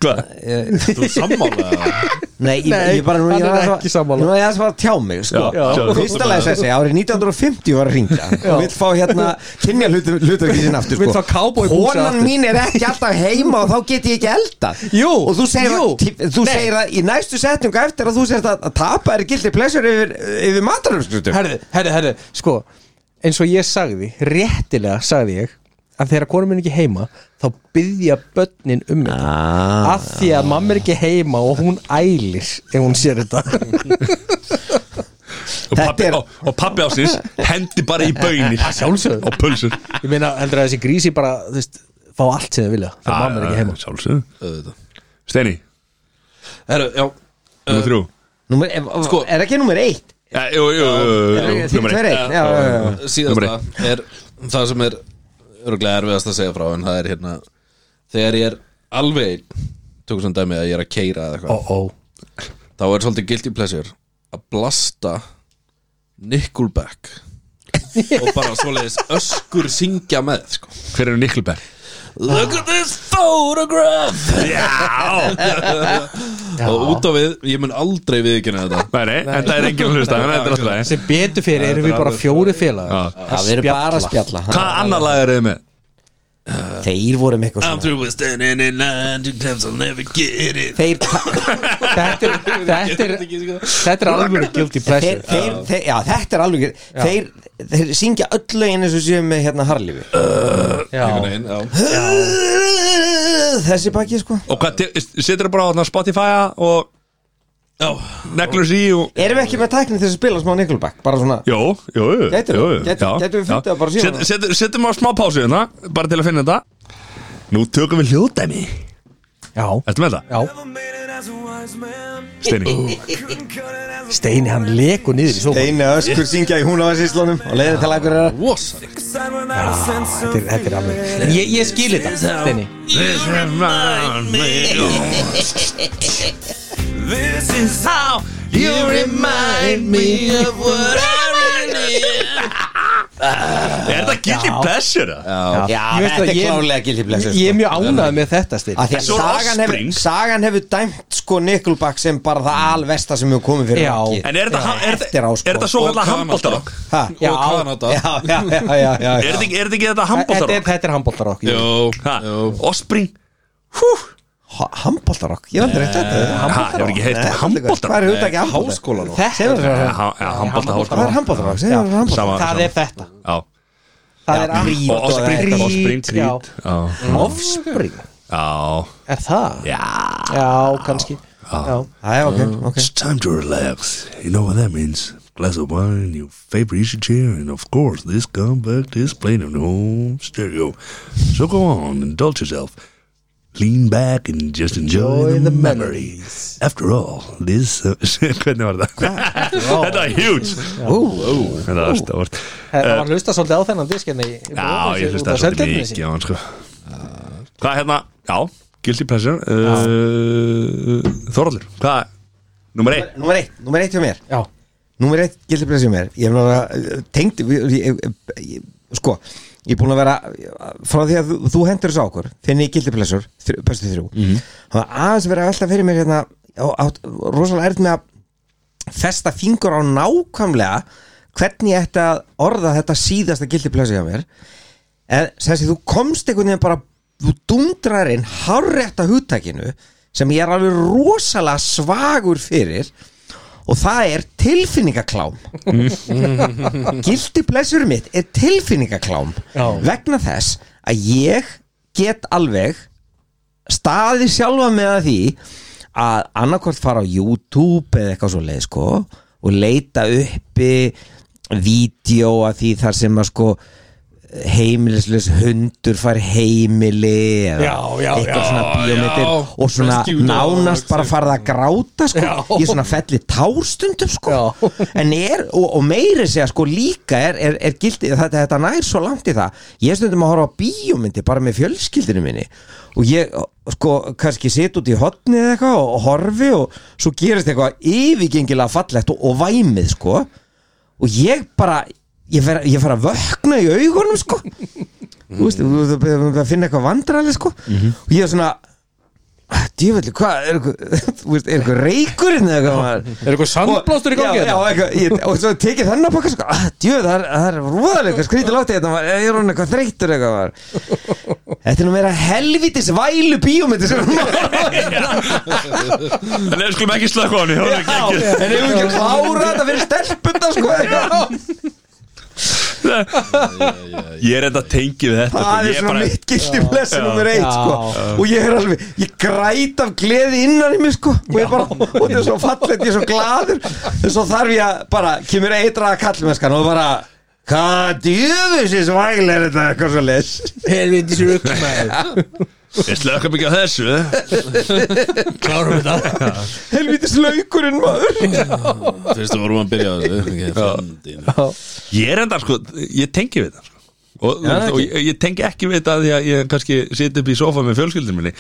S1: hvað?
S3: Þú sammála
S4: Nei, ég,
S2: Nei,
S4: ég bara nú
S2: hann
S4: ég
S2: er
S4: aðeins að-
S2: ekki sammála.
S4: Nú er ég aðeins bara að tjá mig sko.
S1: Já, já.
S4: Og fyrsta lega þess að segja Árið 1950 var að ringja Og vill fá hérna Kynja hlutverkið sinna aftur
S2: Vill
S4: sko.
S2: fá cowboy búsa
S4: Konan
S2: aftur.
S4: mín er ekki alltaf heima Og þá get ég ekki elda
S2: Jú,
S4: Og þú segir,
S2: jú.
S4: að, þú
S2: Nei.
S4: segir að Í næstu setningu eftir að þú segir að, að tapa Er gildi plessur yfir, yfir mataröfskrutum
S2: herðu, herðu, herðu, sko eins og ég sagði, réttilega sagði ég að þegar konum minn er ekki heima þá byrði ég bönnin um þetta
S4: ah.
S2: af því að mamma er ekki heima og hún ælir ef hún sér þetta
S1: Og
S4: Þetta
S1: pabbi,
S4: er-
S1: og, og pabbi ásins hendi bara í bönir
S2: sjálfsögðu.
S1: Og pulsur
S2: ég meina, heldur að þessi grísi bara, þú veist fá allt sem þau vilja,
S1: Ah,
S2: þegar mamma er ekki heima
S1: Sjálfsög
S3: Auðvitað.
S1: Steini,
S3: Herru, já
S1: nummer þrjú
S4: númer, er,
S3: Sko-
S4: er ekki númer eitt?
S1: Ja, Eh, Jú, jú, jú, jú,
S4: Er
S1: jú,
S4: ekki
S1: númer
S4: númer
S1: eitt.
S4: eitt? Já, já, já, já.
S3: Um, síðasta er það sem er örgulega erfiðast að segja frá en það er hérna þegar ég er alveg einn, tökum sem dæmi að ég er að keira eða eitthvað
S2: ó, ó,
S3: þá er svolítið guilty pleasure að blasta Nickelback og bara svoleiðis öskur syngja með sko.
S1: Hver eru Niklberg?
S3: Look at this photograph
S1: Já
S3: og út á við, ég mun aldrei viðkynna þetta
S1: Nei, nei, þetta er enginn að hlusta Þannig að þetta er alltaf leið
S2: sem betur fyrir erum við bara fjóri
S1: Já.
S2: félagar
S4: Já, við erum bara að spjalla
S1: Hvað annar lag eru þið með?
S4: Þeir voru með eitthvað svona
S3: through with standing in line two times I'll never get it
S4: Þeir, þeir,
S2: þetta er, þetta er, þetta er alveg guilty
S4: þeir,
S2: pleasure
S4: þeir, þeir, já, þetta er alveg þeir, þeir syngja öll lögin eins og séu með hérna harlífi
S2: já,
S3: Nein, já.
S4: Þessi baki sko
S1: Og hvað, te- seturðu bara á þarna Spotify og
S3: Já.
S1: neglur sí og
S4: Erum við ekki með tækni til þess að spila smá Nickelback? Bara svona
S1: Jó, jú, jú
S4: Gætirðu?
S1: jú, jú.
S4: Gæti-
S1: Já,
S4: gætum við fundið
S1: já.
S4: það bara síðan?
S1: Set- setur- Setjum á smá pásu hérna Bara til að finna þetta Nú tökum við hljóðdæmi
S2: já,
S1: Ertu með það?
S2: já
S5: Never made it
S1: Steini
S2: Steini hann leku niður í sófa
S4: Einu öskur syngja í húnavarsíslunum og leiði til akkur
S3: Vosa
S2: Já, þetta er, þetta er alveg En ég, ég skil þetta, Steini
S3: You remind me of what I really
S1: Er það guilty pleasure? það?
S4: Já,
S2: Ég veist
S4: þetta
S2: það,
S4: er
S2: ég-
S4: klálega gildið
S2: Ég er mjög ánægð með þetta,
S4: Af
S2: Steini
S4: því að
S1: Svo er
S4: sagan hefur,
S1: Offspring.
S4: sagan hefur dæmt sko Nickelback sem bara það alvesta sem hefur komið fyrir
S2: Já.
S4: markið.
S1: En er þetta er þetta-
S4: Eftir á, sko.
S1: er þetta svo
S3: Og
S1: kallar
S3: Kanada.
S1: handbóltarokk?
S4: Ha?
S2: Já.
S3: Og Kanada
S4: Já, já, já, já, já,
S1: Er þetta
S4: já.
S1: ekki- er þetta ekki þetta
S2: Þetta er,
S1: handbóltarokk?
S2: þetta er handbóltarokk jú.
S3: Jó, jó.
S1: Ospring Hú
S4: Hamboltarokk, ég vandur eitthvað þetta
S1: Ha, hefur ekki um heilt
S4: Hvað er
S1: handbóltarokk?
S4: þetta ekki handboltarokk?
S3: Háskólan og
S2: Þetta
S4: Segðu
S2: er
S4: þér
S1: Já, já,
S4: Hvað er
S1: handbóltarokk
S4: handboltarokk? Segðu þér handboltarokk
S1: Sama
S2: Það
S1: sama.
S2: er þetta
S1: Já
S2: Það er
S4: Creed
S1: Og Ospring,
S4: þetta.
S1: Ospring,
S2: Creed, já.
S1: Creed Já,
S2: Offspring
S1: já,
S2: Er það?
S1: já
S2: Já, kannski Já. Mm.
S4: Æ, ok, ok
S1: It's time to relax. You know what that means. Glass of wine, your favorite easy chair, and of course, this compact is playing on home stereo. So go on, indulge yourself. Lean back and just enjoy, the, memory. After all, this... Uh, hvernig var það? Þetta er huge! Þetta var stórt.
S2: Það var hlusta svolítið á þennan disk hérna í- í
S1: Já,
S2: bóðhúsi
S1: ég
S2: út
S1: hlusta
S2: af
S1: svolítið
S2: sendinni
S1: mikið
S2: sinni.
S1: á hann, sko. Hvað er hérna? Já, guilty pleasure. Uh, Þorallur, hvað er? Númer 1.
S4: Númer eitt, númer eitt hjá mér
S2: Já,
S4: Númer eitt gildir blessið mér Ég er náttúrulega tengd ég- ég- ég- Sko, ég er búin að vera Frá því að þú, þú hendur þessu á okkur Finn ég gildir blessur, bestu þrjú Það var aðeins verið að velta fyrir mér hérna og átt Rosalega erð með að Festa fingur á nákvæmlega Hvernig ég ætti að orða þetta síðasta gildir blessið hjá mér En sem sé, þú komst einhvern veginn bara Þú dundrar inn hárrétta hugtækinu Sem ég er alveg rosalega svagur fyrir og það er tilfinningaklám gildi blessur mitt er tilfinningaklám
S2: Já.
S4: vegna þess að ég get alveg staði sjálfa með að því að annarkvort fara á YouTube eða eitthvað svo leið sko og leita uppi vídeo að því þar sem að sko heimilislaus hundur fær heimili eða
S2: Já, já,
S4: eitthvað
S2: já,
S4: svona bíómyndir
S3: já.
S4: og svona
S3: Rescue dog,
S4: nánast bara
S3: exactly.
S4: farið að gráta sko.
S2: Já.
S4: ég svona felli társtundum sko.
S2: Já.
S4: en er, og, og meiri segja sko líka er, er, er gildi, þetta, þetta nær svo langt í það ég er stundum að horfa á bíómyndi bara með fjölskyldinu minni og ég sko kannski sit út í hotni eða eitthvað og, og horfi og svo gerist eitthvað yfirgengilega fallegt og, og væmið sko og ég bara ég fer, ég fer að vökna í augunum sko þú veist, þú þú- þú- þú finna eitthvað vandrali sko og ég er svona djöfelli, hvað, er eitthvað þú veist, er eitthvað reykurinn eða eitthvað maður?
S2: er eitthvað sandblástur í gangi
S4: já, já,
S2: þetta?
S4: eitthvað, ég, og svo tekið þennan pakka sko, ah, djöð, það er- það er roðalega eitthvað skrítið látti þetta, maður, ég er hann eitthvað þreyttur eitthvað maður. þetta er nú meira helvitis vælu bíómyndi sem maður
S1: En ef skulum ekki slökka á hann, ég horfði ekki ekki
S4: en ef við ekki klára þetta fyrir stelpunda sko, eitthvað
S1: Ég er enda tengið við þetta
S4: það
S1: sko.
S4: er
S1: Ég
S4: svona
S1: bara-
S4: mitt gildi blessin nummer eitt
S2: Já.
S4: sko. og ég er alveg, ég græt af gleði innan í mig sko og ég bara, og þetta er svo fallegt, ég er svo gladur en svo þarf ég að, bara, kemur eitraða kallmennskan og bara hvað djöfusins væl er þetta eitthvað svo les
S2: Helviti sjökmaður
S1: Ég slökka mikið á þessu
S2: Klárum þetta
S4: helvitis laukurinn maður
S3: Fyrstu vorum að byrja á þessu
S1: Ég er enda sko, ég tengi við þetta sko. Og,
S4: Já,
S1: ja, og
S4: ekki.
S1: ég, ég tengi ekki við þetta af Því að ég kannski sit upp í sofa með fjölskyldum minni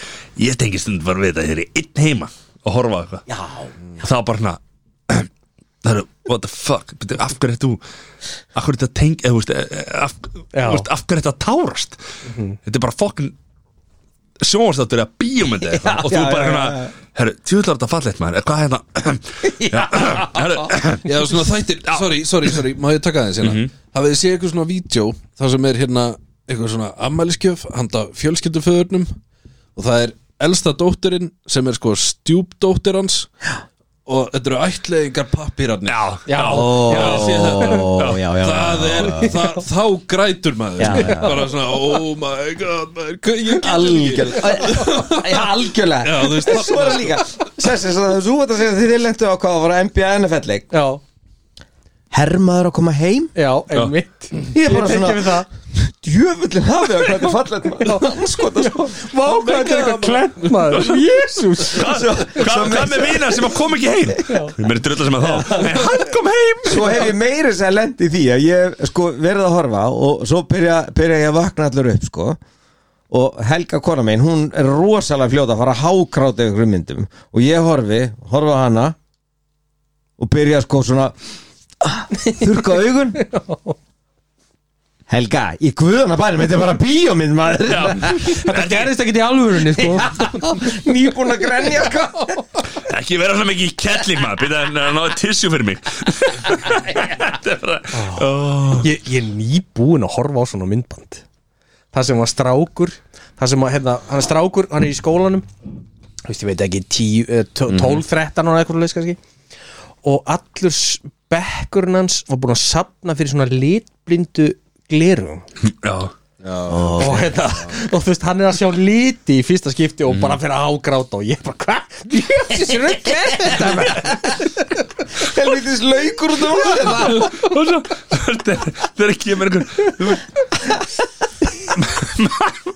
S1: Ég tengi stund bara við þetta Þegar ég er einn heima og horfa á eitthvað
S4: já,
S1: Og það var bara hana Það eru, what the fuck, Bíddu, af hverju ert þú Af hverju ert þetta tengi eða, þú veist, eh, af,
S2: Já.
S1: þú veist, af hverju ert þetta tárast
S4: Mhm.
S1: Þetta er bara fokkin sjónvastáttur eða bíómyndi já, og þú
S4: já,
S1: bara
S4: já,
S1: hérna,
S4: já, já.
S1: herru, tjóðlar þetta fallegt maður, Eh, hvað hérna já, herru,
S3: Já, svona þættir, sorry, sorry, sorry Má ég taka aðeins hérna Hafið þið séð eitthvað svona vídeo þar sem er hérna eitthvað svona ammæliskjöf handa fjölskylduföðurnum og það er elsta dóttirinn sem er sko stjúpdóttir hans og þetta eru ætleðingar pappirarnir
S1: já,
S2: Já,
S3: Hafið þið séð þetta?
S4: ó, já, já
S3: það er, það, þá grætur maður
S4: Já, já.
S3: bara svona, oh my god maður, hvað- ég get þetta ekki
S4: algjörlega Já, algjörlega
S3: Já, þú veist,
S4: En svo er það líka Sessi, svo þú ert að segja að þið lendu á hvað það var NBA NFL-leik
S2: Já,
S4: Hermaður að koma heim
S2: já, einmitt
S4: Ég er
S2: Ég
S4: bara
S2: tengi
S4: svona
S2: við það
S4: djöfullin hafið að hvað þetta er fallet maður anskota sko vá hvað þetta er eitthvað klent maður jésús um
S1: Hvað hvað með vina sem að kom ekki heim? Við mér drullar sem að þá En hann kom heim
S4: svo hef ég meira sem að lendi því að ég hef, sko verið að horfa og svo byrja, byrja ég að vakna allur upp sko og Helga kona mín, hún er rosalega fljóta að fara að hákráta yfir ykkur myndum og ég horfi, horfi á hana og byrja sko svona ah, þurrka augun Helga, í guðana bænum, þetta er bara bíómynd maður
S2: Þetta gerðist ekkert í alvörunni sko.
S4: nýbúin að grenja sko
S1: Ekki vera svona mikið í kettling maður Býta hann að náða tissjú fyrir mig Þetta er bara
S2: ég, ég er nýbúin að horfa á svona myndband Það sem var strákur Það sem að, hérna, hann er strákur, hann er í skólanum Þú veist, ég veit ekki eh, 12, 13 og eitthvað leys kannski Og allur s- bekkurinn hans var búin að sapna fyrir svona litblindu glerugum
S1: Já
S2: og, hérna, og þú veist, hann er að sjá liti í fyrsta skipti og bara fyrir að hágráta og ég bara, hvað? Jöfnir, sér ekki þetta maður?"
S4: helvitis laukur út um hana
S1: Og svo Þegar kemur einhver þú veist,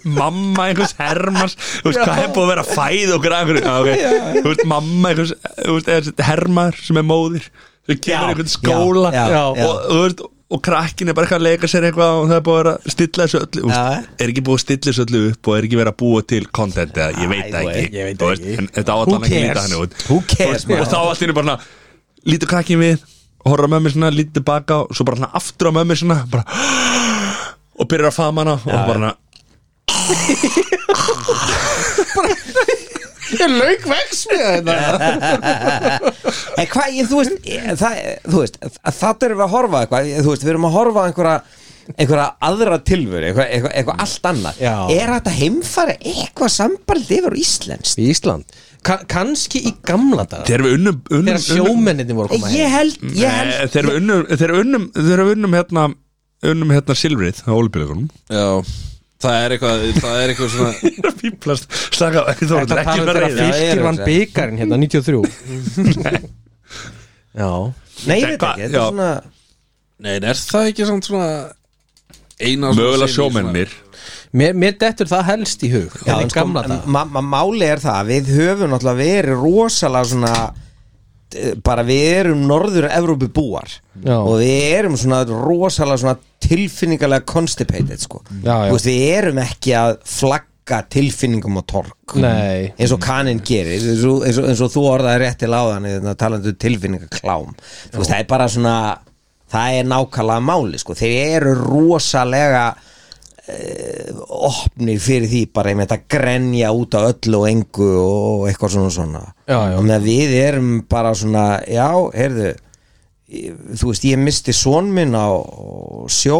S1: Mamma einhvers Hermans Þú veist hvað hefur búið að vera að fæða okkur að einhverju Já, ok. Þú veist mamma einhvers þú veist, eða Hermar sem er móðir Þú
S4: Já,
S1: kemur einhvern skóla
S4: já, já, já.
S1: og, þú veist, og krakkin er bara eitthvað að leika sér eitthvað og það er búið að vera að stilla þessu öllu þú
S4: Já.
S1: veist, Er ekki búið að stilla þessu öllu upp og er ekki verið að búa til content eða ég veit það
S4: Æ,
S1: ekki
S2: ég veit
S1: Þú veist,
S2: ekki.
S1: en Þetta áallan
S4: Who
S1: ekki að líta
S4: cares?
S1: hann út
S4: Who cares,
S1: og, og þá allt hérna bara svona lítur krakkin við, horfa með mér svona lítið tilbaka og svo bara svona aftur á með mér svona bara, og byrjar að faðma hana og bara svona
S2: Ég lauk vex með þetta
S4: En hvað, ég, þú veist, ég, það, þú veist það erum við að horfa á eitthvað ég, þú veist, við erum að horfa á einhverja einhverja aðra tilvöru, eitthvað, eitthvað, eitthvað allt annað
S2: Já.
S4: er þetta heimfæri eitthvað sambarð yfir á Íslands
S2: Í Ísland, Ka kannski í gamla dag
S1: þegar við unnum, unnum,
S2: Þegar sjómenninni voru að koma
S4: ég held,
S1: Nei,
S4: ég held
S1: þegar við unnum þegar við unnum, þegar við unnum hérna unnum hérna silfrið á olbíleikunum
S3: Já, það er eitthvað Það er eitthvað svona
S1: píplast, slaka, á, þú voru
S2: Þetta
S1: ekki
S2: talaðu
S1: verið
S2: um
S1: að
S2: þegar
S4: um Já,
S2: fylgir
S4: ég er að
S2: vann byggarinn hérna 93 Já
S4: segja. nei, ég veit
S1: Hvað-
S4: ekki, þetta
S1: já.
S4: er svona
S3: Nei, en er það ekki samt svona Eina
S1: mögulega sjómennir
S2: Mér, mér dettur það helst í hug Já,
S4: en
S2: en
S4: sko,
S2: gamla dag
S4: ma ma máli er það, að við höfum náttúrulega verið rosalega svona eh, bara við erum norður-Evrópu búar
S2: Já.
S4: og við erum svona rosalega svona tilfinningalega constipated sko
S2: Já, já.
S4: Þú veist, við erum ekki að flagga tilfinningum og tork
S2: Nei.
S4: eins og kaninn gerir eins og, eins og, eins og þú orðaði rétt til áðan þannig talandi um tilfinningaklám þú veist, það er bara svona það er nákvæmlega máli sko þeir eru rosalega eh, opnir fyrir því bara einmitt að grenja út á öllu og engu og eitthvað svona svona
S2: Já, já.
S4: og með að við erum bara svona já, heyrðu ég- þú veist, ég misti son minn á sjó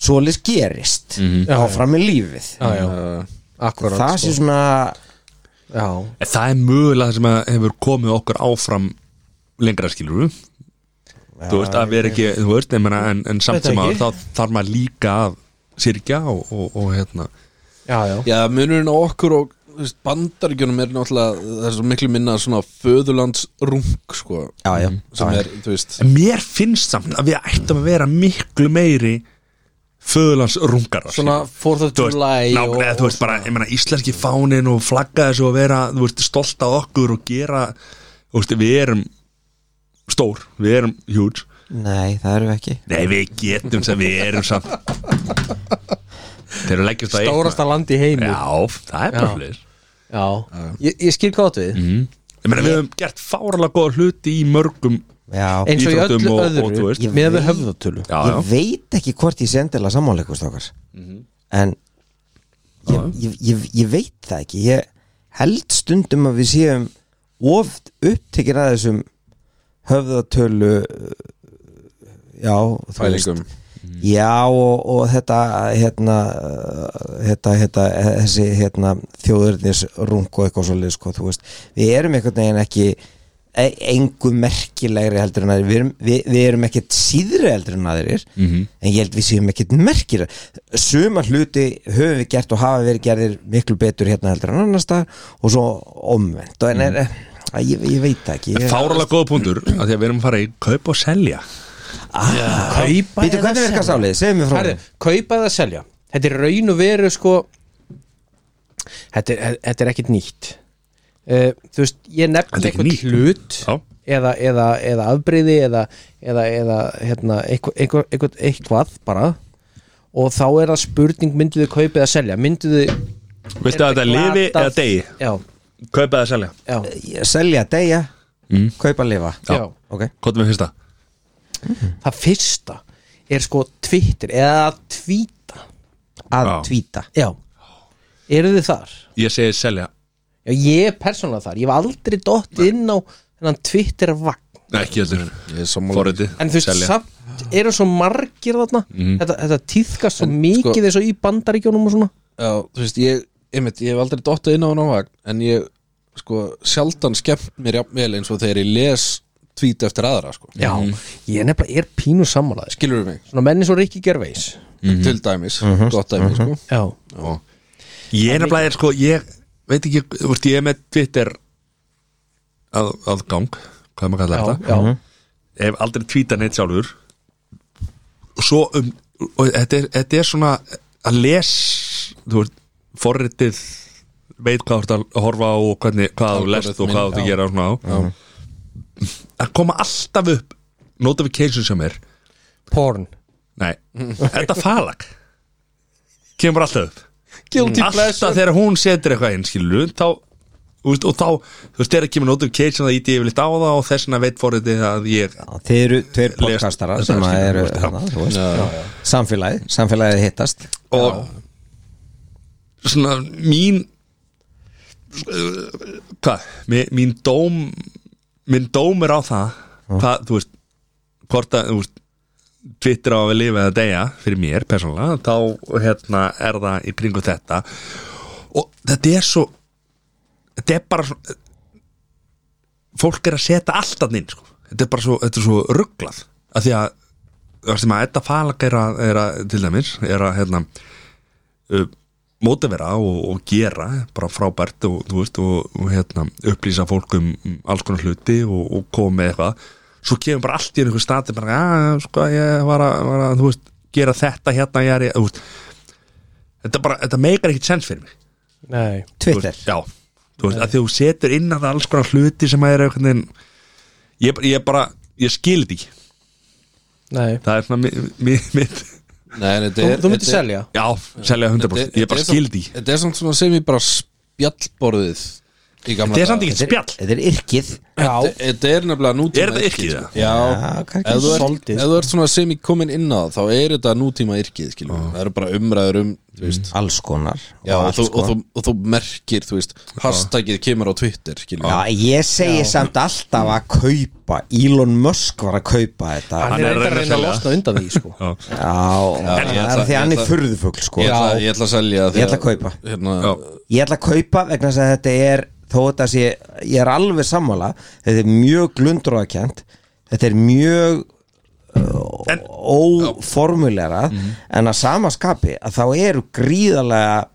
S4: svolis gerist mm
S2: Já, já.
S4: áfram í lífið
S2: Mhm. Já, já,
S4: það
S2: akkurat
S4: sé
S2: sko.
S4: svona
S2: Já,
S1: það er mögulega það sem að hefur komið okkur áfram lengra skilur við þú veist að við erum ekki þú veist, ég meina, en, en samt
S2: Veit
S1: sem
S2: ekki.
S1: að þá þarf maður líka að sirkja og, og, og hérna
S2: já, já
S3: Já, munurinn á okkur og þú veist, bandaríkjunum er náttúrulega það er svo miklu minna svona föðurlandsrung sko,
S4: já, já,
S3: sem er, þú veist
S1: En mér finnst samt að við ættum að vera miklu meiri föðurlandsrungar
S2: Svona Fourth of
S1: Þú veist,
S2: July
S1: ná,
S2: og-
S1: eða, þú veist bara, ég meina, íslenski fánin og flagga þessu og vera, þú veist, stolt af okkur og gera, þú veist, við erum stór, við erum huge
S4: nei, það erum við ekki
S1: Nei, við getum sem við erum samt Þeir eru leggjast á
S2: Stórasta land í heimi Já,
S1: Já, það er bara
S2: Já.
S1: fyrir
S2: Ég, ég skil hvað átt við
S1: Mhm. Ég meina, við höfum gert fáralega góða hluti í mörgum
S4: já,
S2: Eins og í
S1: Íþróttum
S2: öllu
S1: og- og þú
S2: öðru
S1: veist.
S2: Ég- Miðað við höfðatölu
S1: Já, Mhm.
S4: ég veit ekki hvort ég sendilega sammáleikust okkar en ég, ég, ég, ég veit það ekki ég held stundum að við séum oft upptekir að þessum höfðatölu uh, já, þú
S3: Pælingum.
S4: Mm. já og, og þetta hérna, uh, þetta, þetta þessi hérna, þjóðurnis og eitthvað svo leið sko, þú veist. við erum einhvern veginn ekki e- engu merkilegri heldur en aðrir við erum, við, við erum ekkert síðri heldur en aðrir -hmm. en ég held við séum ekkert merkir suma hluti höfum við gert og hafa verið gerðir miklu betur hérna heldur en annars staðar og svo omvend en er, mm. ég, ég veit það ekki ég,
S1: Fáralega góða punktur af því að við erum að fara í kaup og selja
S2: kaupa
S4: Býtu, hvernig virkar sálið? Segðu mér frá
S2: Herri,
S4: honum.
S2: kaupa eða selja þetta er raun og veru sko þetta er, þetta er ekkit nýtt uh, þú veist, ég
S1: Þetta
S2: nefn
S1: er ekki
S2: eitthvað
S1: nýtt.
S2: hlut
S1: Já.
S2: eða, eða, eða afbreyði eða, eða, eða hérna, eitthvað, eitthvað, eitthvað, eitthvað bara og þá er það spurning myndu þið kaupa eða selja myndu þið
S1: Viltu að þetta lifi eða degi?
S2: já,
S1: Kaupa eða selja?
S2: já,
S4: Eh, Selja, deyja,
S3: Mm.
S4: kaupa, lifa
S2: já.
S4: Ok
S1: Hvað er mér fyrsta?
S2: það fyrsta er sko Twitter eða að tvíta
S4: Að
S1: Já.
S4: tvíta
S2: já, eru þið þar?
S1: Ég segi selja
S2: Já, ég er persónulega þar, ég hef aldrei dott inn á þennan Twitter vagn
S1: Nei, ekki heldur
S3: Ég er sammála.
S1: Forriti
S2: En þú veist,
S1: Selja.
S2: samt eru svo margir þarna þetta, þetta tíðkast svo mikið
S3: sko-
S2: eins og í bandaríkjónum og svona
S3: Já, þú veist, ég, einmitt, ég hef aldrei dottað inn á hann á vagn En ég, sko, sjaldan skemmt mér jafnvel eins og þegar ég les tvít eftir aðra, sko
S2: Já, ég er nefnilega, ég er pínu sammálaði sko.
S3: Skilurðu mig,
S2: Svona menni svo Rikki Gervais
S3: til dæmis, gott dæmis, sko
S2: Já,
S3: Já,
S1: Ég er nefnilega, er, sko, ég veit ekki Þú veist, ég er með Twitter að, aðgang Hvað maður kallar
S2: já,
S1: þetta
S2: já,
S1: Ég hef aldrei tweetað neitt sjálfur Og svo um og þetta, er, þetta er svona að les Þú veist, forritið veit hvað þú ert að horfa á og hvernig, hvað þú lest og hvað þú ert að gera og svona á að koma alltaf upp notification sem er
S2: porn
S1: Nei, þetta falag kemur alltaf upp
S2: Guilty
S1: Alltaf þegar hún setur eitthvað inn skilur þá, þú veist, og þá þú veist, þegar kemur notification að íti yfirleitt á það og þessna veit forritið að ég
S4: Já, Þið eru tveir podcastara
S1: Lest-
S4: sem
S1: Já,
S4: að eru
S1: já.
S4: hana, þú veist, Samfélagið, samfélagið hittast
S1: og svona mín hvað, mi- mín dóm minn dóm er á það hvað, þú veist, hvort að þú veist, Twitter á að við lifa eða deyja fyrir mér persónulega, þá hérna er það í kringu þetta og þetta er svo þetta er bara svo, fólk er að setja allt að inn sko. þetta er bara svo, þetta er svo rugglað af því að það sem að þetta falag er að, er að til dæmis, er að hérna uh, mótavera og, og gera bara frábært og, þú veist, og, og hérna, upplýsa fólk um um alls konar hluti og, og koma með eitthvað svo kemur bara allt í einhver stati bara, að, sko, ég var að, var að þú veist, gera þetta hérna, ég er í- þú veist, þetta bara, þetta meikar ekkert sens fyrir mig
S2: Nei,
S1: Þú
S4: Twitter
S1: veist, Já, þú veist, að því þú setur inn að alls konar hluti sem að er einhvern veginn ég, bara- ég bara, ég skil þetta ekki
S2: nei
S1: það er svona mi- mi- mitt
S3: Nei, en þetta
S2: Þú,
S3: er
S2: þú myndir
S3: þetta er-
S2: selja
S1: Já, selja 100% Ég
S3: Þetta
S1: bara
S3: er samt-
S1: skil því
S3: Þetta er samt svona sem ég bara spjallborðið í gamla
S1: Þetta er samt
S3: daga.
S1: ekki spjall
S4: Þetta er yrkið
S2: Já,
S3: Þetta þetta er nefnilega nútíma
S1: Er þetta yrkið
S3: sko.
S1: það?
S3: Já,
S4: Já, kannski
S3: ef þú ert-
S2: svolítið,
S3: ef þú ert svona sem ég komin inn á það, þá er þetta nútíma yrkið skilur við. það eru bara umræður um þú veist,
S4: Alls konar
S3: já, og,
S4: alls
S3: þú, og,
S4: konar.
S3: þú, og þú merkir þú veist, hashtagið kemur á Twitter skilur við.
S4: Já, ég segi samt alltaf að kaupa Elon Musk var að kaupa þetta
S2: hann er reyndar að reyna að losna undan því sko.
S1: Já,
S4: Já, það
S3: ég
S4: er
S3: ætla-
S4: því að
S3: ég
S4: hann er
S3: ætla-
S4: furðufugl sko
S3: ég, ætla, ég ætla að selja því
S4: Ég ætla að kaupa.
S3: hérna,
S1: já,
S4: Ég ætla að kaupa vegna þess að þetta er þó þetta sé, ég er alveg sammála þetta er mjög glundróðakent þetta er mjög
S1: En-
S4: óformulerað
S2: Mhm.
S4: en að sama skapi að þá eru gríðalega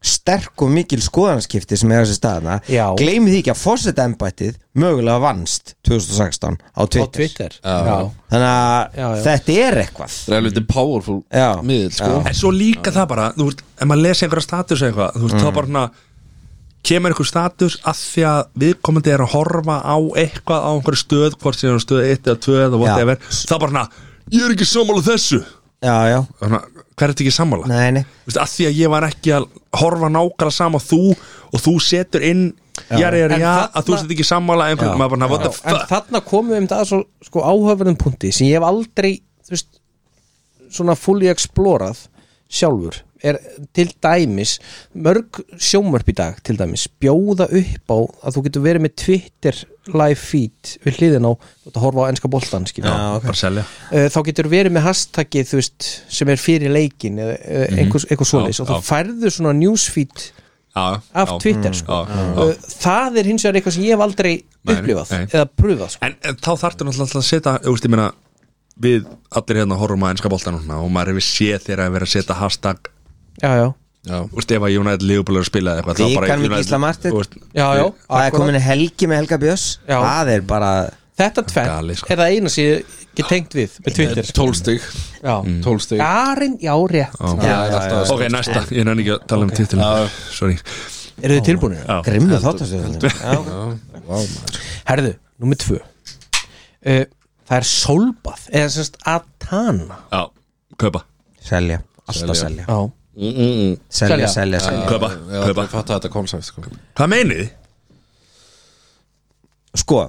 S4: sterk og mikil skoðanskipti sem er þessi staðna
S2: Já.
S4: gleymið því ekki að fórseta embættið mögulega vannst 2016 á
S2: á
S4: Twitter,
S2: Twitter Já,
S4: þannig
S2: Já,
S4: að
S2: já.
S4: þetta er eitthvað
S3: það er alveg powerful
S4: Já,
S3: miðil sko.
S4: já.
S1: En svo líka það bara, þú veist, ef maður lesi einhverja status eða eitthvað, þú veist, þá bara svona kemur einhver status að því að viðkomandi er að horfa á eitthvað á einhverju stöð, hvort sem er á stöð 1 eða 2 eða whatever, þá bara svona ég er ekki sammála þessu
S4: já, já,
S1: Þannig, Hvað er þetta ekki sammála?
S4: nei, nei
S1: Þú veist, að því að ég var ekki að horfa nákvæmlega sama á þú og þú setur inn jari, jari,
S2: En
S1: já,
S2: þarna-
S1: að þú setur ekki sammála einhvern, maður bara, what the
S2: Já, en
S1: fuck
S2: þarna komum við um það svo sko, áhöfverðum punkti sem ég hef aldrei þú veist, svona fully explorað sjálfur er til dæmis mörg sjómörp í dag til dæmis bjóða upp á að þú getur verið með Twitter live feed við hliðin á, þú ert að horfa á enska boltan
S1: Já,
S2: skilja
S1: bara selja
S2: Eh, þá getur verið með hashtagið þú veist, sem er fyrir leikin eða eh, einhvers, eitthvað
S1: Mhm. Já,
S2: svoleiðis og þú
S1: já.
S2: færðu svona newsfeed
S1: já,
S2: af
S1: já. Mm,
S2: Twitter sko.
S1: Já, já.
S2: Eh, það er hins vegar eitthvað sem ég hef aldrei
S1: Nei,
S2: upplifað
S1: nei.
S2: eða pröfað sko.
S1: en, en þá þarftu náttúrulega alltaf að setja þú veist, ég meina, við allir hérna horfum að enska boltan og svona og maður hefur séð þegar að vera að setja hashtag
S2: já, já,
S3: Já.
S1: Þú veist, ef að United Liverpool er að spila eða eitthvað þá bara
S4: Vikan með
S1: United-
S4: Gísla Marteinn.
S1: þú veist,
S2: já, já
S4: Það er
S2: akkurat.
S4: komin helgi með Helga Björns
S2: Já.
S4: Það er bara
S2: þetta tvenn
S1: Gali, sko.
S2: er það eina sem ég Mm. ekki tengt við með Twitter
S3: Tólstig
S2: Já,
S3: Tólstig
S2: Arinn, já, rétt
S1: Já.
S2: Já.
S1: Ok, næsta, ég nenni ekki að tala um titil Sorry
S2: Eru þið tilbúinir?
S1: Já.
S4: Grimmu þáttasöðu
S2: Herðu, númer tvö uh, Það er sólbað eða semst Atana
S1: Já, kaupa
S4: Selja, alltaf selja
S2: Já,
S3: Mm,
S2: Selja.
S4: Selja, selja, selja
S1: Kaupa,
S3: Ég ætla
S1: kaupa
S3: að fatta þetta koncept sko.
S1: Hvað meinið þið?
S4: Sko,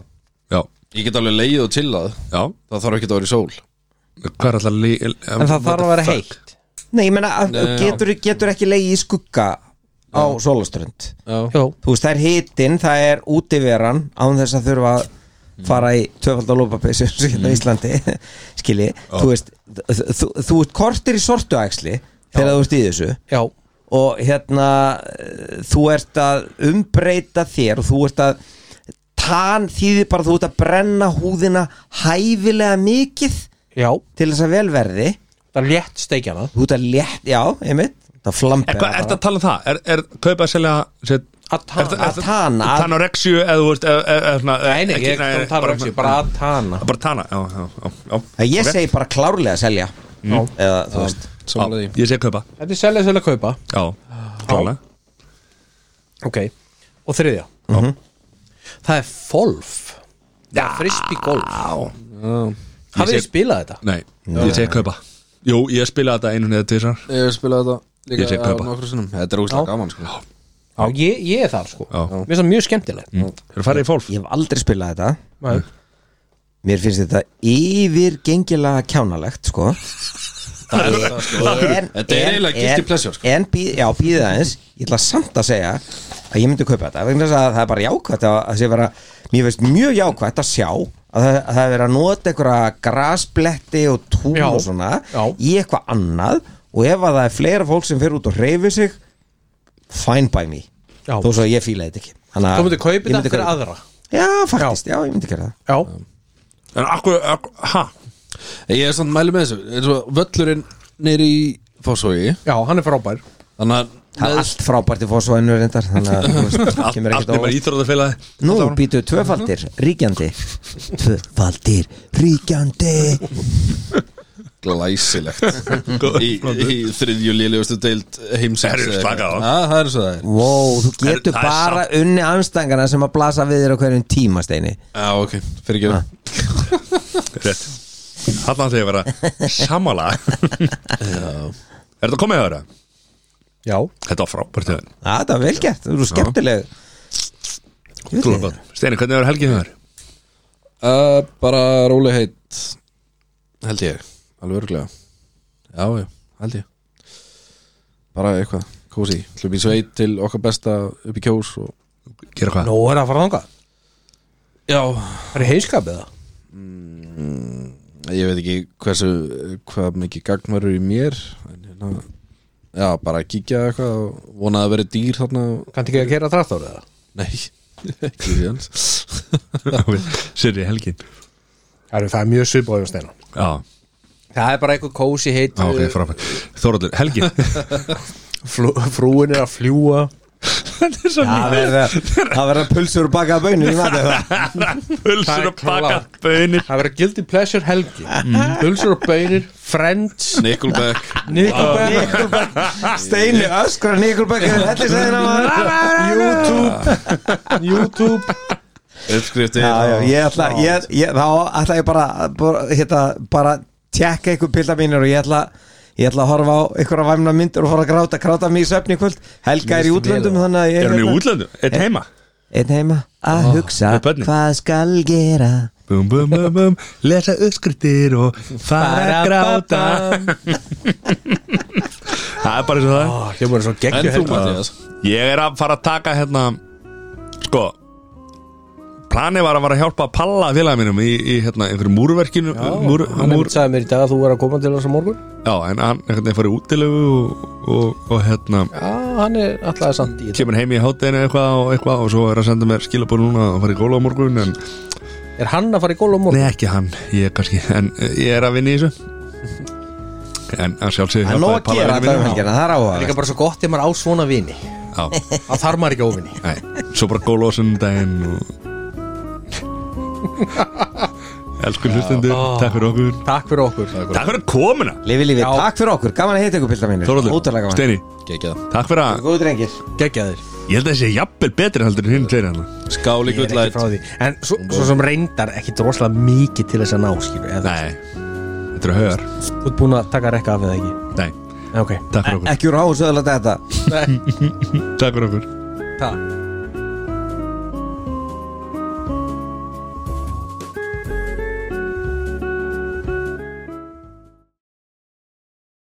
S1: Já,
S3: Ég get alveg leið og til að
S1: já
S3: Það þarf ekki að vera í sól
S1: Hvað er alltaf li...
S2: en það þarf að vera heitt
S4: nei, ég meina að-
S3: Nei, já.
S4: getur, getur ekki leið í skugga á sólaströnd
S3: Já.
S2: Jó,
S4: Þú veist, það er hitin, það er útiveran án þess að þurfa að fara í tvöfaldar lópapeysu mm. í Íslandi skilji, þú veist þú, þú, þú ert kortir í sortuæksli þegar þú ert í þessu
S2: já,
S4: og hérna eh, þú ert að umbreyta þér og þú ert að tan þýðir bara að þú ert að brenna húðina hæfilega mikið
S2: já
S4: til þess að vel verði
S2: Það er létt steikjana
S4: þú ert að létt, já, einmitt það
S1: Er
S4: flambera
S1: hvað, ertu að tala um það? Er, er kaupa að selja set,
S2: Atana.
S4: Atana.
S1: Tana og Rexju eða þú veist eða- eða- eða svona-
S2: Nei, nei,
S1: ekki-
S2: ég er bara, um bara Atana
S1: Bara Tana, já, já, já, já.
S4: ég
S1: Ok.
S4: segi bara klárlega að selja eða þú veist
S1: Já, Ég segi kaupa
S2: Þetta er selja, selja, kaupa
S1: Já, klálega
S2: Ok, og þriðja Mhm. Það er Folf Já Frisbee golf Hafið þið
S1: sé-
S2: spilað þetta?
S1: Nei, ég segi kaupa Jú, ég spilaði þetta einu neða tísar
S3: Ég hef spilað þetta
S1: Ég tek
S3: líka á
S1: kaupa.
S3: nokkru sinnum Þetta er
S2: Já.
S3: úslega gaman sko
S2: Já, ég, ég er þar sko
S1: Já.
S2: Mér finnst það mjög skemmtilegt
S1: Þeir eru farið í fólf
S4: ég hef aldrei spilað þetta
S2: Nei.
S4: mér finnst þetta yfirgengilega kjánalegt sko en,
S3: Þetta sko. er eiginlega guilty pleasure, sko.
S4: en býð, já, býðið aðeins ég ætla samt að segja að ég myndi kaupa þetta vegna þess að það er bara jákvætt að, að sé vera, mér finnst mjög jákvætt að sjá að það, að það er verið að nota einhverja grasbletti og tún
S2: Já,
S4: og svona
S2: já.
S4: í eitthvað annað og ef að það er fleira fólk sem fyrir út og reyfi sig fine by me
S2: Já.
S4: þó svo að ég fíla þetta ekki Þannig
S2: Þú
S4: að
S2: myndir kaupa
S4: ég
S2: þetta
S4: myndi
S2: fyrir
S4: kaupa-
S2: aðra
S4: já, faktist, já. ég myndi gera það
S2: Já,
S1: En akkur, akkur, ha?
S3: Ég er samt mæli með þessu eins og Völlurinn nýri í Fósói
S2: já, hann er frábær
S3: Þannig
S4: Það
S3: að
S4: er allt frábært í fósvæðinu reyndar Þannig að þú veist, kemur
S1: Allt
S4: ekkert
S1: nema
S4: á
S1: íþróðafélagi
S4: Nú býtu tvöfaldir, ríkjandi Tvöfaldir, ríkjandi
S3: glæsilegt Í, í þriðju lélegustu deild heimsins
S1: Herru, slaka á.
S3: Já, Það er svo það er
S4: Wow, þú getur
S1: Það er
S4: bara unni anstangana sem að blasa við þér á hverjum tíma steini
S3: Já, ok, fyrir ekki
S1: Rétt Þannig að þegar vera samála Er þetta komið að vera?
S2: Já,
S1: Þetta var frábært hefur
S4: Já, það er vel gert, þú eru skemmtileg Ég vil þér.
S1: Steini, hvernig verður helgið hefur?
S3: uh, Bara róli heitt Held ég, alveg örglega Já, já, held ég Bara eitthvað, kósi Hlum í sveit til okkar besta upp í kjós og...
S1: Gera hvað?
S2: nú er það að fara þangað
S3: Já
S2: Það er heiskapið það
S3: Ég veit ekki hversu hvað mikið gagn verður í mér en hérna Já, bara að kíkja eitthvað og vona að vera dýr þarna og...
S2: Kanntu ekki að kera traktor eða?
S3: Nei, ekki því hans
S1: Sirri helgin
S2: Það er, það er mjög svipað á steina
S1: Já,
S2: Það er bara eitthvað kósi heitt
S1: já, ok, frábært Þóraldur, helgin
S2: flú, Frúin er að fljúa
S1: Þetta er svo
S4: Það verða- það verða pulsur og bakaða baunir í matið það
S1: Pulsur og bakað bönir
S2: Það verður guilty pleasure helgi Hulsur og bönir, friends
S3: Nickelback
S2: Nickelback
S4: Steini öskra Nikulbæk Þetta er segðin á
S2: YouTube YouTube
S3: uppskriftir
S4: já, já, ég ætla, ég, ég, þá ætla ég bara, bara, hérna, bara tjekka ykkur pilda mínir og ég ætla ég ætla að horfa á ykkur að væmna myndur og fara að gráta, gráta mig í svefni í kvöld Helga er í útlöndum þannig að ég
S1: Er
S4: hérna-
S1: hérna- hún í útlöndum? Eitt heima?
S4: einn heima að hugsa
S1: með börnin.
S4: hvað skal gera
S1: Bum, bum, bum, bum Lesa uppskrittir og fara að gráta Það er bara eins og það er
S2: Hljómar er svo
S3: En
S2: geggju
S3: þú Mattias
S1: Ég er að fara að taka hérna Sko Planið var að fara að hjálpa að palla félagum mínum í, í hérna, einhverju múrverkinu múr,
S2: Hann
S1: múr,
S2: hefði sagði mér í dag að þú er að koma til þess að morgun
S1: Já, en hann einhvern veginn farið útilegu og, og, og hérna
S2: Já, hann er alltaf samt í
S1: kemur heim í hátteginu eitthvað og eitthvað og svo er að senda mér skilabóð núna og farið góla á morgun en
S2: Er hann að fara í gólf á morgun?
S1: Nei, ekki hann, ég kannski En eh, ég er að vinna í þessu En að sjálfsögðu
S4: það er nóg
S1: hjálpaði
S4: að
S1: Palla
S4: gera þetta um
S1: vinur minn.
S4: helgina, það
S2: Það
S4: er
S2: er
S4: áhuga
S2: líka bara svo gott ef maður á svona vini
S1: Já,
S2: Það þarf maður ekki óvinni
S1: um nei, svo bara góla á sunnudaginn og... Elsku hlustendur, takk fyrir okkur
S2: Takk fyrir okkur
S1: Takk fyrir komuna
S4: Lifi lífi,
S2: Já.
S4: takk fyrir okkur, gaman að heita ykkur pilda mínir Ótalega
S1: Þorvaldur,
S4: gaman
S1: Steini,
S3: Gekkið
S1: takk fyrir að
S4: Góðu drengir
S2: Gekkjaðir
S1: Ég held að þessi jafnvel betri heldur en hinn tveir hann
S3: Skáli
S2: Ég er ekki
S3: gullæt
S2: frá því En svo, svo sem reyndar ekki droslega mikið til þess að ná skilur eða-
S1: Nei, þetta eru haugar
S2: Þú ert búin að taka rekka af eða ekki
S1: Nei,
S2: Ok
S1: takk fyrir okkur
S4: Ekki úr áhús öðlega þetta
S1: Takk fyrir okkur
S2: Takk